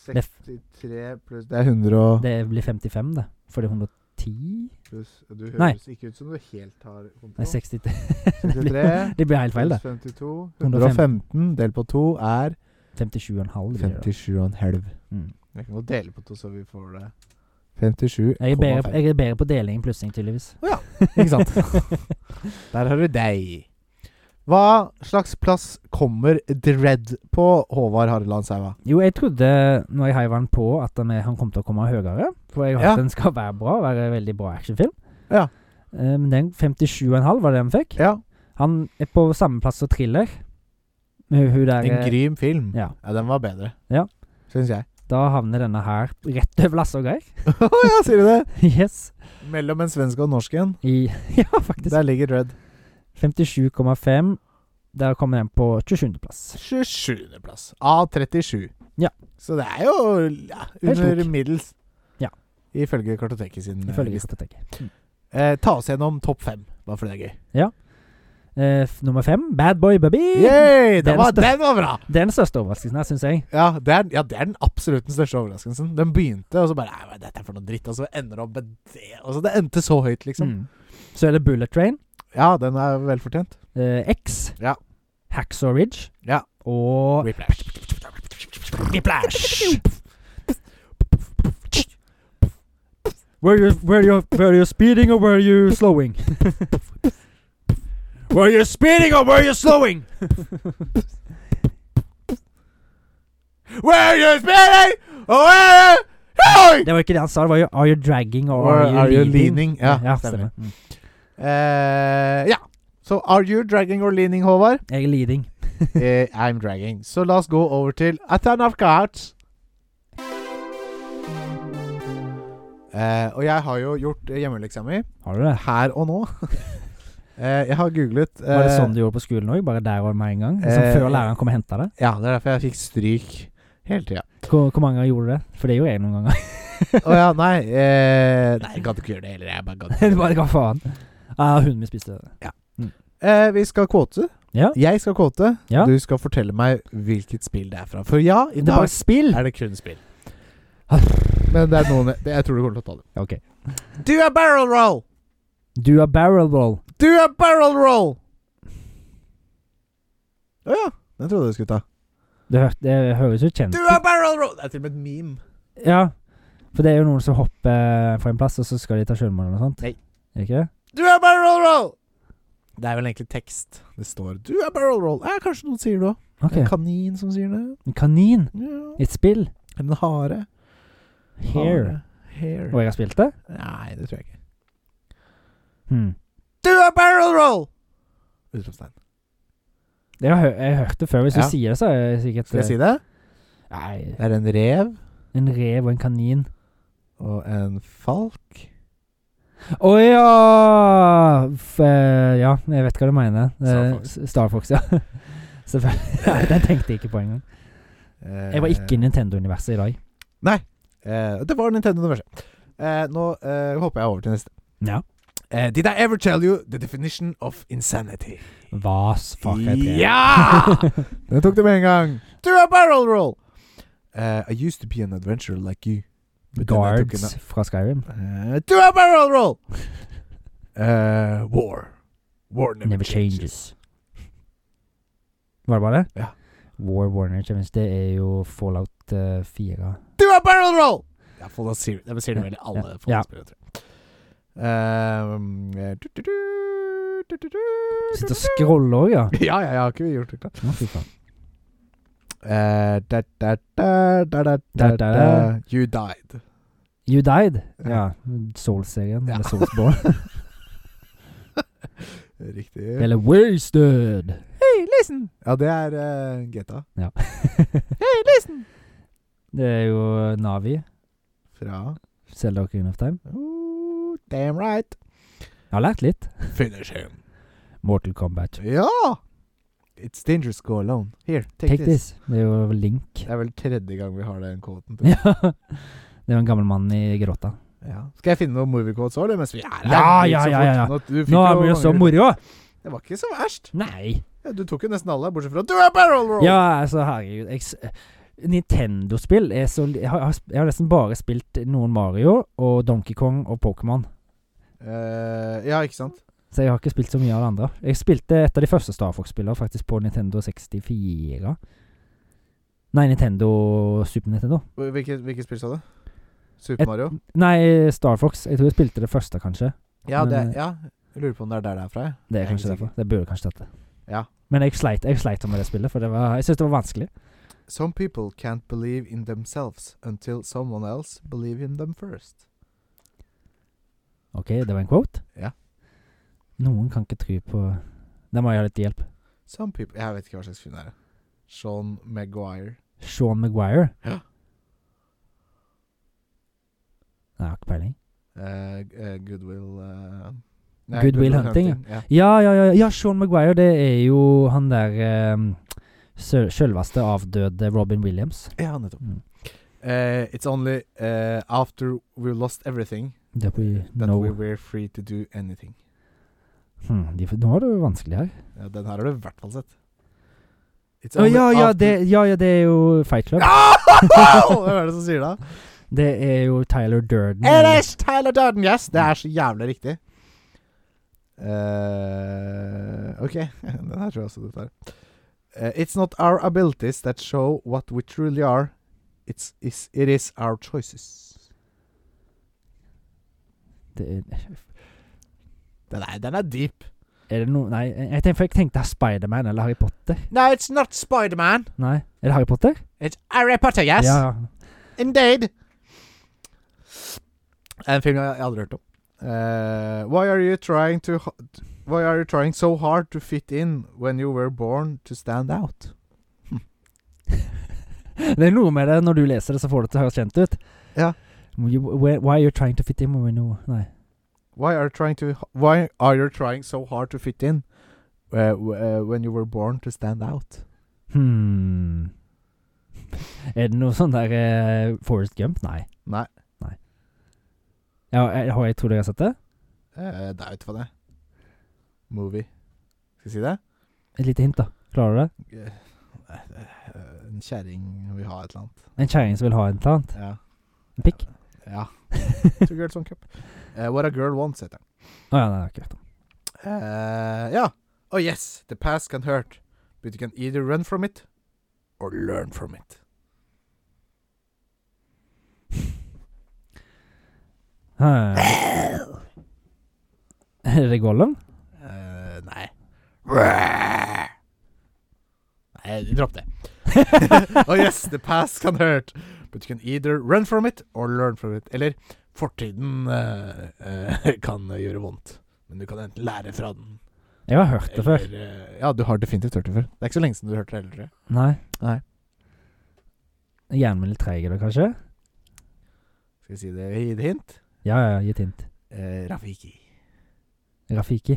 S1: 63 pluss Det er 100 og
S2: det blir 55, det. For det er 110
S1: pluss Du
S2: Nei.
S1: ikke ut som du helt har
S2: Nei, 63 det, blir,
S1: 63
S2: det blir helt feil, det.
S1: 52
S2: 115.
S1: 115 delt på 2 er
S2: 57,5. blir det da.
S1: 57,5.
S2: Mm.
S1: Jeg kan godt dele på to, så vi får det 57,5.
S2: Jeg, er bedre, jeg er bedre på deling enn plussing, tydeligvis.
S1: Ikke sant? Der har du deg. Hva slags plass kommer Dread på, Håvard Harland Saua?
S2: Jo, jeg trodde når jeg heiv han på, at han, er- han kom til å komme høyere. For jeg har
S1: Ja.
S2: hørt den skal være bra, være veldig bra actionfilm.
S1: Ja.
S2: Eh, Men den 57,5 var det han fikk.
S1: Ja,
S2: Han er på samme plass som Thriller. Med hun der
S1: en
S2: eh,
S1: grym film.
S2: Ja.
S1: Ja, den var bedre.
S2: Ja.
S1: Syns jeg.
S2: Da havner denne her rett over Lasse og Geir.
S1: Å ja, sier du det?
S2: yes.
S1: Mellom en svensk og en norsk en.
S2: I Ja, faktisk.
S1: Der ligger Dread.
S2: 57,5. Der kommer den på 27. plass.
S1: 27. plass. Av 37.
S2: Ja.
S1: Så det er jo ja,
S2: Helt
S1: under
S2: ok.
S1: middels.
S2: Ja.
S1: Ifølge Kartoteket sin eh,
S2: Ifølge
S1: liste.
S2: Skatoteket.
S1: Eh, ta oss gjennom topp fem, bare fordi det er gøy.
S2: Ja. Eh, f- nummer fem, Bad Boy Baby.
S1: Yay,
S2: Den
S1: den, var,
S2: stør-
S1: den var bra!
S2: Den største overraskelsen her, syns jeg.
S1: Ja det, er, ja, det er den absolutt den største overraskelsen. Den begynte, og så bare Nei, hva er dette for noe dritt? Og så ender det opp med det. Og så det endte så høyt, liksom.
S2: Mm. Så er det Bullet Train,
S1: Ja, den er velfortjent.
S2: eh, X,
S1: Ja.
S2: Hacksaw Ridge
S1: Ja.
S2: og
S1: Whiplash.
S2: Whiplash. Were you, were, you, were you speeding or were you slowing?
S1: Were you speeding or were you slowing? were you speeding or were you slowing?
S2: Det var ikke det han sa, det var jo 'Are you dragging or,
S1: Or
S2: are, you
S1: are you
S2: leading?"
S1: leaning? Ja,
S2: stemmer.
S1: stemmer.
S2: Mm.
S1: Eh, ja. Så are you dragging or leaning, Håvard?
S2: Jeg er leading.
S1: Eh, I'm dragging. Så la oss gå over til Atanavkat. Eh, og jeg har jo gjort eh, hjemmeleksa mi
S2: Har du det?
S1: her og nå. eh, jeg har googlet
S2: Var det
S1: eh,
S2: sånn du gjorde på skolen òg? Bare der og med en gang? Liksom
S1: eh,
S2: før læreren kom og henta deg?
S1: Ja, det er derfor jeg fikk stryk hele tida.
S2: Hvor, hvor mange ganger gjorde du det? For det gjorde jeg noen ganger.
S1: Å ja, nei. Eh, nei, jeg gadd ikke gjøre det heller. Jeg bare gadd ikke
S2: det
S1: gjøre
S2: var
S1: det.
S2: hva faen. Ah, hunden min spiste det.
S1: Eh, vi skal kvote.
S2: Ja.
S1: Jeg skal kvote.
S2: Ja.
S1: Du skal fortelle meg hvilket spill det er fra. For ja, i
S2: Det var
S1: dag
S2: spill!
S1: er det kun spill. Men det er noen det, Jeg tror du kommer til å ta det.
S2: Ok.
S1: Do a barrel roll!
S2: Du har barrel roll.
S1: Do a barrel roll! Å ja. Den trodde jeg du skulle ta.
S2: Det, hør, det høres jo kjent
S1: Do a barrel roll! Det er til og med et meme.
S2: Ja. For det er jo noen som hopper fra en plass, og så skal de ta sjølmål eller noe sånt.
S1: Nei.
S2: Er det ikke det?
S1: Do a barrel roll! Det er vel egentlig tekst. Det står Do a barrel roll. Ja, kanskje noen sier det òg.
S2: Ok.
S1: En kanin som sier det.
S2: En kanin.
S1: Ja.
S2: Et spill.
S1: En hare.
S2: Hair.
S1: Hair.
S2: Og jeg har spilt det?
S1: Nei, det tror jeg ikke.
S2: Hmm.
S1: Do a barrel roll! Utropstegn.
S2: Det har jeg, hø- jeg har hørt det før. Hvis
S1: Ja.
S2: du sier det, så er jeg sikkert eh,
S1: Skal jeg si det?
S2: Nei.
S1: Det er en rev
S2: En rev og en kanin.
S1: og en falk.
S2: Å ja! F eh, ja, jeg vet hva du mener. Eh,
S1: Star Fox.
S2: S- Star Fox, ja. Selvfølgelig. Nei, Den tenkte jeg ikke på engang.
S1: Eh,
S2: Jeg var ikke i Nintendo-universet i dag.
S1: eh, Det var Nintendo universet. Eh, nå eh, hopper jeg over til neste.
S2: Ja.
S1: Eh, did I ever tell you the definition of insanity?
S2: Hva s- fuck er det?
S1: Ja! Den tok det med en gang. Do a barrel roll! Eh, I used to be an adventurer like you. but then I took
S2: Guards fra Skyrim.
S1: an- Eh, do a barrel roll! Eh, war. War never,
S2: Never
S1: changes.
S2: changes. Var det bare det?
S1: Ja.
S2: War Warner Champions, det er jo Fallout eh, 4.
S1: Do a barrel roll! Ja, Fallout Zero. De sier det vel i alle
S2: Ja.
S1: Fallout-spillere, tror jeg. Ehm, eh, du, du, du, du, du, du,
S2: Sitter og
S1: du, du.
S2: scroller òg, ja.
S1: Ja, ja, ja. Har ikke vi gjort det klart?
S2: Å, fy faen.
S1: Eh, da, da, da, da, da,
S2: Da,
S1: da,
S2: da, da.
S1: da. You died.
S2: You Died. Ja. Souls-serien.
S1: Ja.
S2: Eller Soulsborne.
S1: Riktig.
S2: eller Wasted.
S1: Hey, listen! Ja, det er eh, GTA.
S2: Ja.
S1: hey, listen!
S2: Det er jo Navi.
S1: Fra
S2: Selda og Green of Time.
S1: Ooh, Damn right.
S2: Jeg har lært litt.
S1: Finish him.
S2: Mortal Kombat.
S1: Ja! It's dangerous go alone. Here, take,
S2: Take
S1: this.
S2: this. Det er jo Link.
S1: Det er vel tredje gang vi har den kvoten. tror jeg.
S2: Ja. Det var en gammel mann i grotta.
S1: Ja. Skal jeg finne noen movie quotes òg, mens vi er her?
S2: Ja,
S1: Det gikk
S2: ja,
S1: så
S2: ja,
S1: fort.
S2: ja, ja.
S1: Nå, du fikk
S2: Nå
S1: jo
S2: blir det
S1: mange
S2: så
S1: runder.
S2: moro!
S1: Det var ikke så verst.
S2: Nei!
S1: Ja, du tok jo nesten alle, bortsett fra Do a barrel roll!
S2: Ja, altså, herregud. Jeg, s- Nintendo-spill er så li- jeg har, jeg har sp- jeg har nesten bare spilt noen Mario og Donkey Kong og Pokémon.
S1: Eh, ja, ikke sant?
S2: Så jeg har ikke spilt så mye av det andre. Jeg spilte et av de første Star Fox-spillene faktisk på Nintendo 64. Nei, Nintendo Super Nintendo.
S1: Hvilke, hvilke spill sa du? Super
S2: Et-
S1: Mario?
S2: Nei, Star Fox. Jeg tror jeg spilte det første, kanskje.
S1: Ja, det,
S2: men, eh,
S1: ja, jeg lurer på om det er der det er fra. jeg.
S2: Det
S1: Jeg
S2: er kanskje
S1: ikke
S2: derfor. Det burde kanskje tatt det.
S1: Ja.
S2: Men jeg sleit, jeg sleit med det spillet, for det var, jeg syntes det var vanskelig.
S1: Some people can't believe in themselves until someone else believe in them first.
S2: OK, det var en quote.
S1: Ja.
S2: Noen kan ikke tro på Der må jeg ha litt hjelp.
S1: Some people Jeg vet ikke hva slags film det er. Sean Maguire.
S2: Sean Maguire.
S1: Ja.
S2: Nei, jeg har ikke peiling.
S1: Eh, eh, Goodwill eh, nei,
S2: Goodwill Hunting,
S1: ja.
S2: Ja, ja, ja, ja, Sean Maguire, det er jo han der eh, sø- Sjølveste avdøde Robin Williams.
S1: Ja, nettopp.
S2: Mm.
S1: Eh, it's only eh, after we lost everything
S2: Det blir
S1: that
S2: no
S1: we were free to do anything.
S2: Hm, de, nå er det jo vanskelig her.
S1: Ja, den her har du i hvert fall sett. It's
S2: Å,
S1: only
S2: ja, ja,
S1: after-
S2: det, ja, ja, det er jo Fight Club.
S1: Hvem er det som sier det?
S2: Det er jo Tyler Durden.
S1: Ellers Tyler Durden, yes! Det er så jævlig riktig. Eh, ok, den her tror jeg også du tar. Eh, it's not our abilities that show what we truly are. It's, is, it is our choices.
S2: Det er,
S1: Den er, den er deep.
S2: er det noe Nei, jeg tenkte, for jeg tenkte Spiderman eller Harry Potter.
S1: No, it's not Spiderman.
S2: Nei, er det Harry Potter?
S1: It's Harry Potter, yes!
S2: Ja,
S1: Indeed! En film jeg aldri har hørt om. Eh, why are you trying to ho- Why are you trying so hard to fit in when you were born to stand out?
S2: Det er noe med det når du leser det, så får det til å høres kjent ut.
S1: Ja.
S2: You, where, why are you trying to fit in when you Nei.
S1: Why are you trying to Why are you trying so hard to fit in eh, w- eh, when you were born to stand out?
S2: Hmm. Er det noe sånn der eh, Forrest Gump? Nei.
S1: Nei.
S2: Ja, jeg, har jeg tror dere har sett det?
S1: Eh, det er jo ikke for det. Movie. Skal jeg si det?
S2: Et lite hint, da. Klarer du det?
S1: Eh, eh, en kjerring vil ha et eller annet.
S2: En kjerring som vil ha en tant.
S1: Ja.
S2: En pikk?
S1: ja. Two girls one cup. Eh, what a girl wants, heter den.
S2: Å ja, nei, akkurat.
S1: Eh, ja. Oh yes, the past can hurt, but you can either run from it or learn from it.
S2: Hæ. Er det Gollum?
S1: Eh, nei. Nei, dropp det. oh yes, the past can hurt, but you can either run from it or learn from it. Eller fortiden eh, eh, kan gjøre vondt, men du kan enten lære fra den.
S2: Jeg har hørt det før.
S1: Eller, eh, ja, du har definitivt hørt det før. Det er ikke så lenge siden du hørte det heller, tror jeg.
S2: Nei.
S1: Nei.
S2: Hjernen min litt treig i dag, kanskje?
S1: Skal vi si det i et hint?
S2: Ja, ja, ja, gi et hint.
S1: Eh, Rafiki.
S2: Rafiki.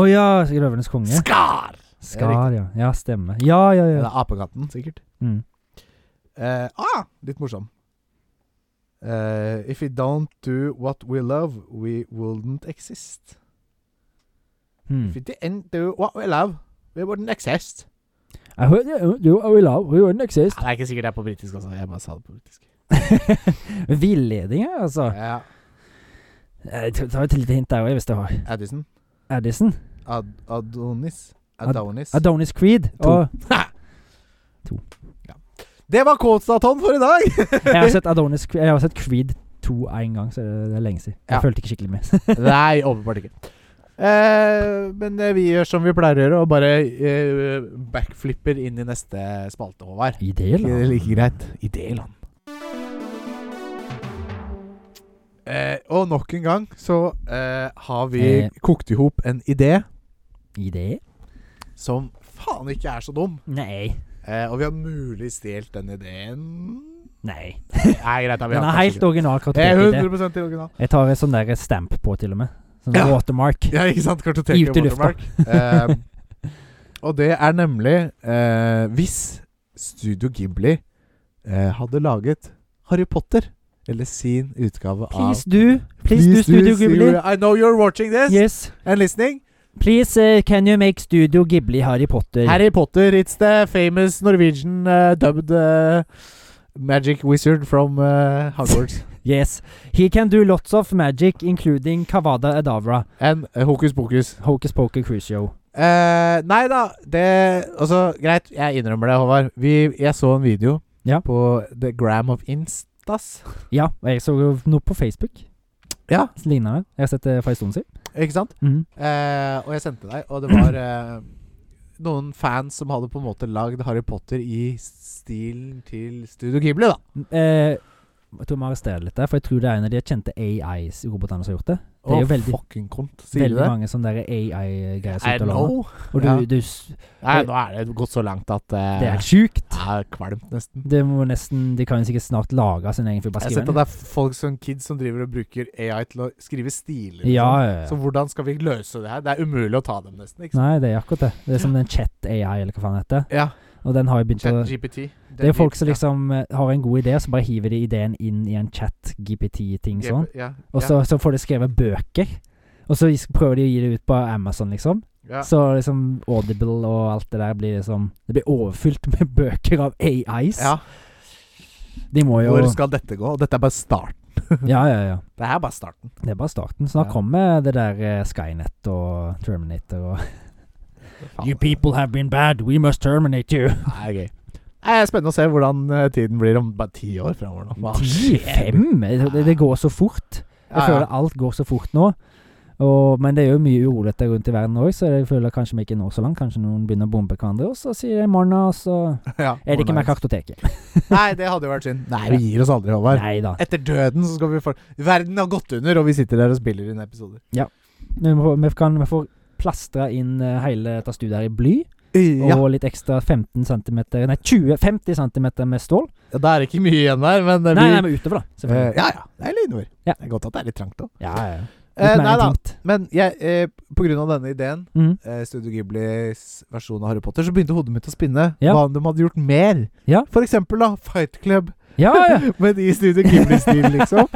S2: Å ja, 'Røvernes konge'.
S1: Skar!
S2: Skar, ja. Ja, stemmer. Ja, ja, ja.
S1: Eller apekatten, sikkert.
S2: Mm.
S1: Eh, ah, litt morsom. Eh, if we don't do what we love, we wouldn't exist.
S2: Hmm.
S1: If we didn't do what we love, we wouldn't exist.
S2: I heard you, you are in love, you wouldn't exist.
S1: det er ikke sikkert det er på britisk også. Jeg bare sa det på britisk.
S2: Villedning, ja, altså.
S1: Ja.
S2: Jeg tar- tar et lite hint der òg, hvis du har.
S1: Addison.
S2: Addison.
S1: Ad Adonis.
S2: Ad-
S1: Adonis.
S2: Adonis Creed.
S1: To.
S2: Og
S1: det var Kåtstaton for i dag!
S2: jeg har sett Adonis Creed, jeg har sett Creed 2 en gang, så det det er lenge siden. Jeg
S1: Ja.
S2: fulgte ikke skikkelig med.
S1: Nei, åpenbart ikke. Eh, men eh, vi gjør som vi pleier å gjøre, og bare eh, backflipper inn i neste spalte, Håvard.
S2: Ideell.
S1: Ikke- det er
S2: da.
S1: like greit. Idéland. Eh, og nok en gang så eh, har vi
S2: Eh.
S1: kokt i hop en idé
S2: Idé?
S1: som faen ikke er så dum.
S2: Nei.
S1: Eh, og vi har mulig stjålet den ideen
S2: Nei.
S1: Nei, greit. da, vi
S2: Den
S1: har kanskje
S2: er helt
S1: ikke-
S2: original
S1: Det er
S2: kartotekidé.
S1: 100 til original.
S2: Jeg tar en sånn der stamp på, til og med. Sånn
S1: Ja.
S2: watermark.
S1: Ja, ikke sant? Kartoteket
S2: Ut i lufta.
S1: Watermark. Eh, og det er nemlig eh, Hvis Studio Ghibli eh, hadde laget Harry Potter, eller sin utgave av
S2: Please do. Please, do, Studio Ghibli.
S1: I know you're watching this
S2: Yes.
S1: and listening.
S2: Please, eh, can you make Studio Ghibli Harry Potter?
S1: Harry Potter, it's the famous Norwegian uh, dubbed uh, magic wizard from uh, Hogwarts.
S2: Yes. He can do lots of magic, including Kavada Adavra,
S1: and uh, hokus pokus.
S2: Hocus Poker Cruise Show.
S1: Eh, nei da, det Altså, greit, jeg innrømmer det, Håvard. Vi, jeg så en video
S2: Ja.
S1: på The Gram of Instas.
S2: Ja, og jeg så jo noe på Facebook.
S1: Ja.
S2: Ligner det. Jeg har sett eh, det for en stund siden.
S1: Ikke sant?
S2: Mhm.
S1: Eh, og jeg sendte deg, og det var eh, noen fans som hadde på en måte lagd Harry Potter i stilen til Studio Ghibli, da.
S2: Eh, jeg tror vi arresterer litt der, for jeg tror det er en av de kjente AI-robotene som har gjort det. Det
S1: Å,
S2: er jo veldig-
S1: fucking kont. Sier
S2: Veldig
S1: du det?
S2: mange sånne der AI-greier som
S1: I
S2: er ute og låner.
S1: know.
S2: Og du,
S1: Ja.
S2: du s-
S1: Nei, nå er det gått så langt at eh,
S2: Det er sjukt.
S1: det er kvalmt, nesten.
S2: Det må nesten De kan jo sikkert snart lage sin egen film.
S1: Jeg
S2: Bare
S1: har
S2: skrive
S1: sett at
S2: den.
S1: det er folk som kids som driver og bruker AI til å skrive stiler. og
S2: Ja,
S1: sånn.
S2: ja,
S1: Så
S2: ja.
S1: hvordan skal vi løse det her? Det er umulig å ta dem, nesten. ikke sant?
S2: Nei, det er akkurat det. Det er som den chat-AI, eller hva faen det heter.
S1: Ja,
S2: Og den har jo begynt å
S1: ChatGPT.
S2: Det er folk som liksom eh, har en god idé, så bare hiver de ideen inn i en chat, GPT-ting sånn.
S1: Ja, ja,
S2: Og så, så får de skrevet bøker Og så gis- prøver de å gi det ut på Amazon, liksom.
S1: Ja.
S2: Så liksom Audible og alt det der blir liksom Det blir overfylt med bøker av AIs.
S1: ja.
S2: De må jo
S1: Hvor skal dette gå? Og dette er bare starten.
S2: Ja, ja, ja.
S1: Det her er bare starten.
S2: Det er bare starten. Snart
S1: Ja.
S2: kommer det der eh, Skynet og Terminator og
S1: Faen.
S2: people have been bad, we must terminate you.
S1: Det er gøy. Det er spennende å se hvordan eh, tiden blir om bare ti år framover nå. Hva
S2: Ti, fem? Det, det går så fort. Jeg
S1: Ja,
S2: føler
S1: ja.
S2: alt går så fort nå. Og, men det er jo mye uroligheter rundt i verden òg, så jeg føler kanskje vi ikke når så langt. Kanskje noen begynner å bombe hverandre, og så sier de morna, og så
S1: Ja,
S2: er det ikke mer
S1: hvordan
S2: kartoteket.
S1: det? Nei, det hadde jo vært synd. Nei, vi gir oss aldri, Håvard.
S2: Nei da.
S1: Etter døden så skal vi få Verden har gått under, og vi sitter der og spiller inn episoder.
S2: Vi, må, vi kan vi får plastra inn eh, hele dette studiet her i bly,
S1: Ja.
S2: og litt ekstra 15 cm Nei, 20, 50 cm med stål.
S1: ja, Det er ikke mye igjen der, men det
S2: Nei,
S1: blir
S2: nei, men utover, da.
S1: Eh,
S2: Selvfølgelig.
S1: Ja ja, det er litt innover.
S2: Ja.
S1: Det er godt at det er litt trangt òg.
S2: Ja, ja. ja.
S1: Eh,
S2: Litt mer
S1: nei da,
S2: intimt.
S1: men jeg, eh, på grunn av denne ideen,
S2: Mm.
S1: eh, Studio Ghiblis versjon av Harry Potter, så begynte hodet mitt å spinne.
S2: Ja.
S1: Hva om de hadde gjort mer?
S2: Ja.
S1: For eksempel da, Fight Club,
S2: Ja, ja.
S1: men i Studio Ghibli-stil, liksom.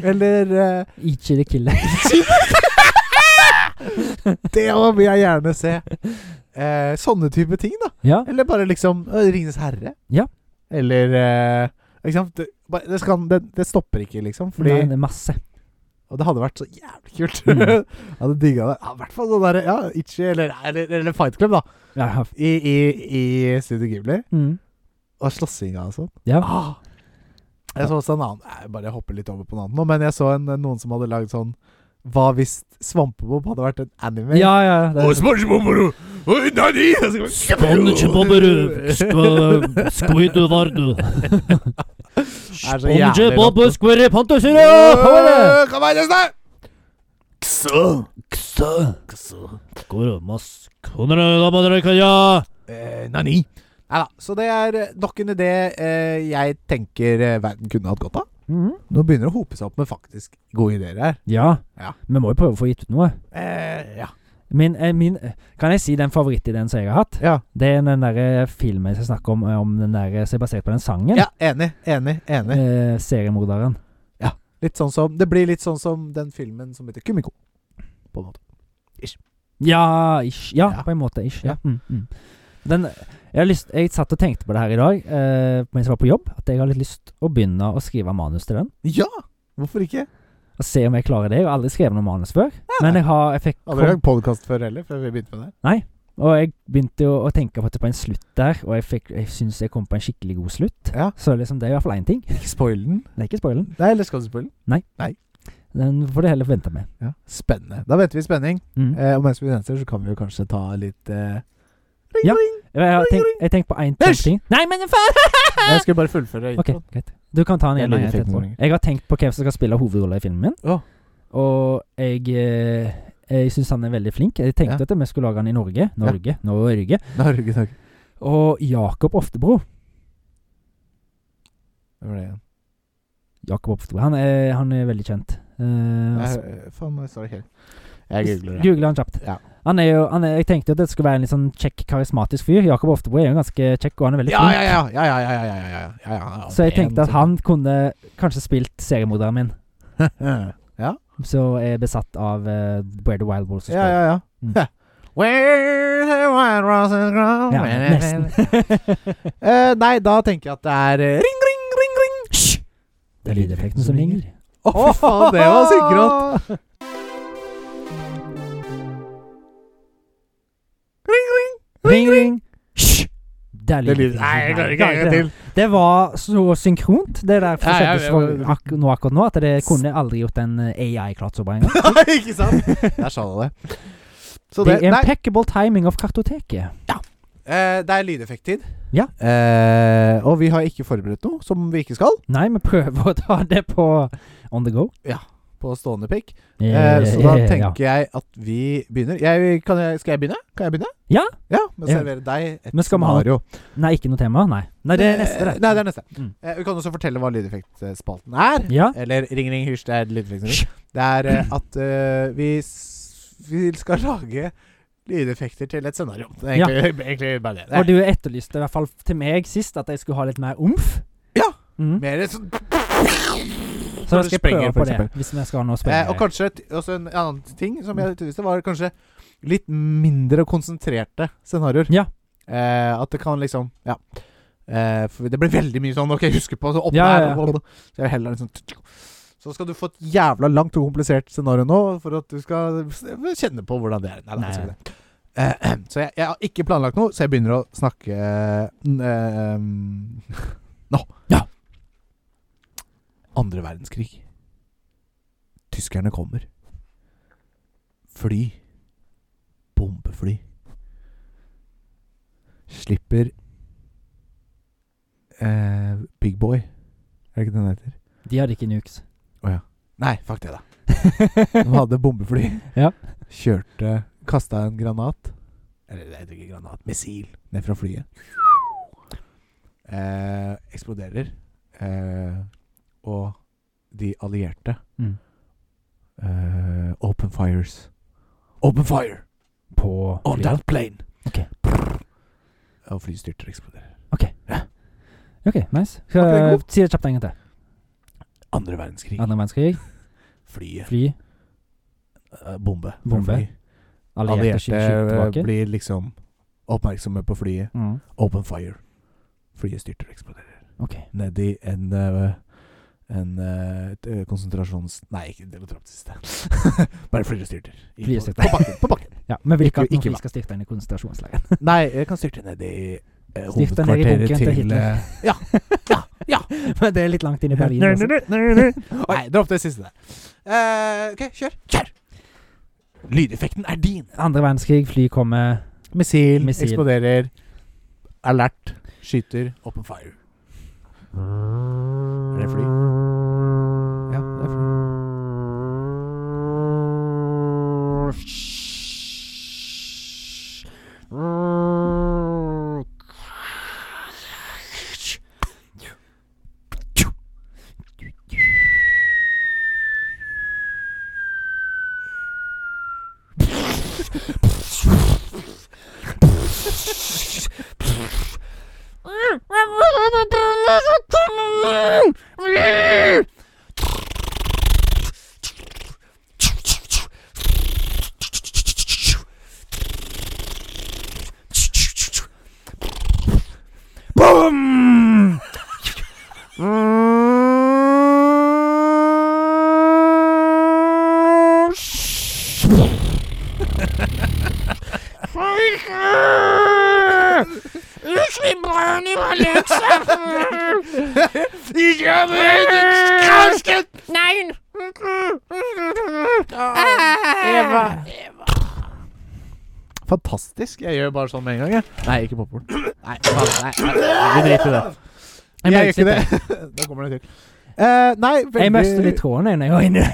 S1: Eller eh,
S2: Ichi the Killer.
S1: Det også vil jeg gjerne se. Eh, sånne type ting, da.
S2: ja.
S1: Eller bare liksom eh, Ringenes herre.
S2: Ja.
S1: Eller eh, Ikke sant? Det, bare- det, skal, det, det stopper ikke, liksom. Fordi,
S2: Nei, det er masse.
S1: og det hadde vært så jævlig kult.
S2: Mm.
S1: jeg hadde digga det. Ja, I hvert fall sånn derre ja, Itchy eller, eller, eller Fight Club, da.
S2: Ja, ja.
S1: I, i, i Studio Ghibli.
S2: mm.
S1: Og slåssinga og sånn.
S2: ja.
S1: Ah. Jeg så også en annen Jeg bare hopper litt over på en annen nå, men jeg så en, noen som hadde lagd sånn Hva hvis Svampebob hadde vært en anime?
S2: ja, ja. Det
S1: Og
S2: er,
S1: SpongeBob og Nani!
S3: Squidward.
S1: så jævlig
S3: Spongebob
S1: rått.
S3: Squirrelpantasura!
S1: Kom her, Jøstein! Eh, Nani. Nei da. Så det er eh, nok en idé eh, jeg tenker eh, verden kunne hatt godt av.
S2: mm.
S1: Nå begynner det å hope seg opp med faktisk gode ideer her.
S2: ja.
S1: Ja.
S2: Vi må jo prøve å få gitt ut noe.
S1: Eh, ja.
S2: Min, eh, min, eh, kan jeg si den favorittideen som jeg har hatt?
S1: Ja.
S2: Det er den der eh, filmen jeg skal snakke om, eh, om den der, eh, som er basert på den sangen.
S1: ja. Enig. Enig. Enig.
S2: Eh, seriemorderen.
S1: Litt sånn som Det blir litt sånn som den filmen som heter Kumiko. På en måte.
S2: Ja, ish. Ja,
S1: Ja.
S2: på en måte. Ish.
S1: Ja.
S2: Ja. Mm, mm. Den, jeg, har lyst, jeg satt og tenkte på det her i dag eh, mens jeg var på jobb, at jeg har litt lyst å begynne å skrive manus til den.
S1: Ja! Hvorfor ikke?
S2: Og se om jeg klarer det. Jeg har aldri skrevet noe manus før. Men jeg har jeg fikk
S1: Aldri
S2: kom-
S1: lagd podkast før heller, før vi begynte med det.
S2: Og jeg begynte jo å tenke på at det på en slutt der, og jeg, fikk, jeg syns jeg kom på en skikkelig god slutt.
S1: Ja.
S2: Så liksom det er i hvert fall én ting.
S1: Ikke spoil den.
S2: Det er ikke spoilen.
S1: Nei, eller skal du spoile den?
S2: Den får du heller vente med.
S1: Ja. Spennende. Da vet vi spenning.
S2: Mm.
S1: Eh, og mens vi venter, så kan vi jo kanskje ta litt eh, ring,
S2: Ja.
S1: ring.
S2: Jeg har tenkt, jeg har tenkt på én
S1: Hysj!
S2: ting. Nei, men faen!
S1: Jeg skulle bare fullføre
S2: Ok,
S1: introen.
S2: greit. Du kan ta den
S1: Det er
S2: igjen.
S1: lydeffekten
S2: etterpå.
S1: vår, egentlig.
S2: Jeg har tenkt på hvem som skal spille hovedrolla i filmen min,
S1: Å.
S2: og jeg eh, jeg syns han er veldig flink. Jeg
S1: Ja.
S2: tenkte at vi skulle lage han i Norge. Norge. Norge.
S1: Norge, Norge.
S2: Og Jakob Oftebro.
S1: Hvem er det igjen?
S2: Jakob Oftebro. Han er, han er veldig kjent. Eh,
S1: Jeg, eh, faen, jeg står ikke helt Jeg googler det.
S2: Google han kjapt.
S1: Ja.
S2: Han er jo, han er, jeg tenkte jo at det skulle være en litt sånn kjekk, karismatisk fyr. Jakob Oftebro er jo ganske kjekk, og han er veldig
S1: Ja,
S2: flink.
S1: ja, ja. ja, ja, ja, ja, ja, ja, ja, ja.
S2: Så jeg
S1: En
S2: tenkte at han kunne kanskje spilt seriemorderen min,
S1: som-
S2: som er besatt av eh, Where the Wild Wolves Are.
S1: Ja, ja, ja.
S2: Mm.
S1: Heh. Where the wild roses grow
S2: Ja, nesten.
S1: Eh, Nei, da tenker jeg at det er eh, ring, ring, ring, ring.
S2: Hysj! Det er lydeffekten som ringer.
S1: Å, fy faen, det var synkrått. Ring, ring.
S2: Ring, ring. Hysj! Det er
S1: Det lyder
S2: lydeffekten.
S1: Nei, jeg klarer ikke en gang til.
S2: Det var så synkront, det der
S1: Ja,
S2: som
S1: ja,
S2: skjedde
S1: ja,
S2: så
S1: ja.
S2: ak nå akkurat nå, at det kunne aldri gjort en eh, AI klart så bra engang.
S1: ikke sant? Der sa du det. Så
S2: The
S1: det, nei,
S2: impeccable timing of kartoteket.
S1: eh, det er lydeffekttid.
S2: Ja.
S1: Eh, og vi har ikke forberedt noe, som vi ikke skal,
S2: Nei, vi prøver å ta det på on the go.
S1: på stående pikk. Eh, så da tenker jeg at vi begynner. Jeg, kan jeg, skal jeg begynne? Kan jeg begynne?
S2: Ja.
S1: Ja, Men
S2: Ja.
S1: servere deg et
S2: Men skal vi ha-
S1: scenario.
S2: ja. Nei, ikke noe tema? Nei. Nei, det er neste,
S1: Eh, Nei, det er neste.
S2: Mm.
S1: Eh, vi kan også fortelle hva lydeffektspalten er.
S2: Ja.
S1: Eller Ring Ring Hysj, det er lydeffekten. Det er eh, at eh, vi, s vi skal lage lydeffekter til et scenario. Det er
S2: Ja.
S1: egentlig, egentlig bare det. det.
S2: Og
S1: er
S2: du etterlyste i hvert fall til meg sist at jeg skulle ha litt mer omf.
S1: Ja.
S2: Mm.
S1: Mer sånn
S2: Så da
S1: når du
S2: skal jeg prøve
S1: sprenger, for
S2: på det,
S1: eksempel.
S2: hvis vi skal ha
S1: Eh,
S2: noe
S1: og
S2: sprengere.
S1: kanskje t- også en annen ting som jeg visste, var kanskje litt mindre konsentrerte scenarioer.
S2: Ja.
S1: Eh, at det kan liksom Ja. Eh, for det blir veldig mye sånn OK, husker på så opp
S2: Ja,
S1: der
S2: ja, ja.
S1: blablabla. Så jeg vil heller liksom Så skal du få et jævla langt og komplisert scenario nå for at du skal s- kjenne på hvordan det er. Nei,
S2: Nei.
S1: nei, nei. Eh, så jeg, jeg har ikke planlagt noe, så jeg begynner å snakke eh, mm, nå.
S2: Ja.
S1: Andre verdenskrig. Tyskerne kommer. Fly. Bombefly. Slipper eh, Big Boy. Er det ikke det den heter?
S2: De hadde ikke nukes.
S1: Nei, fuck det, da. De
S2: Mm.
S1: hadde bombefly.
S2: Ja.
S1: Kjørte Kasta en granat. Eller det heter ikke granat. Missil. Ned fra flyet. Eh, eksploderer. Eh, og de allierte
S2: Mm.
S1: eh, Open fires. Open fire
S2: På
S1: on
S2: flyet.
S1: that plane!
S2: Ok.
S1: Prrr. Og flyet styrter og eksploderer.
S2: OK, nice.
S1: Ok,
S2: Skal,
S1: god.
S2: si det kjapt en gang til.
S1: Andre verdenskrig.
S2: Andre verdenskrig,
S1: Flyet.
S2: fly,
S1: eh, bombe.
S2: Bombe.
S1: Fly.
S2: allierte
S1: Allierte
S2: skyter skyter
S1: eh,
S2: tilbake.
S1: blir liksom oppmerksomme på flyet.
S2: Mm.
S1: Open fire. Flyet styrter og eksploderer.
S2: Ok.
S1: Nedi en eh, en eh, et, eh, konsentrasjons... Nei, ikke det var trapp siste. Bare flyet styrter. I-
S2: Flyet styrter.
S1: På bakken. På bakken.
S2: Ja, vi vil ikke at
S1: Ikke-
S2: noen
S1: ikke
S2: fly
S1: hva?
S2: skal styrte inn i konsentrasjonsleiren.
S1: Nei, jeg kan styrte ned i eh,
S2: Styrte ned i
S1: hovedkvarteret
S2: bunken til
S1: til,
S2: Hitler.
S1: eh,
S2: Men det er litt langt inn i Berlin.
S1: Nei,
S2: altså.
S1: nei, nei, nei, nei. Nei, dropp det siste der. Eh, OK, kjør. Kjør! Lydeffekten er din.
S2: Andre verdenskrig, fly kommer
S1: Missil,
S2: Missil.
S1: eksploderer. Alert. Skyter. Open fire. Er det fly? Ja, det er fly.
S2: Boom!
S4: Nein! Eva!
S1: Fantastisk. Jeg gjør bare sånn med en gang, jeg. Nei, ikke popkorn. Nei, faen, nei, nei, vi driter i det. Jeg, gjør ikke det. da kommer det til. Eh, nei, veldig
S2: Jeg møste litt tråden jeg, når jeg var inne.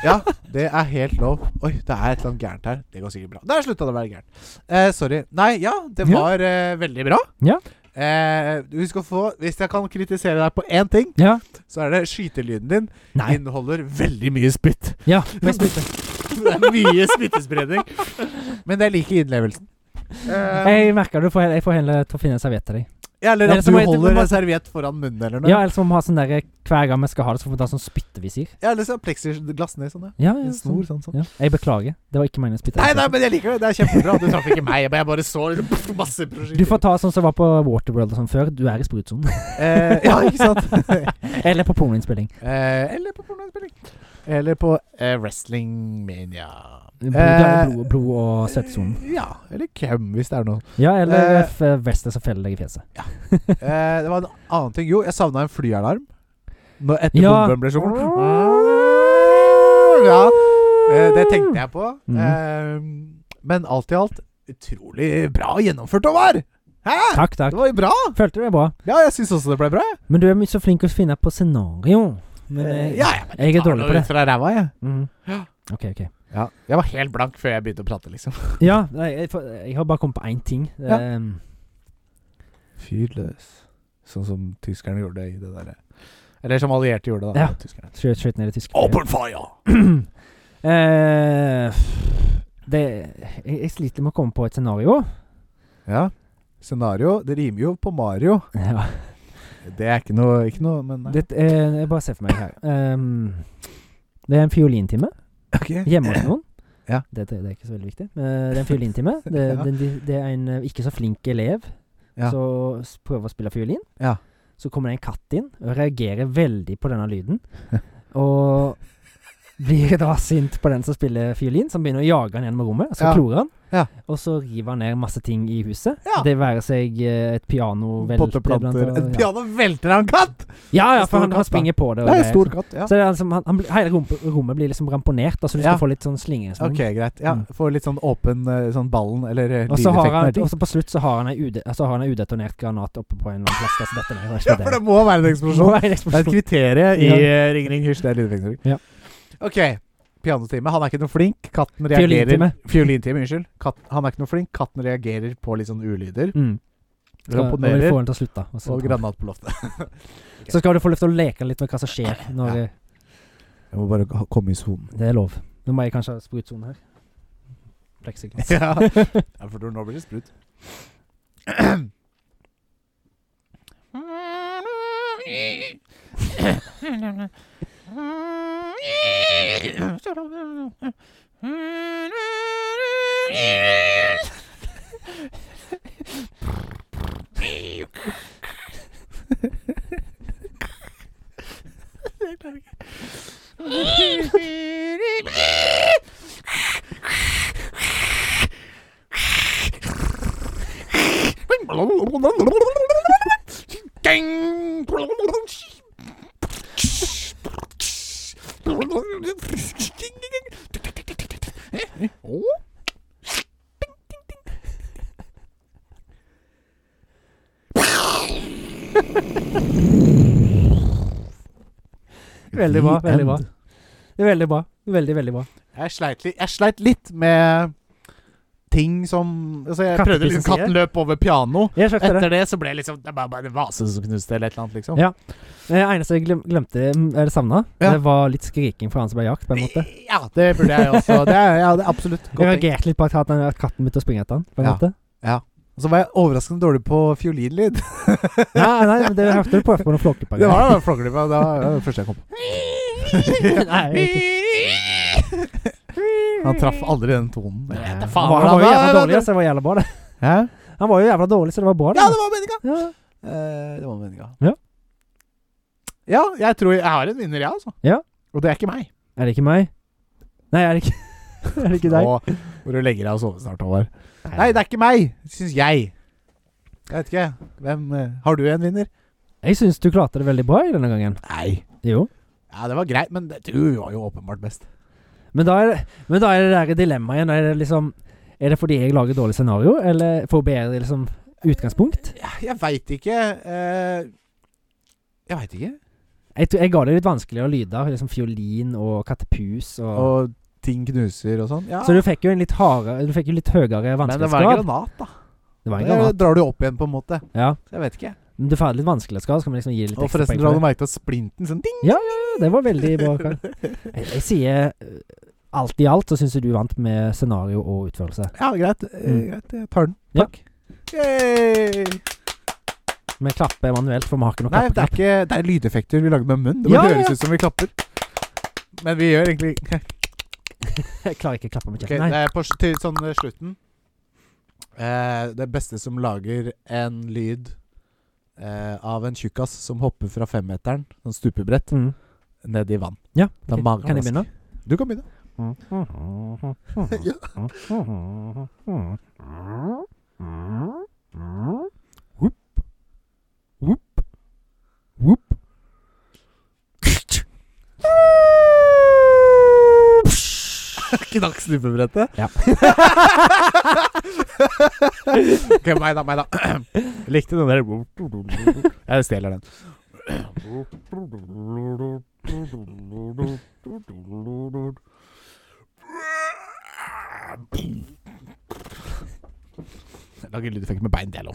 S1: Ja, det er helt lov. Oi, det er et eller annet gærent her. Det går sikkert bra. Der slutta det å være gærent. Eh, sorry. Nei, ja, det
S2: Ja.
S1: var eh, veldig bra.
S2: Ja.
S1: Eh, du skal få Hvis jeg kan kritisere deg på én ting,
S2: Ja.
S1: så er det skytelyden din
S2: Nei.
S1: inneholder veldig mye spytt.
S2: Ja, men spytte.
S1: Det er mye smittespredning. Men jeg liker innlevelsen. Eh,
S2: Jeg merker du får, jeg får heller ta- finne en serviett til deg.
S1: ja, eller
S2: Eller
S1: at
S2: så
S1: du
S2: må jeg- du
S1: holder
S2: må-
S1: en serviett foran munnen eller noe.
S2: Ja, eller så må vi ha sånn der Hver gang vi skal ha det, så får vi ta sånn spyttevisir.
S1: Ja, eller så er plexiglass ned sånn, ja.
S2: Ja, ja,
S1: En
S2: sånn.
S1: snor sånn. sånn.
S2: ja. Jeg beklager. Det var ikke meningen å spytte.
S1: Nei, nei, men jeg liker det. Det er kjempebra. Du traff ikke meg. Jeg bare- jeg bare så liksom, pff, masse
S2: Du får
S1: prosjekter.
S2: ta sånn som var på Waterworld og sånn før. Du er i sprutsonen.
S1: Eh, ja, ikke sant?
S2: Eller på pornoinnspilling.
S1: eh, eller på pornoinnspilling. Eller på eh, Wrestling Mania.
S2: Blod,
S1: Eh,
S2: blod, blod og søtesonen.
S1: Ja, eller hvem, hvis det er noe.
S2: Ja, eller
S1: eh,
S2: f vestet som feller deg i fjeset.
S1: Eh, det var en annen ting. Jo, jeg savna en flyalarm. Når etter
S2: Ja.
S1: bomben ble slått. Ja. Eh, Det tenkte jeg på.
S2: Mhm.
S1: Eh, men alt i alt utrolig bra gjennomført, Omar! Hæ?
S2: Takk,
S1: Det
S2: takk.
S1: var jo bra!
S2: Følte du deg bra?
S1: Ja, jeg syns også det ble bra. jeg.
S2: Men du er mye så flink å finne på scenario. Men jeg,
S1: ja, ja, men
S2: jeg er
S1: tar
S2: dårlig
S1: noe
S2: på Eh, det.
S1: ut Fra ræva, jeg.
S2: Mm.
S1: Ja.
S2: Ok, ok.
S1: Ja, jeg var helt blank før jeg begynte å prate, liksom.
S2: Ja, nei, jeg, får- jeg har bare kommet på én ting.
S1: Ja.
S2: Ehm,
S1: Fyr løs. Sånn som tyskerne gjorde i det derre Eller som allierte gjorde,
S2: Ja.
S1: Tyskerne.
S2: Skjøt skjøt ned i tysk
S1: Open fire!
S2: Eh, det, jeg, jeg sliter med å komme på et scenario.
S1: Ja. Scenario. Det rimer jo på Mario.
S2: Ja.
S1: det er ikke noe, ikke noe men nei.
S2: Det, eh, jeg bare ser for meg her. Ehm, det er en fiolintime
S1: Ok.
S2: hjemme hos noen.
S1: Ja.
S2: Det, det, det er ikke så veldig viktig. Eh, det er en fiolintime. Det,
S1: Ja.
S2: det, det er en eh, ikke så flink elev
S1: Ja.
S2: som s- prøver å spille fiolin.
S1: Ja.
S2: Så kommer det en katt inn og reagerer veldig på denne lyden. Og blir da sint på den som spiller fiolin, som begynner å jage han gjennom rommet. Så
S1: Ja.
S2: klorer han.
S1: Ja.
S2: Og så river han ned masse ting i huset.
S1: Ja.
S2: Det være seg eh, et piano velte blant
S1: Potteplanter.
S2: annet,
S1: Et
S2: ja.
S1: piano velter av en katt!
S2: Ja, ja,
S1: En stor
S2: for han,
S1: katt,
S2: han
S1: da.
S2: springer på det.
S1: Det
S2: og
S1: er en
S2: greier,
S1: stor
S2: så.
S1: katt. ja
S2: Så det er liksom, han, han, blir- hele rom, rommet blir liksom ramponert, da, så du skal
S1: Ja.
S2: få litt sånn slingringsmonn.
S1: Ok, greit. Ja,
S2: Mm.
S1: Får litt sånn åpen eh, sånn ballen eller eh,
S2: Og så har han,
S1: lydeffekten.
S2: og så på slutt så har han ei ude, altså har han ei udetonert granat oppe på en eller annen plass. Der, så dette er
S1: Ja, for det må være en eksplosjon. Det er et kriterium i
S2: Ja.
S1: eh, Ring Ring Hysj. Det er lydeffekten.
S2: Ja.
S1: Ok. Pianotime. Han er ikke noe flink. Katten reagerer
S2: Fiolintime.
S1: Fiolintime, unnskyld. Katt, han er ikke noe flink. Katten reagerer på litt sånn ulyder.
S2: Mm. Så, nå vil vi
S1: Ramponerer.
S2: få den til å slutte. Og så,
S1: Og granat på loftet.
S2: så skal du få lov til å leke litt med hva som skjer. Når
S1: Ja. Jeg må bare ha- komme i sonen.
S2: Det er lov. Nå må jeg kanskje ha sprutsone her. Plexiglass.
S1: ja. ja, for nå blir det sprut.
S4: Ding!
S2: Veldig bra.
S1: The
S2: Veldig bra.
S1: end.
S2: Det er veldig bra. Veldig, veldig bra.
S1: Jeg sleit, li jeg sleit litt med ting som altså Jeg prøvde liksom
S2: Kattepissen sier.
S1: Katten løp over piano.
S2: Jeg skjønte det.
S1: Etter det så ble det liksom Det er bare, bare en vase som knuste, eller et eller annet, liksom.
S2: Ja. Det eneste jeg glem, glemte, mm, eller savna,
S1: Ja.
S2: det var litt skriking fra han som ble jakt, på en måte.
S1: Ja, det burde jeg også. Det er, ja, det er absolutt
S2: Jeg
S1: godt tenkt.
S2: reagerte litt på at katten, at katten begynte å springe etter han, på en
S1: Ja.
S2: måte.
S1: Og så var jeg overraskende dårlig på fiolinlyd.
S2: Nei, nei, men det hørte du på på noen flåklyper.
S1: Det var da flåklypa. Det var det første jeg kom på.
S2: Nei, ikke.
S1: Han traff aldri den tonen. Jeg vet da
S2: Han var, han var jo jævla dårlig, så det var jævla bra, det.
S1: Hæ?
S2: Han var jo jævla dårlig, så det var bra,
S1: Ja, det var meninga.
S2: Ja.
S1: Eh, det var meninga.
S2: Ja.
S1: Ja, jeg tror jeg har en vinner, jeg, altså.
S2: Ja.
S1: Og det er ikke meg.
S2: Er det ikke meg? Nei, er det ikke Er det ikke deg?
S1: Nå må du legge deg og sove snart, Håvard. Nei, det er ikke meg, syns jeg. Jeg vet ikke. Hvem eh, Har du en vinner?
S2: Jeg syns du klarte det veldig bra i denne gangen.
S1: Nei.
S2: Jo.
S1: Ja, det var greit, men det- du var jo åpenbart best.
S2: Men da er det, men da er det der dilemmaet igjen. Er det liksom Er det fordi jeg lager dårlig scenario, eller får bedre liksom utgangspunkt?
S1: Ja, jeg veit ikke. eh, jeg veit ikke.
S2: Jeg, tror- jeg ga det litt vanskeligere lyder, liksom fiolin og kattepus og,
S1: Og ting knuser og sånn. Ja,
S2: Så du fikk jo en litt hardere Du fikk jo litt høyere
S1: men det var en
S2: vanskelighetsgrad.
S1: granat, da.
S2: Det var en
S1: Det
S2: granat.
S1: drar du opp igjen, på en måte.
S2: Ja.
S1: Så jeg vet ikke.
S2: Men du får litt vanskelighetsgrad, så kan vi liksom gi litt
S1: Og
S2: ekstra
S1: forresten, dere
S2: poeng for
S1: hadde
S2: det.
S1: merket at splinten sånn ding
S2: Ja, det var veldig bra. Karl. Jeg, jeg sier eh, alt i alt så syns jeg du vant med scenario og utførelse.
S1: Ja, greit. eh,
S2: Mm.
S1: greit. Jeg tar den.
S2: Ja.
S1: Takk. Yay!
S2: Vi klapper manuelt, for vi har ikke noe
S1: Nei, det er
S2: klappeknapp.
S1: ikke Det er lydeffekter vi lager med munn. Det bare
S2: Ja, ja,
S1: høres
S2: ja.
S1: ut som vi klapper. Men vi gjør egentlig
S2: Jeg klarer ikke å klappe med
S1: Ok,
S2: kjeften.
S1: det er på, s- til sånn eh, slutten eh, Det beste som lager en lyd eh, av en tjukkas som hopper fra femmeteren, sånn stupebrett,
S2: Nei. Mm.
S1: ned i vann.
S2: Ja,
S1: Da
S2: ok.
S1: magen
S2: kan jeg
S1: vasker.
S2: begynne?
S1: Du kan begynne. Knakk stupebrettet?
S2: Ja.
S1: ok, meg da, meg da. Likte den der Jeg stjeler den. Jeg lager lydeffekt med bein, det er lov.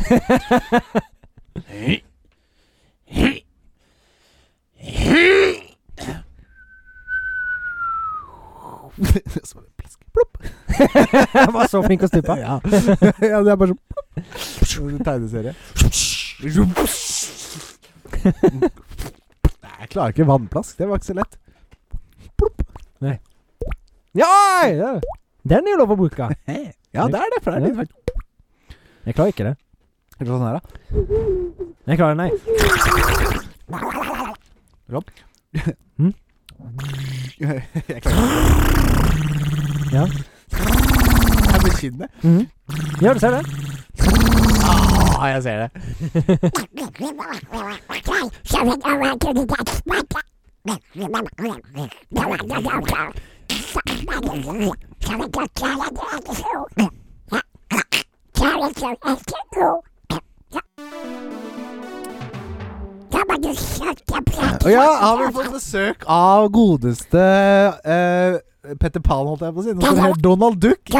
S1: Så var det plask. Plopp.
S2: Jeg var så flink å stupe.
S1: Ja. ja, det er bare sånn Tegneserie. Nei, jeg klarer ikke vannplask. Det var ikke så lett.
S2: Ja! ja. Den er jo lov å bruke.
S1: Ja, det er det. For det er litt fælt.
S2: Jeg klarer ikke det.
S1: Eller sånn her, da.
S2: Jeg klarer den, nei.
S1: Jeg klarer ikke
S2: Ja.
S1: det. Med kinnet.
S2: Mhm. Ja, du ser det.
S1: Ah, jeg ser det. Og ja, har vi fått besøk av godeste eh, Petter Pan, holdt jeg på å si. Nå skal det hete Donald Duck. i-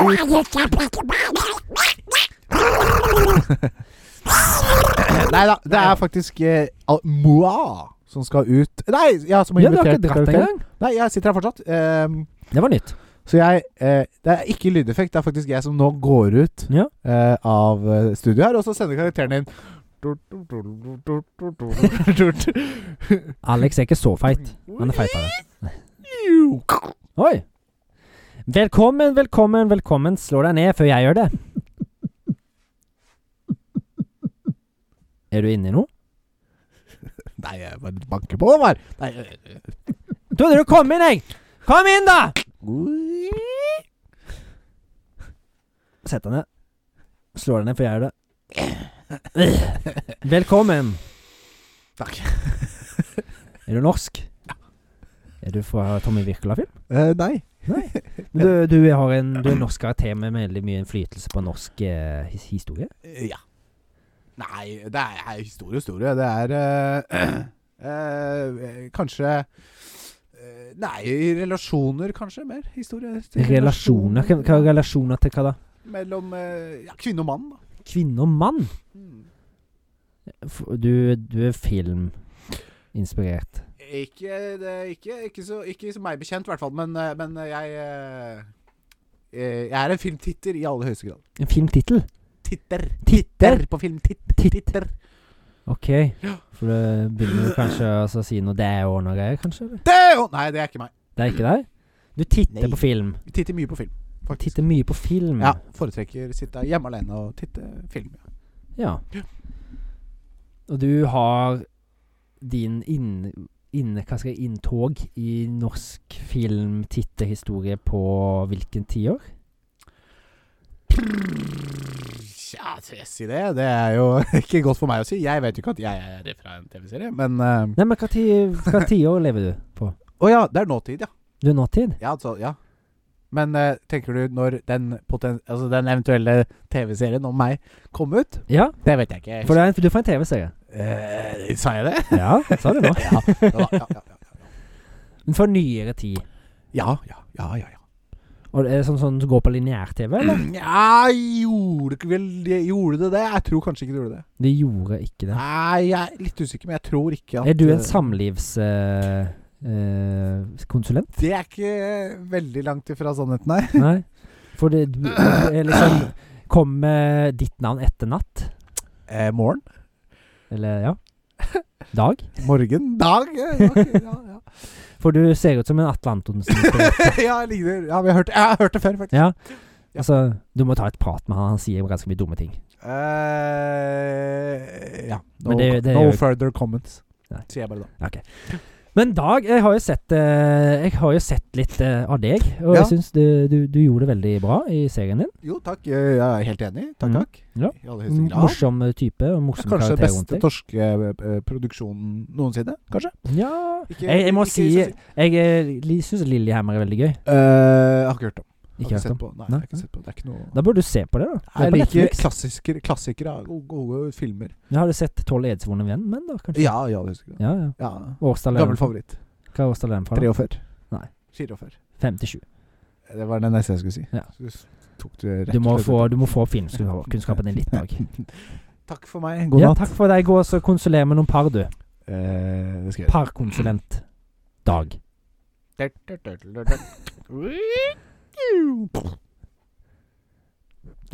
S1: Nei da, det er faktisk eh, Al- Moa som skal ut Nei, ja, som er
S2: Ja, du har
S1: invitert.
S2: ikke dratt
S1: Er du
S2: engang.
S1: Nei, jeg sitter her fortsatt. Ehm,
S2: Det var nytt.
S1: så jeg eh, Det er ikke lydeffekt. Det er faktisk jeg som nå går ut
S2: Ja.
S1: eh, av eh, studio her, og så sender karakteren inn. Feit.
S2: Alex er ikke så feit. Han er feitere. Oi. Velkommen, velkommen, velkommen. Slå deg ned før jeg gjør det. Er du inni noe?
S1: Nei, jeg bare banker på dem her. Nei, jeg-
S2: Trodde du kom inn, jeg! Kom inn, da! Sett deg ned. Slå deg ned før jeg gjør det. Velkommen.
S1: Takk.
S2: Er du norsk? Er du fra Tommy Wirkola-film?
S1: Eh, nei.
S2: Du, du, har en, du er norsk karakter med veldig mye innflytelse på norsk eh, his- historie.
S1: Eh, Ja. Nei, det er, er historie, historie. Det er eh, eh, Kanskje eh, Nei, relasjoner, kanskje. Mer historie. til
S2: Relasjoner. Hva, hva er relasjoner til hva da?
S1: Mellom eh, ja, kvinne og mann. Da.
S2: Kvinne og mann?
S1: Mm.
S2: F- Du, du er filminspirert.
S1: Ikke, det, ikke, ikke, så, ikke så meg bekjent, i hvert fall. Men, eh, men eh, jeg eh, eh, Jeg er en filmtitter i aller høyeste grad.
S2: En filmtittel?
S1: Titter.
S2: Titter?
S1: Titter på filmtitter.
S2: Titt.
S1: Titter.
S2: Ok, for det begynner du kanskje altså, å si noe det og noe greier, kanskje? Eller?
S1: Det, å, nei, det er ikke meg.
S2: Det er ikke deg? Du titter
S1: Nei.
S2: på film.
S1: Vi titter mye på film. Faktisk.
S2: Titter mye på film.
S1: Ja, foretrekker sitte hjemme alene og titte film.
S2: Ja. Og du har din inn, inn, hva skal jeg, inntog i norsk filmtittehistorie på hvilken tiår?
S1: Tja, skal jeg si det. Det er jo ikke godt for meg å si. Jeg vet jo ikke at jeg er fra en TV-serie, men eh,
S2: Nei, men hva ti- hva tiår lever du på?
S1: Å ja, det er nåtid, ja.
S2: Du er nåtid?
S1: Ja, altså, ja. Men eh, tenker du når den, poten altså, den eventuelle TV-serien om meg kom ut?
S2: Ja,
S1: Det vet jeg ikke.
S2: for det er en, du får en TV-serie.
S1: Eh, sa jeg det?
S2: Ja, sa du nå.
S1: ja, det var, ja, ja, ja,
S2: Men For nyere tid.
S1: ja, ja, ja, ja, ja.
S2: Og det er sånn, sånn som går på lineær-TV, eller?
S1: Ja, gjorde ikke vel Gjorde det det? Jeg tror kanskje ikke det gjorde det.
S2: Det gjorde ikke det.
S1: Nei, jeg er litt usikker, men jeg tror ikke at
S2: Er du
S1: eh,
S2: en eh, samlivskonsulent?
S1: Det er ikke veldig langt ifra sannheten her.
S2: Nei. For det, du, det er liksom Kommer ditt navn etter natt?
S1: Eh, morgen?
S2: Eller ja. Dag?
S1: Morgen? Dag? Ja, ok, ja, ja.
S2: For du ser ut som en Atle Antonsen.
S1: ja, jeg ligner, ja vi har hørt, jeg har hørt det før, faktisk.
S2: Ja. Altså, du må ta et prat med han. Han sier ganske mye dumme ting.
S1: Eh, ja. No,
S2: Men det- det
S1: no
S2: gjør-
S1: further comments,
S2: Nei.
S1: sier jeg bare da.
S2: Men Dag, jeg har jo sett, eh, jeg har jo sett litt eh, av deg. Og
S1: Ja.
S2: jeg syns du, du, du gjorde det veldig bra i serien din.
S1: Jo, takk. Jeg er helt enig. Takk,
S2: Mm.
S1: takk.
S2: Ja.
S1: I aller høyeste grad.
S2: Morsom eh, type. og Morsom
S1: Kanskje
S2: karakter rundt
S1: beste
S2: deg.
S1: torske eh, produksjonen noensinne, kanskje?
S2: Ja.
S1: Ikke-
S2: Jeg, jeg må
S1: ikke
S2: si
S1: så-
S2: Jeg eh, syns Lillehammer er veldig gøy.
S1: Eh, jeg har ikke hørt om. Jeg
S2: Ikke
S1: har ikke
S2: hørt
S1: sett
S2: om.
S1: på. Nei,
S2: Nei.
S1: jeg har ikke sett på. Det er ikke noe
S2: Da burde du se på det, da. Det er
S1: Jeg
S2: på
S1: liker
S2: Netflix.
S1: klassiker, klassikere, gode, gode filmer.
S2: Ja, har du sett 'Tolv edsvorne venn'? Men da, kanskje?
S1: Ja, i aller høyeste grad.
S2: ja, ja.
S1: Ja.
S2: Årstallet
S1: Gammel favoritt.
S2: Hva er årstallet den fra? da?
S1: 43.
S2: Nei.
S1: 44.
S2: 57.
S1: Det var det neste jeg skulle si.
S2: Ja.
S1: Så s- tok du rett
S2: Du må
S1: og slett
S2: få, du må få filmkunnskapen din litt, Dag.
S1: Takk for meg. God
S2: ja,
S1: natt.
S2: Takk for deg. Gå og så konsuler med noen par, du.
S1: Eh, det skal jeg
S2: Parkonsulent. Dag.
S1: gjøre.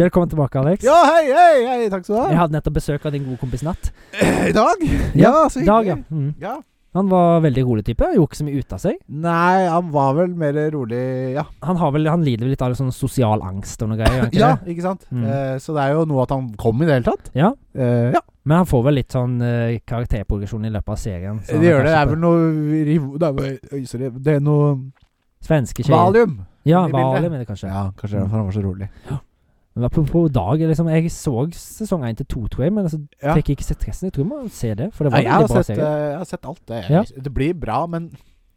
S2: Velkommen tilbake, Alex.
S1: Ja, hei, hei, hei, takk skal du
S2: Jeg
S1: ha. Eh,
S2: hadde nettopp besøk av din gode kompis Natt.
S1: I dag? Ja, så
S2: Dag, ja.
S1: hyggelig.
S2: Mm.
S1: Ja.
S2: Han var veldig rolig type. Gjorde ikke så mye ut av seg.
S1: Nei, han var vel mer rolig, ja.
S2: Han, har vel, han lider vel litt av sånn sosial angst og noe greier. gjør han ikke
S1: Ja,
S2: det?
S1: ikke sant?
S2: Mm.
S1: Eh, så det er jo noe at han kom i det hele tatt.
S2: ja.
S1: Eh, ja,
S2: Men han får vel litt sånn eh, karakterprogresjon i løpet av serien. så han
S1: det gjør det. Det
S2: kanskje
S1: er vel
S2: på-
S1: noe riv- det er vel- Oi, sorry. Det er noe
S2: Svenske tjejer.
S1: Valium.
S2: Ja,
S1: i bildet.
S2: Valium er det kanskje.
S1: Ja, kanskje det er derfor han var så rolig.
S2: Men apropos Dag, liksom, jeg så sesong 1 til 2, tror jeg, men altså,
S1: Ja.
S2: fikk ikke sett resten. Jeg tror jeg må se det, for det
S1: Ja,
S2: var
S1: jeg,
S2: veldig
S1: har
S2: bra
S1: sett,
S2: serie.
S1: eh, jeg har sett alt det.
S2: Ja.
S1: Det blir bra, men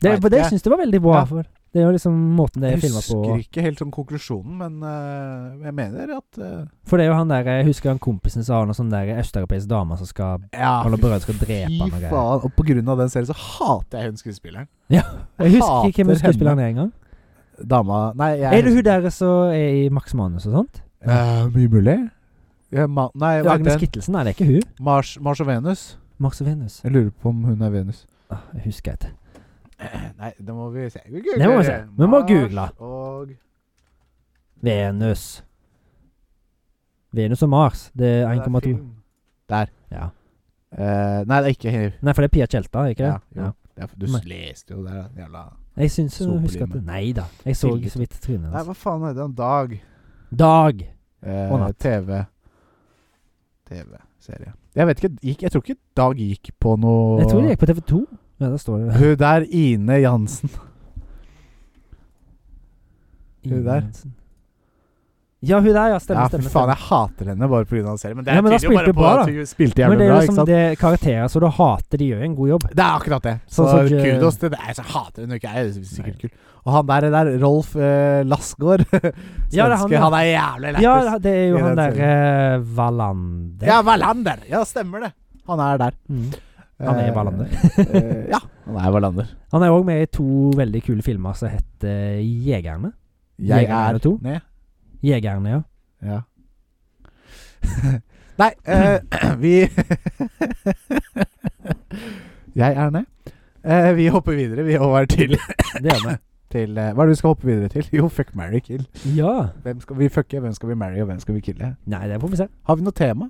S2: Det,
S1: vet
S2: det, det
S1: ikke.
S2: syns jeg var veldig bra.
S1: Ja.
S2: For. Det er jo liksom måten det
S1: jeg
S2: er filma på.
S1: husker ikke helt sånn konklusjonen. Men eh, jeg mener at eh,
S2: For det er jo han der, jeg husker han kompisen som har noen sånne der østeuropeiske damer som skal
S1: Ja,
S2: Han og brødrene skal
S1: Ah, fy
S2: drepe han og greier.
S1: faen. Og på grunn av den serien så hater jeg hun skuespilleren.
S2: Jeg husker ikke hvem
S1: Hater
S2: skuespilleren er engang.
S1: Dama Nei, jeg
S2: Er det hun der som er i Max Manus og sånt?
S1: Eh, mye mulig. Ja, ma nei, hva
S2: Agnes
S1: heter den?
S2: Kittelsen? Nei, det er ikke hun.
S1: Mars, Mars og Venus?
S2: Mars og Venus.
S1: Jeg lurer på om hun er Venus. Eh,
S2: Ah, Jeg husker ikke.
S1: Nei, det må vi se. Vi googler.
S2: Det må vi se. Vi må
S1: Mars
S2: google.
S1: Og
S2: Venus. Venus og Mars. Det er
S1: Det er
S2: 1,2.
S1: film. Der.
S2: Ja.
S1: Eh, nei, det er ikke
S2: Nei, for det er Pia Tjelta, ikke
S1: Ja,
S2: det?
S1: jo. Det er- Du
S2: Nei.
S1: leste jo der, den jævla
S2: Jeg syns jeg
S1: Så
S2: husker at
S1: blir
S2: det
S1: man-
S2: Nei da. Jeg så
S1: Tillit.
S2: så vidt trynet
S1: Nei,
S2: hans.
S1: hva faen heter den? Dag.
S2: Dag!
S1: Eh,
S2: Altså. Og natt.
S1: TV. TV-serie. Jeg vet ikke gikk, Jeg tror ikke Dag gikk på noe
S2: Jeg tror det gikk på TV2. Ja, der står det.
S1: Hun der, Ine Jansen. Hun der.
S2: Ingensen. Ja, hun der, ja. Stemmer,
S1: ja,
S2: stemmer.
S1: fy faen,
S2: stemmer.
S1: jeg hater henne bare pga. serien. Men det
S2: Ja, men da
S1: tyder jo bare
S2: spilte hun
S1: på
S2: bra,
S1: at
S2: da.
S1: hun spilte
S2: Men
S1: jævlig
S2: det er
S1: bra.
S2: liksom
S1: ikke sant?
S2: det er karakterer så du hater, de gjør en god jobb.
S1: Det er akkurat det. Så
S2: Sånn som, eh,
S1: kudos til deg som hater hun ikke. Er jo sikkert kul. Og han der, der Rolf eh, Lassgaard Svenske.
S2: Ja, det er han, ja.
S1: han er jævlig lættis.
S2: Ja, det er jo
S1: i
S2: han eh,
S1: den
S2: derre Valander.
S1: Ja, Wallander. Ja, stemmer det. Han er der.
S2: Mm. Han er
S1: Eh,
S2: Wallander.
S1: eh, ja, han er Wallander.
S2: Han er òg med i to veldig kule filmer som heter eh, Jegerne.
S1: Jeg
S2: Jegerne
S1: er
S2: to?
S1: ned.
S2: Jegerne, ja.
S1: Ja. Nei, eh, vi Jeg er ned. Eh, vi hopper videre, vi, over til,
S2: Det gjør vi.
S1: til eh, Hva er det vi skal hoppe videre til? Jo, fuck, marry, kill.
S2: Ja.
S1: Hvem skal vi fucke, hvem skal vi marry, og hvem skal vi kille?
S2: Nei, det får vi se.
S1: Har vi noe tema?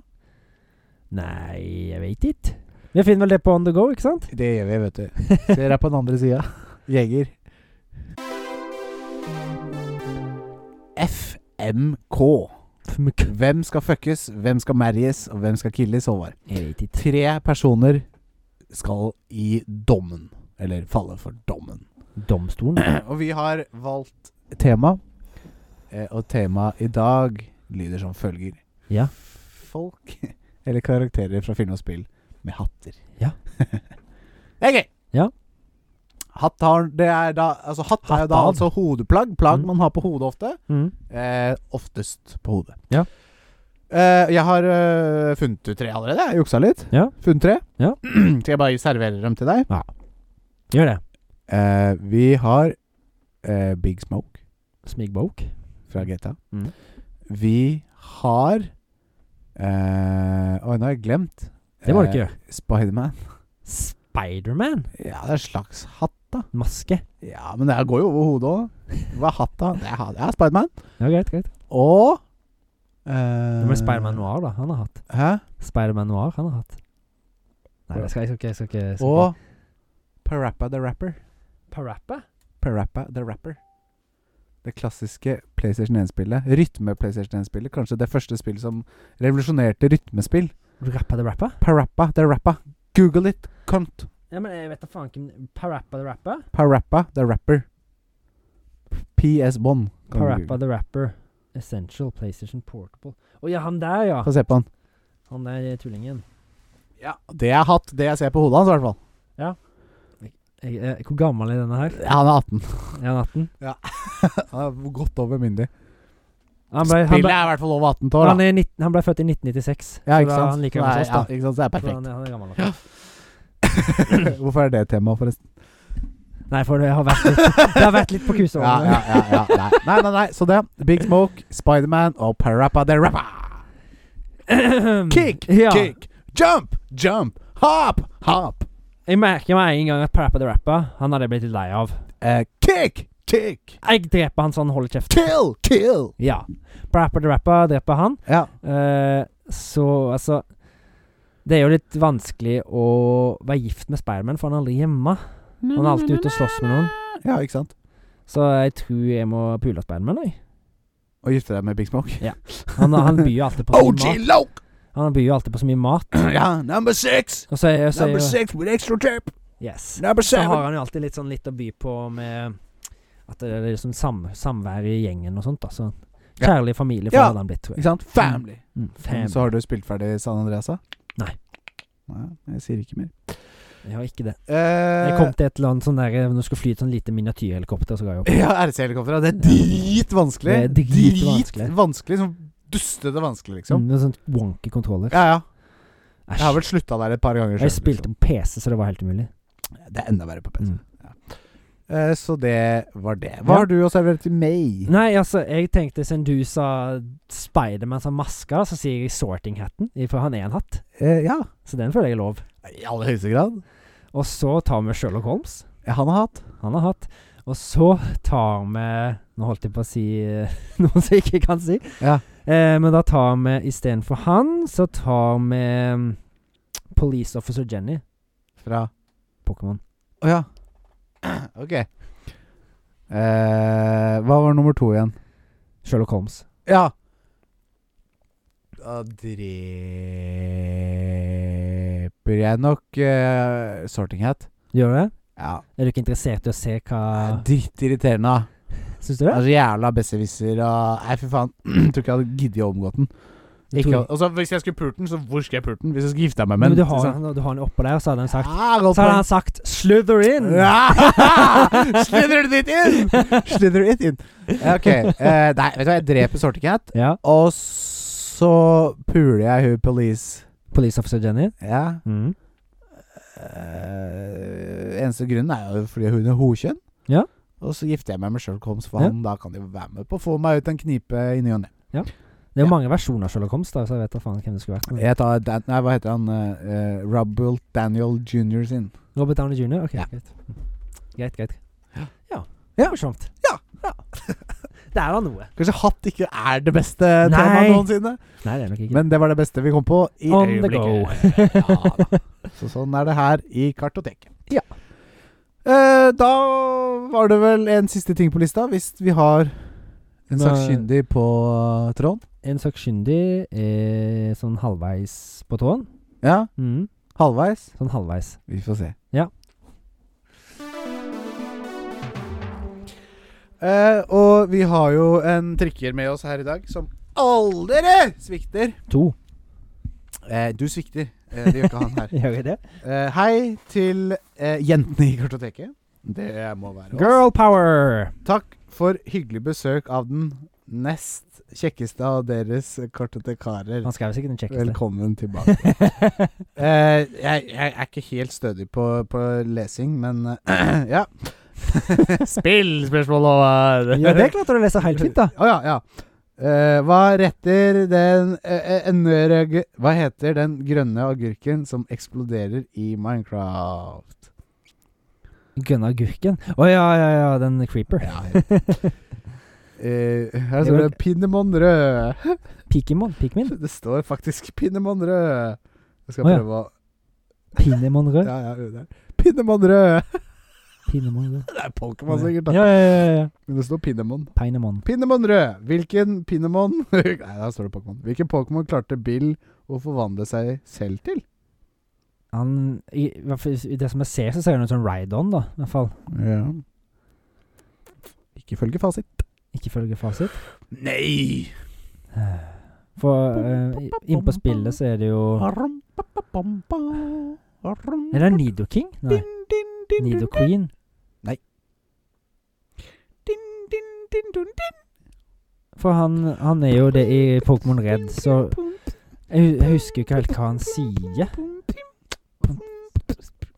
S2: Nei, jeg veit ikke. Vi finner vel det på On The Go, ikke sant?
S1: Det gjør vi, vet du. Ser deg på den andre sida. Jeger. FMK.
S2: Fmk.
S1: Hvem skal fuckes, hvem skal marries, og hvem skal killes, Håvard?
S2: Jeg vet ikke.
S1: Tre personer skal i dommen. Eller falle for dommen.
S2: Domstolen.
S1: Og vi har valgt tema. Eh, Og temaet i dag lyder som følger.
S2: Ja.
S1: Folk eller karakterer fra film og spill med hatter.
S2: Ja.
S1: det er gøy!
S2: Ja.
S1: Hatt har Det er da Altså, hatt er jo da
S2: Hattad.
S1: altså hodeplagg. Plagg
S2: Mm.
S1: man har på hodet ofte.
S2: Mm.
S1: Eh, oftest på hodet.
S2: Ja.
S1: Eh, jeg har eh, funnet ut tre allerede. Jeg juksa litt.
S2: Ja.
S1: Funnet tre.
S2: Ja.
S1: Skal jeg bare servere dem til deg?
S2: Gjør det.
S1: Eh, vi har eh, Big Smoke
S2: Smigbok.
S1: fra GTA.
S2: Mm.
S1: Vi har eh, Oi, nå har jeg glemt.
S2: Det må du ikke gjøre.
S1: Eh, Spiderman.
S2: Spiderman.
S1: Ja, det er en slags hatt, da.
S2: Maske.
S1: Ja, men det går jo over hodet òg. Hva er hatt, da? Det er, ha- det er Spiderman.
S2: Ja, greit, greit.
S1: Eh. Og
S2: Det
S1: uh,
S2: blir Spiderman Noir, da. Han har hatt.
S1: Hæ?
S2: Spiderman Noir, han har hatt. Nei, det skal jeg ikke. Jeg skal ikke, jeg skal ikke.
S1: Og Parappa the Rapper.
S2: Parappa?
S1: Parappa the Rapper. Det klassiske PlayStation 1-spillet. Rytme-PlayStation 1-spillet. Kanskje det første spillet som revolusjonerte rytmespill.
S2: Rappa the Rappa?
S1: Parappa the Rapper. Google it, cunt.
S2: Ja, men jeg vet da faen hvem Parappa the Rapper?
S1: Parappa the Rapper. PS Bond. kan du
S2: Parappa
S1: google.
S2: the Rapper. Essential PlayStation Portable. Å ja, han der, ja.
S1: Få se på han.
S2: Han der tullingen.
S1: Ja, det jeg har hatt, det jeg ser på hodet hans, i hvert fall.
S2: Jeg, eh, hvor gammel er denne her?
S1: Ja, han er 18.
S2: Er han 18?
S1: Han er godt over myndig.
S2: Han ble,
S1: Spillet
S2: han ble,
S1: er i hvert fall over 18 år,
S2: han,
S1: da.
S2: er 19, han ble født i 1996.
S1: Ja,
S2: så
S1: ikke
S2: da
S1: sant?
S2: Han like
S1: Så
S2: gammel
S1: det er-
S2: som
S1: Ja,
S2: oss, da.
S1: ikke sant? Så det er
S2: Så
S1: perfekt.
S2: han, er- han er gammel nok.
S1: Hvorfor er det tema, forresten?
S2: Nei, for det har vært litt, det har vært litt på
S1: Ja,
S2: kuseårene.
S1: ja, ja, ja. Nei. nei, nei, nei. Så det. Big Smoke, Spiderman og Parappa the Rapper. Kick,
S2: Ja.
S1: kick, jump, jump, hop, hop.
S2: Jeg merker med en gang at Parappa the Rapper, han hadde jeg blitt litt lei av.
S1: Eh, kick, Take!
S2: Jeg dreper han sånn, hold kjeft.
S1: Kill! Kill!
S2: Ja. Brapper the Rapper dreper han.
S1: Ja.
S2: Eh, så altså Det er jo litt vanskelig å være gift med Spiderman, for han er aldri hjemme. Han er alltid ute og slåss med noen.
S1: Ja, ikke sant?
S2: Så jeg tror jeg må pule Spiderman, jeg.
S1: Og gifte deg med Big Smoke.
S2: Han, han byr jo alltid på så
S1: OG
S2: mye mat.
S1: Loke!
S2: Han byr jo alltid på så mye mat.
S1: ja, number six!
S2: Og så er, så er
S1: Number
S2: jo
S1: six with extra tape!
S2: Yes.
S1: Number
S2: Så har
S1: seven!
S2: han jo alltid litt sånn litt å by på med At det er liksom sam, samvær i gjengen og sånt, da. Så
S1: Ja.
S2: kjærlig familie for
S1: Ja.
S2: hadde han blitt, tror jeg.
S1: Ikke sant? Family!
S2: Mm,
S1: Mm,
S2: fam.
S1: Så har du spilt ferdig San Andreas, da?
S2: Nei.
S1: Nei, jeg sier ikke mer.
S2: Jeg har ikke det.
S1: Eh,
S2: Jeg kom til et eller annet sånn derre Når du skulle fly et sånn lite miniatyrhelikopter, så ga jeg opp.
S1: Ja, RC-helikopteret. Det er dritvanskelig.
S2: Det er dritvanskelig.
S1: Dritvanskelig, Sånn dustete vanskelig, liksom.
S2: Mm, Med sånn wonky kontroller.
S1: Ja, ja. Jeg har
S2: Æsj.
S1: vel slutta der et par ganger.
S2: Jeg
S1: selv,
S2: spilte på PC, så det var helt umulig.
S1: liksom. Det er enda verre på PC.
S2: Mm.
S1: Eh, så det var det.
S2: Ja.
S1: Hva har du å servere til meg?
S2: Nei, altså, jeg tenkte siden du sa Spiderman som maske, da, så sier jeg Sorting Hatten, for han er en hatt.
S1: Eh, ja.
S2: Så den føler jeg er lov.
S1: I aller høyeste grad.
S2: Og så tar vi Sherlock Holmes.
S1: Han har hatt.
S2: han har hatt. Og så tar vi Nå holdt jeg på å si eh, noe som jeg ikke kan si.
S1: Ja.
S2: Eh, men da tar vi istedenfor han, så tar vi mm, Police Officer Jenny.
S1: Fra
S2: Pokémon.
S1: Å ja. ok. Eh, hva var nummer to igjen?
S2: Sherlock Holmes.
S1: Ja. Da dreper jeg nok eh, Sorting Hat.
S2: Gjør du det?
S1: Ja.
S2: Er du ikke interessert i å se hva
S1: Drittirriterende. da.
S2: Syns du det?
S1: Det er så jævla besserwisser og Nei, fy faen. Tror ikke jeg hadde giddet å omgått den. Ikke,
S2: Tror-
S1: altså, hvis jeg skulle pult den, så hvor skulle jeg pult den? Hvis jeg skulle gifta meg
S2: men,
S1: med den? Ah,
S2: du, har, han- du har han oppå der, og så hadde han sagt
S1: sånn- Ja,
S2: Så hadde han sagt 'Slither in'!
S1: Slither it in! Slither it in. Ja, Ok. eh, nei, vet du hva, jeg dreper Sorting Hat,
S2: Ja.
S1: og så puler jeg hun police.
S2: Police Officer Jenny.
S1: Ja.
S2: Mm.
S1: Eh, eneste grunnen er jo fordi hun er hokjønn.
S2: Ja.
S1: Og så gifter jeg meg med Sherlock Holmes, for
S2: Ja.
S1: han da kan jo være med på å få meg ut en knipe i ny og ne.
S2: Det er jo
S1: Ja.
S2: mange versjoner av Sherlock Holmes, da, så jeg vet da faen hvem det skulle vært. Men-
S1: Jeg tar Dan Nei, hva heter han? eh, eh, Robert Daniel Jr. sin.
S2: Robert Downey Jr.? Ok,
S1: Ja.
S2: greit. Hm. Greit, greit. Ja.
S1: Ja.
S2: Morsomt.
S1: Ja.
S2: Det er da noe.
S1: Kanskje hatt ikke er det beste
S2: Nei.
S1: temaet noensinne?
S2: Nei, det er nok ikke
S1: Men det var det beste vi kom på i
S2: On the
S1: øyeblikket. ja, da. Så sånn er det her i Kartoteket.
S2: Ja.
S1: Eh, da var det vel en siste ting på lista, hvis vi har en
S2: Nei.
S1: sakkyndig på
S2: eh,
S1: tråden.
S2: En sakkyndig er sånn halvveis på tåen.
S1: Ja,
S2: Mm,
S1: halvveis.
S2: sånn halvveis.
S1: Vi får se.
S2: Ja.
S1: Eh, og vi har jo en trikker med oss her i dag som aldri svikter.
S2: To.
S1: Eh, du svikter. Eh, det gjør ikke han her.
S2: Gjør vi det?
S1: Eh, hei til eh, jentene i kartoteket. Det må være oss.
S2: Girl power!
S1: Takk for hyggelig besøk av den nest kjekkeste av deres kartotekarer.
S2: Han skrev sikkert den kjekkeste.
S1: Velkommen tilbake. Eh, jeg, jeg er ikke helt stødig på, på lesing, men eh, ja. Spill spørsmålet over.
S2: ja, det klarte du å lese helt fint, da.
S1: Å ja, ja. Eh, hva retter den eh, eh, en rød, Hva heter den grønne agurken som eksploderer i Minecraft?
S2: Gunnar Gurken. Å ja, ja, ja, den creeper.
S1: Ja, ja. Eh, her står det 'Pinnemon rød'.
S2: Pikimon. Pikmin.
S1: Det står faktisk 'Pinnemon rød'. Jeg skal
S2: Å, ja.
S1: prøve å
S2: Pinemon rød.
S1: Ja, ja, det er Pinnemon rød!
S2: Pinemon rød.
S1: Det er Pokémon sikkert, da.
S2: Ja, ja, ja. ja.
S1: Men det står Pinnemon.
S2: Pinemon.
S1: Pinnemon rød! Hvilken Pinnemon Nei, der står det Pokémon. Hvilken Pokémon klarte Bill å forvandle seg selv til?
S2: Han i, i hvert fall I det som jeg ser, så ser han ut som Ride-On, da. I hvert fall.
S1: Ja. Ikke følge fasit.
S2: Ikke følge fasit.
S1: Nei!
S2: For eh, innpå spillet så er det jo Er det Nido King? Nei. Nido Queen? For han, han er jo det i Pokémon Red, så jeg, hu- jeg husker jo ikke helt hva han sier.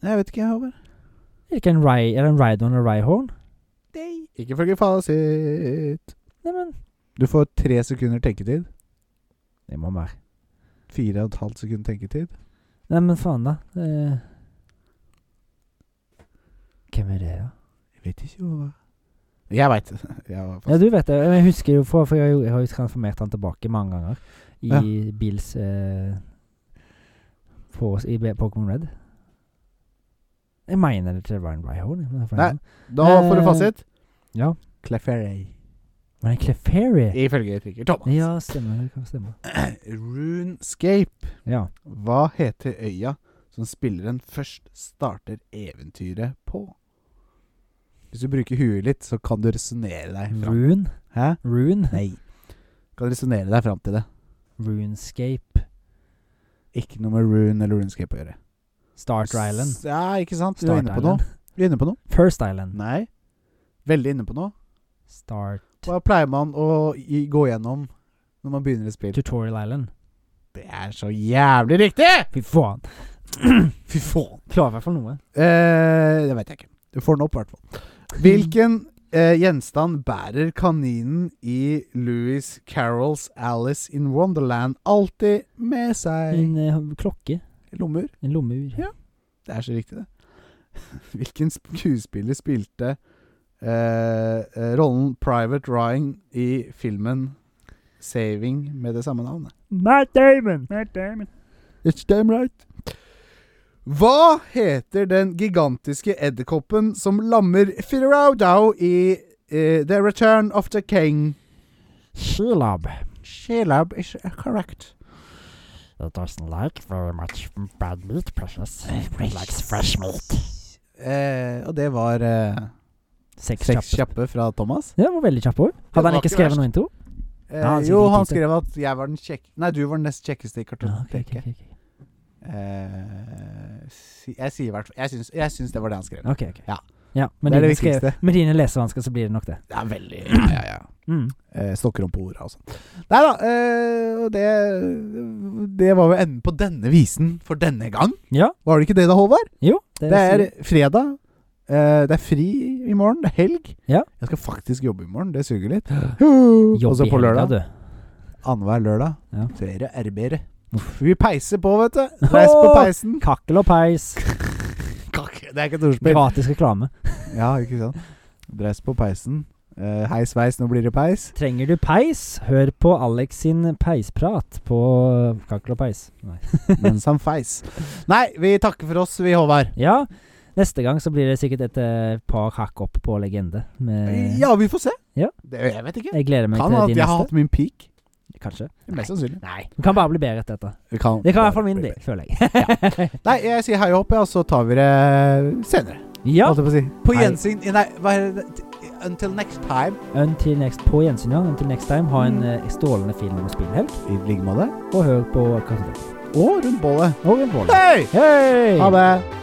S1: Jeg vet ikke, Håvard.
S2: Er det ikke en Rai, er det en Rydon og Ryhorn?
S1: Ikke følge fasit.
S2: Neimen
S1: Du får tre sekunder tenketid.
S2: Det må mer.
S1: Fire og et halvt sekund tenketid.
S2: Neimen, faen, da. Eh, Hvem er det, da?
S1: Jeg vet ikke, Håvard. Jeg veit det. Jeg var fast-
S2: Ja, du vet det. Jeg husker jo for, for jeg, har jo- jeg har jo transformert han tilbake mange ganger i Bills eh, på, I Be- Pokémon Red. Jeg mener det til Ryan Ryhorn. men det er for
S1: Nei.
S2: en annen.
S1: Da får du fasit.
S2: Eh, Ja.
S1: Clefairy.
S2: Men det er Clefairy.
S1: Ifølge Trigger Thomas.
S2: Ja, stemmer. Det kan stemme.
S1: Runescape.
S2: Ja.
S1: Hva heter øya som spilleren først starter eventyret på? Hvis du bruker huet litt, så kan du resonnere deg fram.
S2: Rune.
S1: Hæ?
S2: Rune.
S1: Nei. Kan resonnere deg fram til det.
S2: Runescape.
S1: Ikke noe med rune eller runescape å gjøre.
S2: Start Island.
S1: S- Ja, ikke sant? Du er
S2: Start
S1: inne på noe. Du er inne på noe.
S2: First Island.
S1: Nei. Veldig inne på noe.
S2: Start
S1: Hva pleier man å i, gå gjennom når man begynner et spill?
S2: Tutorial Island.
S1: Det er så jævlig riktig!
S2: Fy faen.
S1: Fy faen.
S2: Klarer i hvert fall noe.
S1: Eh, det veit jeg ikke. Du får den opp, i hvert fall. Hvilken eh, gjenstand bærer kaninen i Louis Carrolls Alice in Wonderland alltid med seg?
S2: En eh, klokke.
S1: Lommer.
S2: En lommeur.
S1: Ja. Det er så riktig, det. Hvilken skuespiller spilte eh, eh, rollen Private Ryan i filmen 'Saving' med det samme navnet?
S2: Matt Damon. Matt Damon.
S1: It's damn right. Hva heter den gigantiske edderkoppen som lammer Firaudao i eh, The Return of the King?
S2: Shelob.
S1: Shelab is
S2: eh,
S1: correct.
S3: It doesn't like very much bad meat, precious. It likes fresh meat.
S1: Eh, og det var eh,
S2: Seks
S1: seks
S2: kjappe.
S1: kjappe fra Thomas.
S2: Det var veldig kjappe ord. Hadde han
S1: var
S2: ikke
S1: ikke
S2: skrevet
S1: verst.
S2: noe intro?
S1: Eh,
S2: Ja, han sier
S1: jo, han
S2: ikke det.
S1: skrev at jeg var den kjekke Nei, du var den nest kjekkeste i
S2: Ja, ok, ok,
S1: kartoteket.
S2: ok,
S1: Eh, si, jeg sier i hvert fall jeg, syns- jeg syns det var det han skrev.
S2: ok. Ok, ok.
S1: Ja.
S2: ja men
S1: Det er
S2: dine
S1: det
S2: skrev-
S1: viktigste.
S2: Med dine lesevansker så blir det nok det.
S1: Det er veldig Ja, ja, ja.
S2: Mm.
S1: Eh, Stokker om på ordet, altså. Nei da. Eh, og det, det var jo enden på denne visen for denne gang.
S2: Ja,
S1: Var det ikke det da, Håvard?
S2: jo.
S1: Det er fredag. Eh, det er fri i morgen. Det er helg.
S2: Ja.
S1: Jeg skal faktisk jobbe i morgen. Det suger litt.
S2: jobb
S1: Og så
S2: i
S1: på
S2: helga,
S1: lørdag.
S2: du.
S1: Annenhver lørdag
S2: Ja.
S1: så er det arbeid. Vi peiser på, vet du. Reis på
S2: Åh!
S1: peisen.
S2: Kakkel og peis.
S1: Kakk. Det er ikke et ordspill.
S2: Gratis reklame.
S1: Ja, ikke sant. Reis på peisen. Eh, hei sveis, nå blir det peis.
S2: Trenger du peis, hør på Alex sin peisprat på Kakkel og peis. Nei.
S1: Mens han feis. Nei, vi takker for oss, vi, Håvard.
S2: Ja, neste gang så blir det sikkert et eh, par hakk opp på legende. Med,
S1: Ja, vi får se.
S2: Eh. Ja.
S1: Det, jeg vet ikke.
S2: Jeg gleder meg
S1: Kan hende
S2: til
S1: at
S2: de
S1: jeg har
S2: neste.
S1: hatt min peak.
S2: Kanskje.
S1: Mest sannsynlig.
S2: Nei. Du kan bare bli bedre etter dette.
S1: Det kan
S2: Det kan i hvert fall min bli, føler jeg.
S1: Nei, jeg sier hei og hopp, ja, og så tar vi det senere.
S2: ja.
S1: holdt jeg på å si. På
S2: Hei.
S1: gjensyn Nei, hva er det? T- Until next time.
S2: Until next, på gjensyn, ja. Until next time. Ha en eh, strålende film- og spillhelg.
S1: I like måte.
S2: Og hør på Kassetten.
S1: Og rundt bålet.
S2: Og en bolle.
S1: Hei!
S2: Hei!
S1: Ha det.